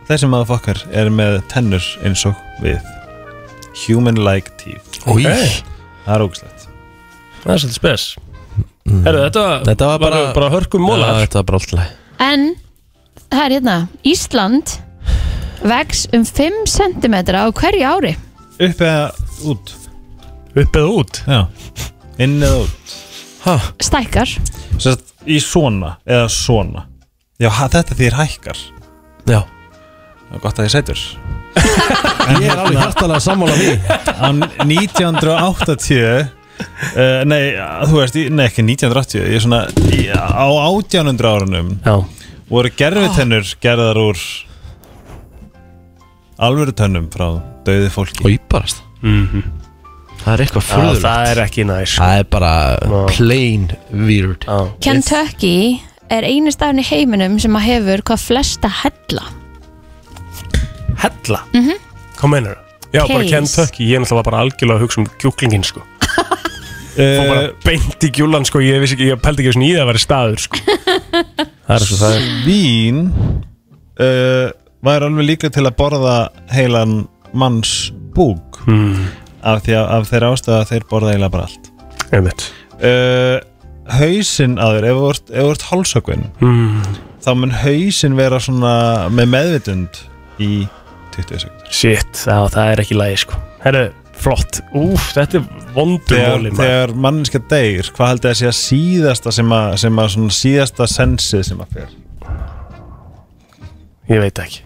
þessi maður fokkar er með tennur eins og við Human-like teeth Új. Það er ógæslegt Það er svolítið spes Herru, þetta, Mm. Þetta var bara, bara hörkum móla Já, Þetta var bara alltaf en það er hérna Ísland vex um 5 cm á hverju ári Upp eða út Upp eða út? Já Inn eða út Ha? stækkar Sest, Í svona eða svona Já, ha- þetta þýr hækkar Já Það er gott að ég sætur Ég er alveg hjartalega sammála því Á 1980 uh, Nei, þú veist, í- nei ekki 1980 Ég er svona í, á 1800 árunum Já. Voru gerfitennur gerðar úr Alvöru tönnum frá döði fólki Og íbarast mm -hmm. Það er eitthvað Já, furðulegt það er ekki næs sko. Það er bara plain weird Já Kentucky er einu staðin í heiminum sem að hefur hvað flesta hella Hella Mhm. mm Hvað meinar það? Já, bara Case. Kentucky, ég er náttúrulega bara algjörlega að hugsa um kjúklingin sko Eh, Fá bara beint í kjúlan sko, ég vissi ekki, ég pældi ekki einu sinni í það að vera staður sko Það er svo það er Svín uh, Var alveg líka til að borða heilan manns búk hmm. af, því að, af þeirra ástæða að þeir borða eiginlega bara allt Einmitt uh, Hauðsinn að þér, ef þú ert- ef þú ert hálsökvinn mm. þá mun hausin vera svona með meðvitund í 20 sekundar Shit, á, það er ekki lægi sko Herru, flott, úf, þetta er vondur þegar, móli maður. þegar manninska degir, hvað haldið að sé að síðasta sem að, sem að svona síðasta sensið sem að fer Ég veit ekki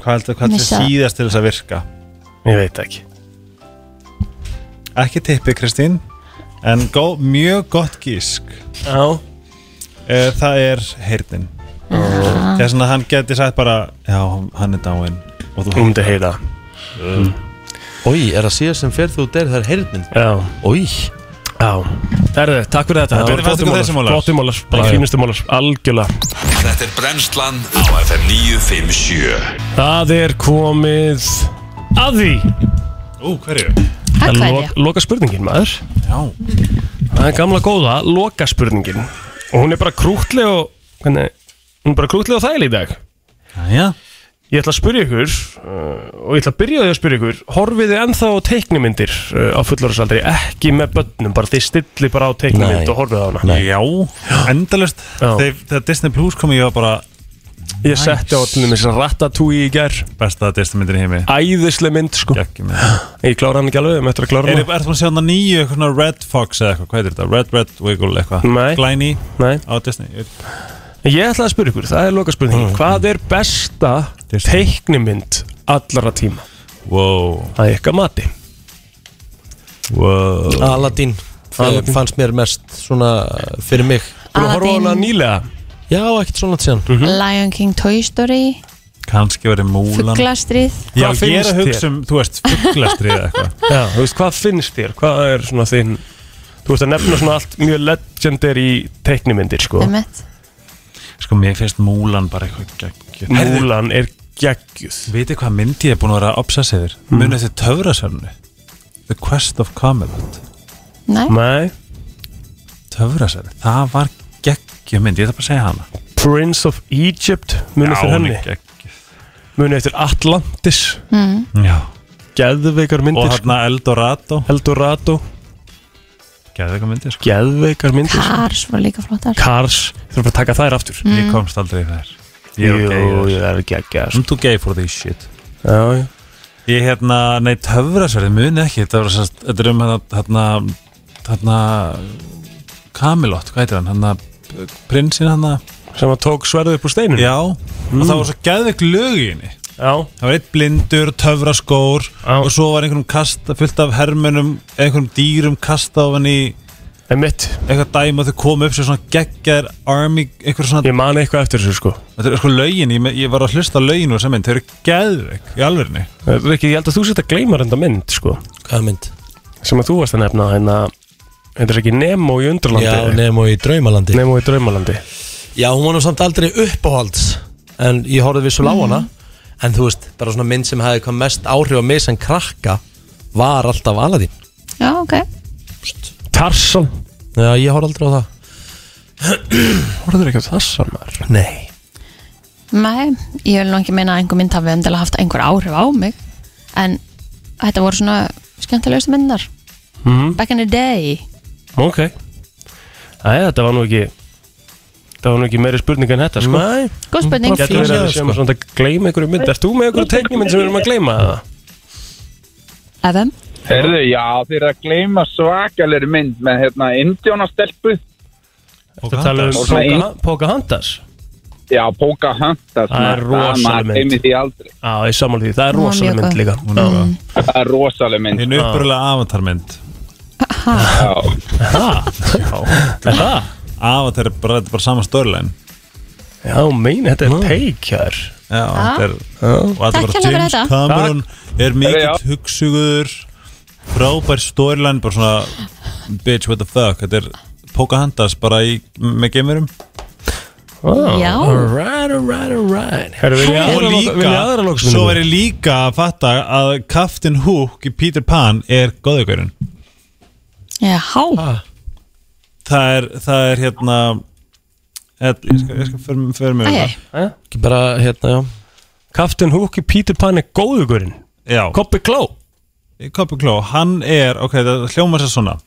hvað haldið hvað haldið Missa. að síðast til þess að virka Ég veit ekki ekki tippi Kristín en gó, mjög gott gísk Eh, já það er heyrnin það er svona að hann geti sagt bara já, hann er dáinn og þú Hún myndi heyra Mm. Ói, er það síðast sem fer þú der það er heyrnin Já Ói Já Herru, takk fyrir þetta Já, Þetta voru fannst ykkur þessi flottir mólar? mólar Flottir mólar, bara Já, já. fínustu mólar, algjörlega Þetta er brennslan á FM 957 Það er komið að því Ú, hverju? Það er hverju? lo loka spurningin maður Já Það er gamla góða, loka spurningin Og hún er bara krútleg og hvernig, Hún er bara krútleg og þægileg í dag Já Ég ætla að spyrja ykkur uh, Og ég ætla að byrja á því að spyrja ykkur Horfið þið ennþá á teiknimyndir uh, á fullorðsaldri Ekki með börnum, bara þið stilli bara á teiknimynd Nei. og horfið á hana Já, endalust Þegar þegar Disney Plus kom ég var bara Ég setti á allir með Ratatouille í gær Besta Disney myndir í heimi Æðisleg mynd sko Ég klára hann ekki alveg, við möttum að klára Er hann það að sjá hann að nýju eitthvað svona Red Fox eða eitthvað, hvað heitir þetta? Red Red Wiggle eitthvað Nei. Glæni Nei. á Disney Ég Mm. veit- Ég ætla að spyrja ykkur, það er loka spurning Hvað er besta teiknimynd allara tíma? Wow. Það er ykkar mati wow. Aladdin Aladdin. Aladdin fannst mér mest svona eh, fyrir mig Búin að horfa á hana Aladdin. nýlega? Mhm. Já, ekkert svona langt síðan Lion King Toy Story Kannski verið múlan Fuglastrið Já, ég er að hugsa um, þú veist, fugglastrið eða eitthvað Já, þú veist, hvað finnst þér? Hvað er svona þinn Þú veist að nefna svona allt mjög legendary teiknimyndir, sko Einmitt. Sko, mér finnst múlan bara eitthvað geggjuð Múlan er geggjuð Vitið hvað myndi ég er búin að vera að obsessa yfir? Mm. Mm. Munið þið töfrasöfnu? The Quest of Camelot Nei. Nei Töfrasöfnu, það var geggjuð mynd, ég ætla bara að segja hana Prince of Egypt, Já, munið eftir hún er henni Munið eftir Atlantis Mm. Já Geðveikar myndir Og þarna Eldorado Eldorado Geðveikar myndir, sko Geðveikar myndir sko. Cars var líka flottar Cars, þú þurfum að taka þær aftur Mm. Ég komst aldrei í þær Jú, Ég er gay, okay, sko. ég er geggjað I'm too gay for this shit Já, já Ég hérna, nei, töfrasverði muni ekki Þetta var sérst, þetta er um hérna hérna, hérna Kamilott, hvað heitir hann, hérna prinsinn hérna Sem að tók sverðið upp úr steinum Mm. Já, og það var svo geðveik lög í henni Já Það var eitt blindur, töfraskór Já. og svo var einhverjum kasta fullt af hermönum einhverjum dýrum kasta á henni Einmitt. Eitthvað dæmi að þau komu upp sem svona geggar army, eitthvað svona Ég man eitthvað eftir þessu sko Þetta er sko lögin, ég, me- ég var að hlusta á lögin og sem mynd, þau eru geðveik í alvörinni Rikki, Eh, ég held að þú sett að gleyma reynda mynd sko Hvaða mynd? Sem að þú varst að nefna hérna Þetta er ekki Nemo í Undralandi Já, Nemo í Draumalandi Nemo í Draumalandi Já, hún var nú samt aldrei uppáhalds En ég horfði vissulega á Mhm. hana En þú veist, bara svona mynd sem hefði hvað mest áhrif á mig sem krakka Var alltaf Aladdin Já, ok Tarsson Já, ég horfði aldrei á það Horfður ekki á Tarsson maður? Nei Nei, ég vil nú ekki meina að einhver mynd hafi endilega haft einhver áhrif á mig En þetta voru svona skemmtilegustu myndar Mhm. Back in the day Ok Æ, þetta var nú ekki Þetta var nú ekki meiri spurning en þetta sko Nei. Góð spurning. Gæti verið að við séum að svona að gleyma einhverju mynd Erst þú með einhverju teiknumynd sem við erum að gleyma það? Evan? Herðu, já, þeir eru að gleyma svakalegri mynd með hérna indjónastelpu Þetta tala um Og svona Pocahon- ein- Pocahontas Já, Pocahontas Það er maður, rosaleg maður mynd. gleymir því aldrei. Já, ég samanlega því, það er Hún var rosalega mjög mynd góð. líka Hún er góð. Það er rosaleg mynd Þín upprunalega avatarmynd Já Avatar er bara, þetta er bara sama störlein Já, meina, þetta er teikjar Já, þetta er Og þetta er Takk bara hérna James fyrir þetta. Cameron Er Já. mikill hugsugur Frábær störlein Bara svona Bitch what the fuck Þetta er Pocahontas bara í Með geimurum Já. Alright, alright, alright Herru, vil ég og aðra lok- vil ég aðra líka loksmyndina? svo verður líka að fatta að Captain Hook í Peter Pan er góðugurinn Jáhá það er, það er hérna ég skal, ég skal fyrir, fyrir mig Æ, æ. Ekki bara, hérna, já Captain Hook í Peter Pan er góðugurinn Já Copy Cló Copy Cló, hann er, ok, það hljómar sér svona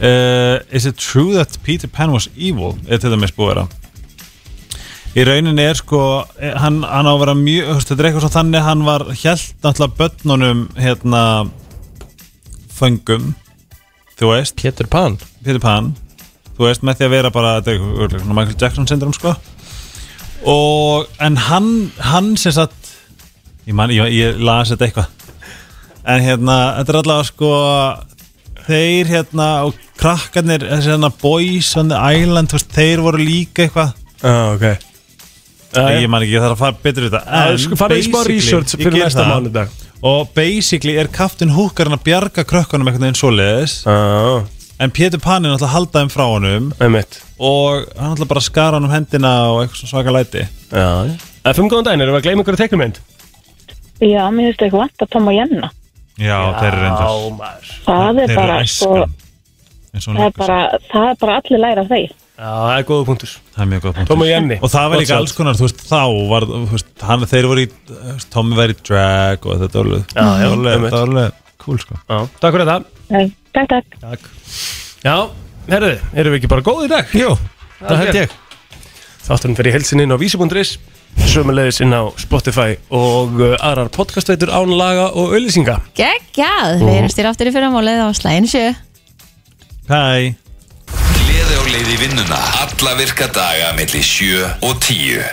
uh, Is it true that Peter Pan was evil? Er til dæmis búið að vera Í rauninni er sko eh, hann, hann á að vera mjög, þú veist, þetta er eitthvað svo þannig hann var hjælt náttúrulega börnunum hérna föngum, þú veist Peter Pan Peter Pan, þú veist, með því að vera bara þetta er eitthvað svona Michael Jackson syndrom sko og en hann, hann sem sagt ég, man, ég, ég las þetta eitthvað en hérna, þetta er allavega sko þeir hérna og krakkarnir, þessi hérna Boys on the Island, þú veist, þeir voru líka eitthvað Já, ok Ég man ekki, ég þarf að fara betur í þetta Já, En sko, farið í smá basically, research ég fyrir geri næsta það. mánudag. Og basically er Captain Hook að bjarga krökkunum einhvern veginn svoleiðis uh. En Pétur Pan er náttúrulega að halda þeim frá honum Einmitt. Og hann náttúrulega bara skara honum hendina og eitthvað svona svaka læti Já, FM góðan daginn, erum við að gleyma einhverju teiknumynd? Já, mér finnst eitthvað vant að Tom og Jenna. Já, þeir eru reyndar maður Það er Þeir eru bara, sko, æskan, eins og hún það er leikur sér. bara, það er bara allir læra af þeir. Já, það er góða punktur Það er mjög góð punktur Tom og Jenny. Og það var Gott líka sjátt. alls konar, þú veist, þá var þú veist, hann, Þeir voru í, þú veist, Tommy var í drag Og þetta var alveg Já, já, Það var alveg- einmitt. það var alveg cool sko Já, takk fyrir þetta Nei, Takk, takk. Já, herruðu, erum við ekki bara góð í dag? Jú, það held ég. Þátturinn fyrir helsin inn á vísi.is Sömulegis inn á Spotify og uh, aðrar podcastveitur án laga og auðlýsinga Geggjað, við erum stýr aftur í fyrramálið á slæðin sjö Hæ Gleði og leiði vinnuna Alla virka daga melli 7 og 10